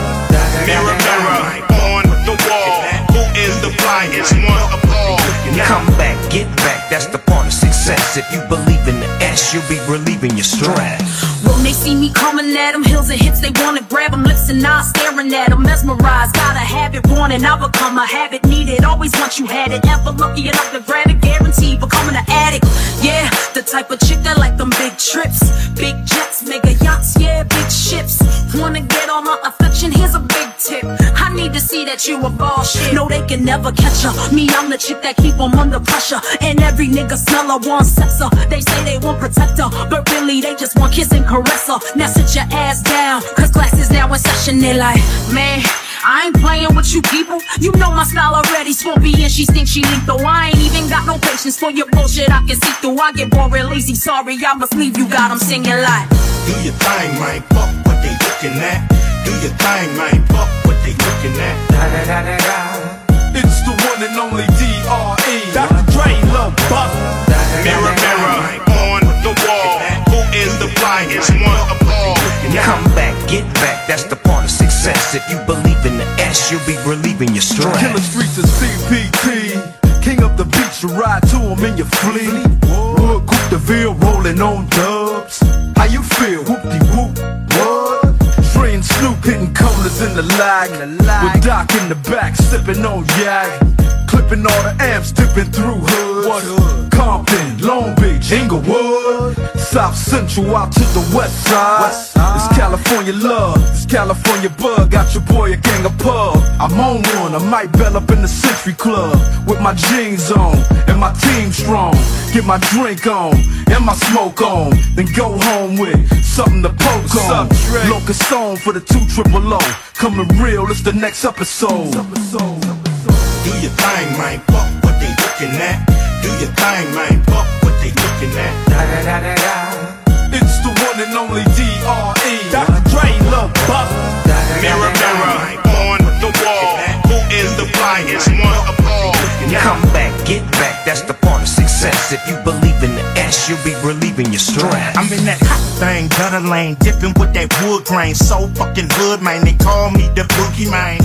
Mirror, mirror on the wall. Who is the flyest one of all?
Come back, get back, that's the part of success. If you believe in the S, you'll be relieving your stress.
When they see me coming at 'em, heels and hips, they wanna grab 'em. lips and eyes staring at 'em, mesmerized. Gotta have it, want it, I become a habit, need it, always want you had it. Ever lucky enough to grab it, guaranteed becoming an addict. Yeah, the type of chick that like them big trips, big jets, mega yachts, yeah, big ships. Wanna get all my affection, here's a big tip. I need to see that you a ball shit. No, they can never catch her. Me, I'm the chick that keep 'em under pressure, and every nigga smell her, want sex her. They say they want protect her, but really they just want kiss and caress her. Now sit your ass down, cause class is now in session. They like, man, I ain't playing with you people. You know my style already, swampy and she thinks she lethal. I ain't even got no patience for your bullshit. I can see through, I get boring, lazy. Sorry, I must leave you. Got 'em singing like.
Do your thing, man. Fuck what they looking at. Do your thing, man. Fuck what they looking at.
It's the one and only D.R.E.
E.
Dr. Dre, Lil Buff. Mirror, mirror on the wall. Who is the flyest one of all?
Come back, get back, that's the part of success. If you believe in the S, you'll be relieving your stress.
Killer streets is CPT. King up the beach, you ride to him in your fleet. Wood coupe de ville rolling on dubs. How you feel? Whoop de whoop. What? Dre and Snoop hitting colas in the lag. With Doc in the back, sipping on yak. Clipping all the amps, dipping through hood. one. Compton, Long Beach, Inglewood, South Central out to the west side. It's California love, it's California bug. Got your boy a gang of pub. I'm on one, I might bell up in the Century Club with my jeans on and my team strong. Get my drink on and my smoke on, then go home with something to poke on. Locust on for the two triple O. Coming real, it's the next episode.
Do your thing, man. Fuck what they looking at. Do your thing, man. Fuck what they looking at. Da da da da da. It's the one and only E. D.R.E. Dr. Dre, Lil Buff. Mirror, mirror on the wall. Who is the flyest one of all?
Come back, get back, that's the part of success. If you believe in the S, you'll be relieving your stress.
I'm in that hot thing, gutter lane, dipping with that wood grain. So fucking hood, man. They call me the boogie man.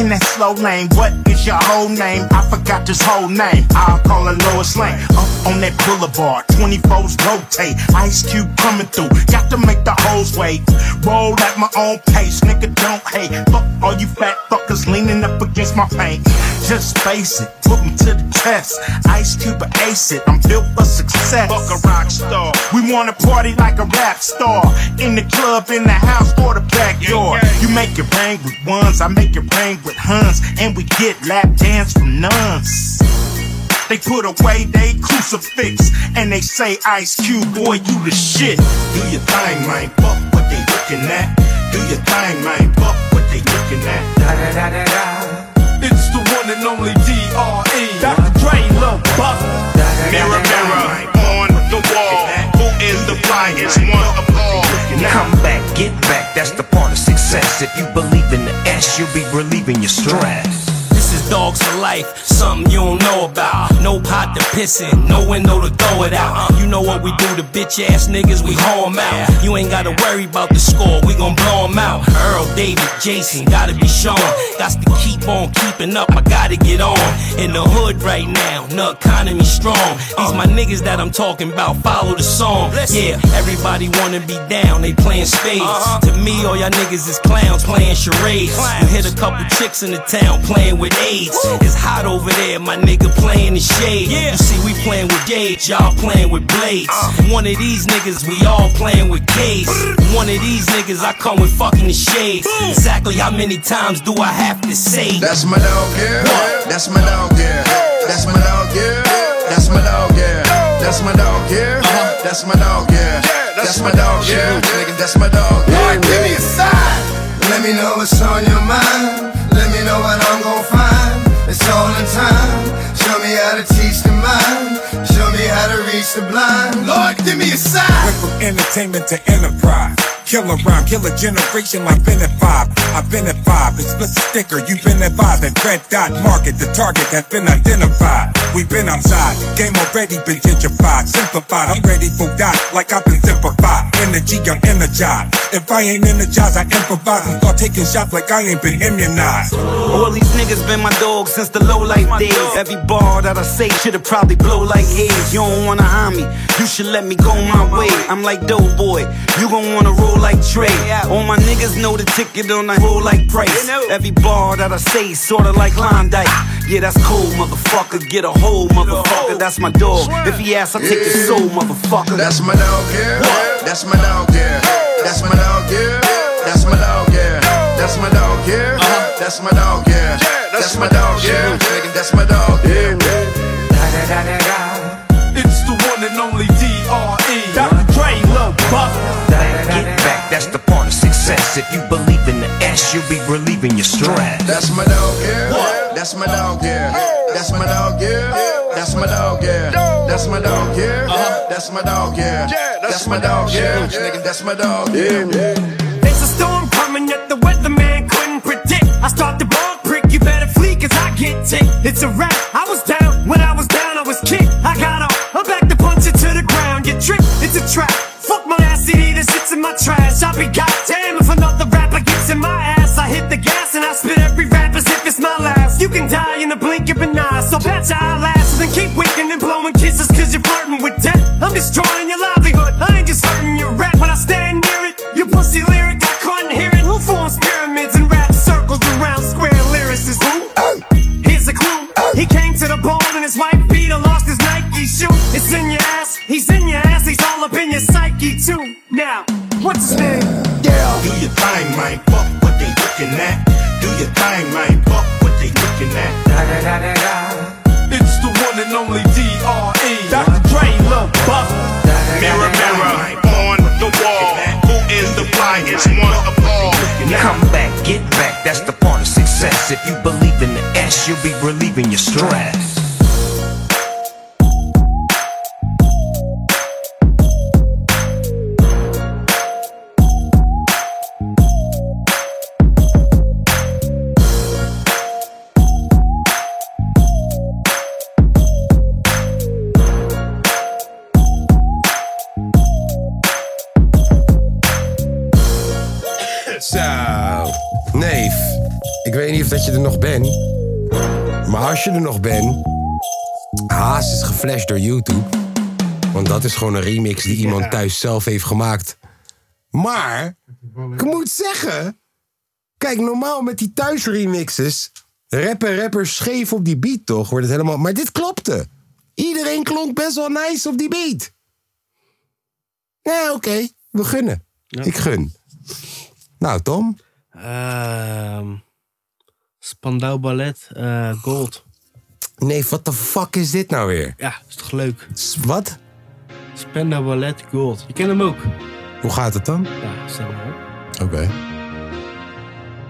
In that slow lane, what is your whole name? I forgot this whole name. I'll call her Lois Lane. Up on that boulevard, 24s rotate. Ice Cube coming through, got to make the hoes wait. Roll at my own pace, nigga. Don't hate. Fuck all you fat fuckers leaning up against my paint. Just face it, put me to the test. Ice Cube or ace it, I'm built for success. Fuck a rock star. We wanna party like a rap star. In the club, in the house, or the backyard. You make it rain with ones, I make it rain with huns. And we get lap dance from nuns. They put away they crucifix and they say, Ice Cube, boy, you the shit.
Do your thing, man. Fuck what they looking at. Do your thing, man. Fuck what they looking at. Da da da da da. It's the one and only E. D.R.E. Dr. Dre, Lil Buff. Mirror, mirror on the wall. Who is the flyest one of all?
Come back, get back, that's the part of success. If you believe in the S, you'll be relieving your stress.
This is dogs for life, something you don't know about. No pot to piss in, no window to throw it out. Uh, You know what we do to bitch ass niggas, we haul 'em out. You ain't gotta worry about the score, we gon' blow 'em out. Earl, David, Jason, gotta be shown. Got to keep on keeping up, I gotta get on. In the hood right now, the economy strong. These my niggas that I'm talking about, follow the song. Yeah, everybody wanna be down, they playing spades. To me, all y'all niggas is clowns playing charades. You hit a couple chicks in the town playing with AIDS. It's hot over there, my nigga playing in shade. You see, we playing with gauge, y'all playing with blades. One of these niggas, we all playing with K's. One of these niggas, I come with fucking the shades. Exactly how many times do I have to say?
That's my dog, yeah. That's my dog, yeah. That's my dog, yeah. That's my dog, yeah. That's my dog, yeah. That's my dog, yeah. That's my dog, yeah. Nigga, That's my dog, yeah. Give me a sign. Let me know what's on your mind. Let me know what I'm gonna find. It's all in time. Show me how to teach the mind. Show me how to reach the blind. Lord, give me a sign.
Went from entertainment to enterprise. Killer rhyme, killer generation like Ben at five. I've been at five. Explicit sticker, you've been advised. That red dot market, the target that's been identified. We've been outside, game already been gentrified. Simplified, I'm ready for die like I've been simplified. Energy, I'm energized. If I ain't energized, I improvise and start taking shots like I ain't been immunized.
All these niggas been my dogs since the low life days. Every bar that I say should've probably blow like AIDS. You don't wanna harm me, you should let me go my way. I'm like dope boy, you gon' wanna roll like Trey. All my niggas know the ticket on I roll like Price. Every bar that I say sorta like Klondike. Yeah, that's cold, motherfucker. Get a hold, motherfucker. That's my dog. If he asks, I take his soul, motherfucker.
That's my dog, yeah. That's my dog, yeah. That's my dog, yeah. That's my dog, yeah. That's my dog, yeah. That's my dog, yeah. That's my dog, yeah. Nigga, That's my dog, yeah.
It's the one and only D.R.E. Dr. Dre, Lil Buff.
Get back, that's the part of success. If you believe in the S, you'll be relieving your stress.
That's my dog, yeah. That's my dog, yeah. That's my dog, yeah. That's my dog, yeah. That's my dog, yeah. That's my dog, yeah. That's my dog, yeah. Nigga, That's my dog, yeah.
There's a storm coming that the weatherman couldn't predict. I start the bomb prick, you better flee, cause I get ticked. It's a wrap. I was down, when I was down, I was kicked. I got up, I'm back to punch it to the ground. You trick, it's a trap. Fuck my ass, it either sits in my trash. I'll be goddamn if another rapper gets in my ass. I hit the gas and I spit every rap as if it's my last. You can die in the blink of an eye, so patch your eyelashes and keep winking and blowing kisses, cause you're flirting with death. I'm destroying your livelihood, I ain't just hurting your rap when I stand near it. Your pussy lyric, I couldn't hear it. Who forms pyramids and rap circles around square lyrics is who? Here's a clue. He came to the ball and his wife beat her, lost his night shoe. It's in your ass. He's in your ass. He's all up in your psyche too. Now, what's his name?
Yeah. Do your thing, man. Fuck what they looking at. Do your thing, man. Fuck what they looking at. Da da da da da.
It's the one and only E. D.R.E. Dr. Dre, Lil Buff.
Mirror, mirror on the wall. Who is the flyest one of all?
Come back, get back, that's the part of success. If you believe in the S, you'll be relieving your stress.
Zo. Neef, ik weet niet of dat je er nog bent. Maar als je er nog bent... Haas is geflasht door YouTube. Want dat is gewoon een remix die iemand thuis zelf heeft gemaakt. Maar, ik moet zeggen... Kijk, normaal met die thuisremixes... Rapper, rapper scheef op die beat toch? Wordt het helemaal... Maar dit klopte. Iedereen klonk best wel nice op die beat. Nee, oké. We gunnen. Ik gun. Nou, Tom.
Ehm Spandau Ballet eh, Gold.
Nee, wat de fuck is dit nou weer?
Ja, is toch leuk?
Wat?
Spandau Ballet Gold. Je kent hem ook.
Hoe gaat het dan?
Ja, stel maar op.
Oké.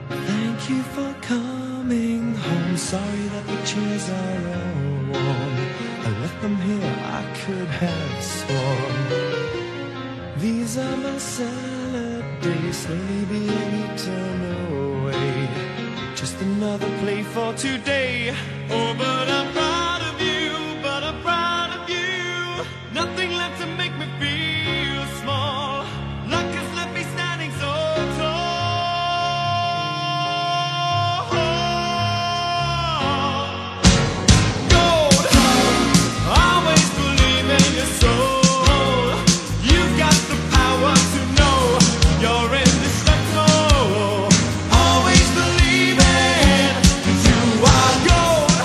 Thank you for coming home. Sorry that the chairs are all warm. I left them here, I could have sworn. These are my salad days, slowly being eaten away. Just another play for today. Oh, but I'm proud of you, but I'm proud of you. Nothing left to make me feel small. Luck has left me standing so tall. Gold, always believe in your soul. You've got the power to know you're indestructible. Always believe in that you are gold.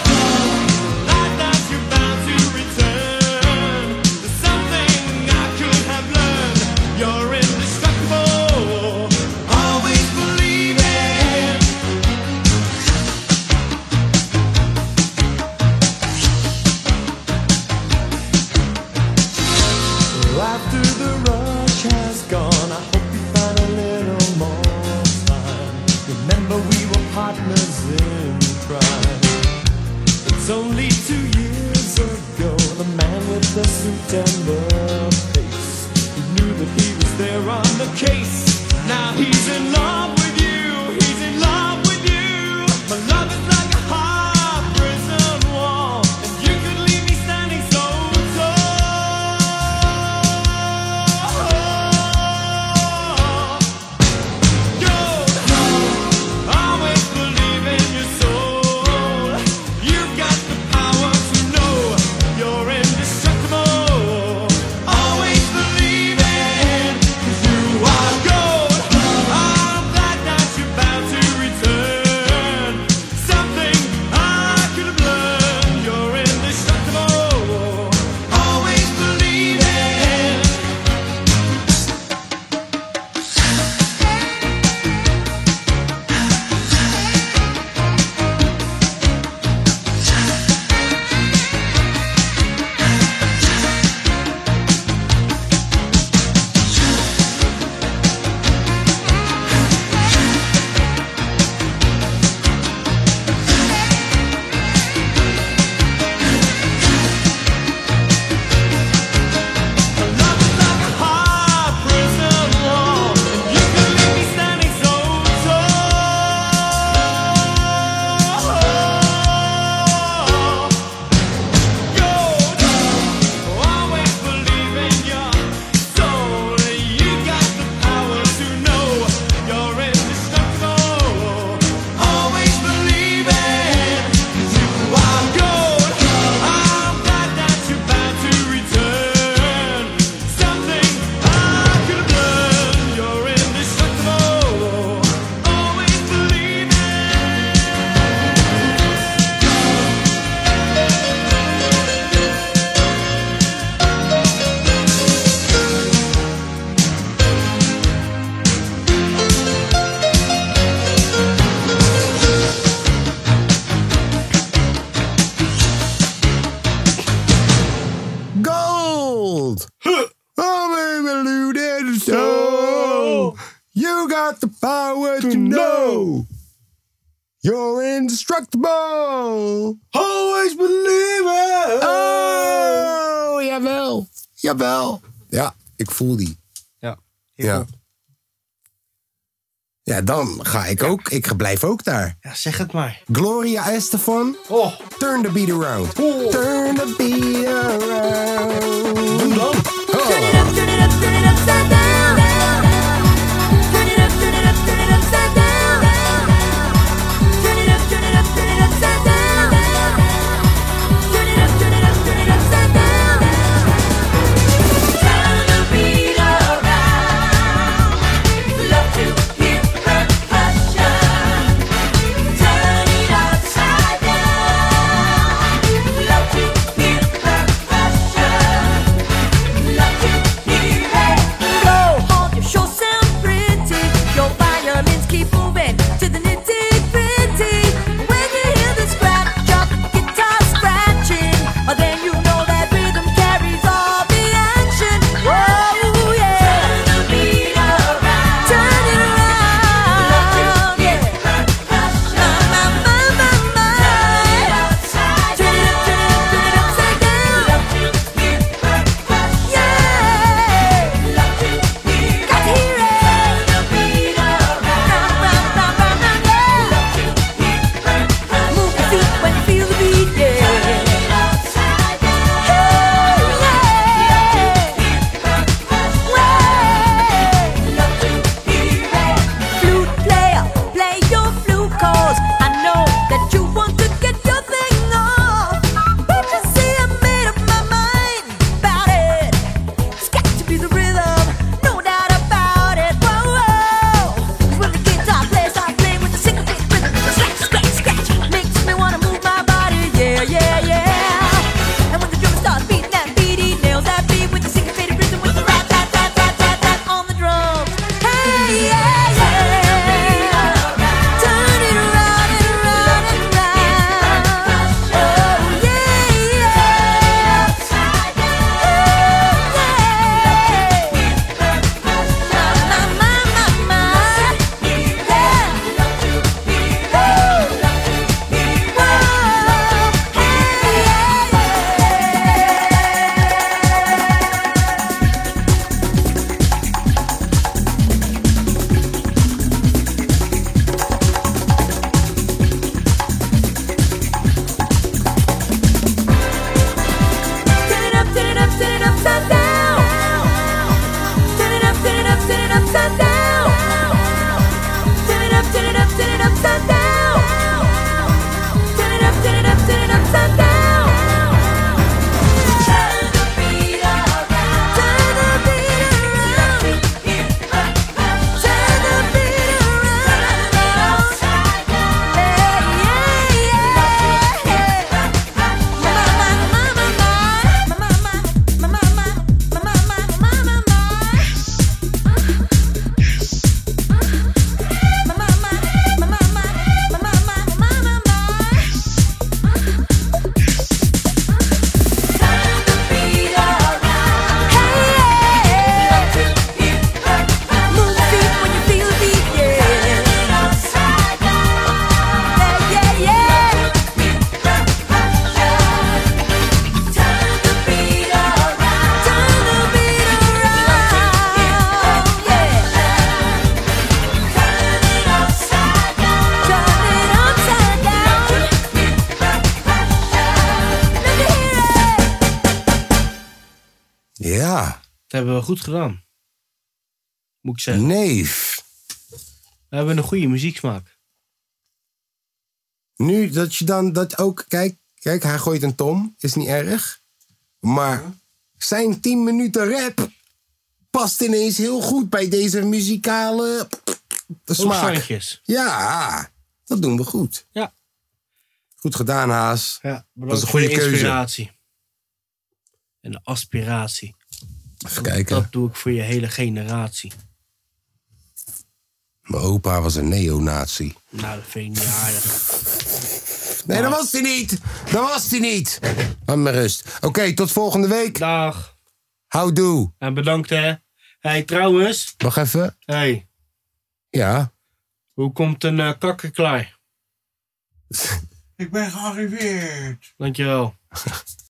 Life that you're bound to return. There's something I could have learned. You're indestructible. Always believe in. After the rush has gone, I hope you find a little more time. Remember, we were partners in crime. It's only two years ago, the man with the suit and the face. He knew that he was there on the case. Now he's in love with you. He's in love with you. My love is like a hard prison wall, and you could leave me standing so tall. Always believe in your soul. You've got the power to know you're indestructible.
world. I'm deluded and so you got the power Oh. to know. You're indestructible. Always believer. Oh, jawel. Jawel. Ja, ik voel die.
Ja.
Ja. Ja, dan ga ik ook. Ik blijf ook daar.
Ja, zeg het maar.
Gloria Estefan. Oh. Turn the beat around. Turn the beat around. Doe dan.
Oh, Oh,
Ja.
Dat hebben we goed gedaan. Moet ik zeggen.
Nee.
We hebben een goede muzieksmaak.
Nu dat je dan dat ook. Kijk, kijk hij gooit een tom, is niet erg. Maar zijn 10 minuten rap past ineens heel goed bij deze muzikale de smaak.
Hoogstandjes.
Ja, dat doen we goed.
Ja.
Goed gedaan, Haas.
Ja,
dat is
bedankt
een
voor
goede
de
keuze.
inspiratie. En de aspiratie.
Even kijken.
Dat doe ik voor je hele generatie.
Mijn opa was een neonazi.
Nou, dat vind ik niet aardig.
Nee, dat was hij niet. Dat was hij niet. Laat me rust. Oké, tot volgende week.
Dag.
Houdoe.
En bedankt, hè. hey, trouwens.
Nog even.
hey,
Ja.
hoe komt een eh, kakker klaar?
Ik ben gearriveerd.
Dankjewel.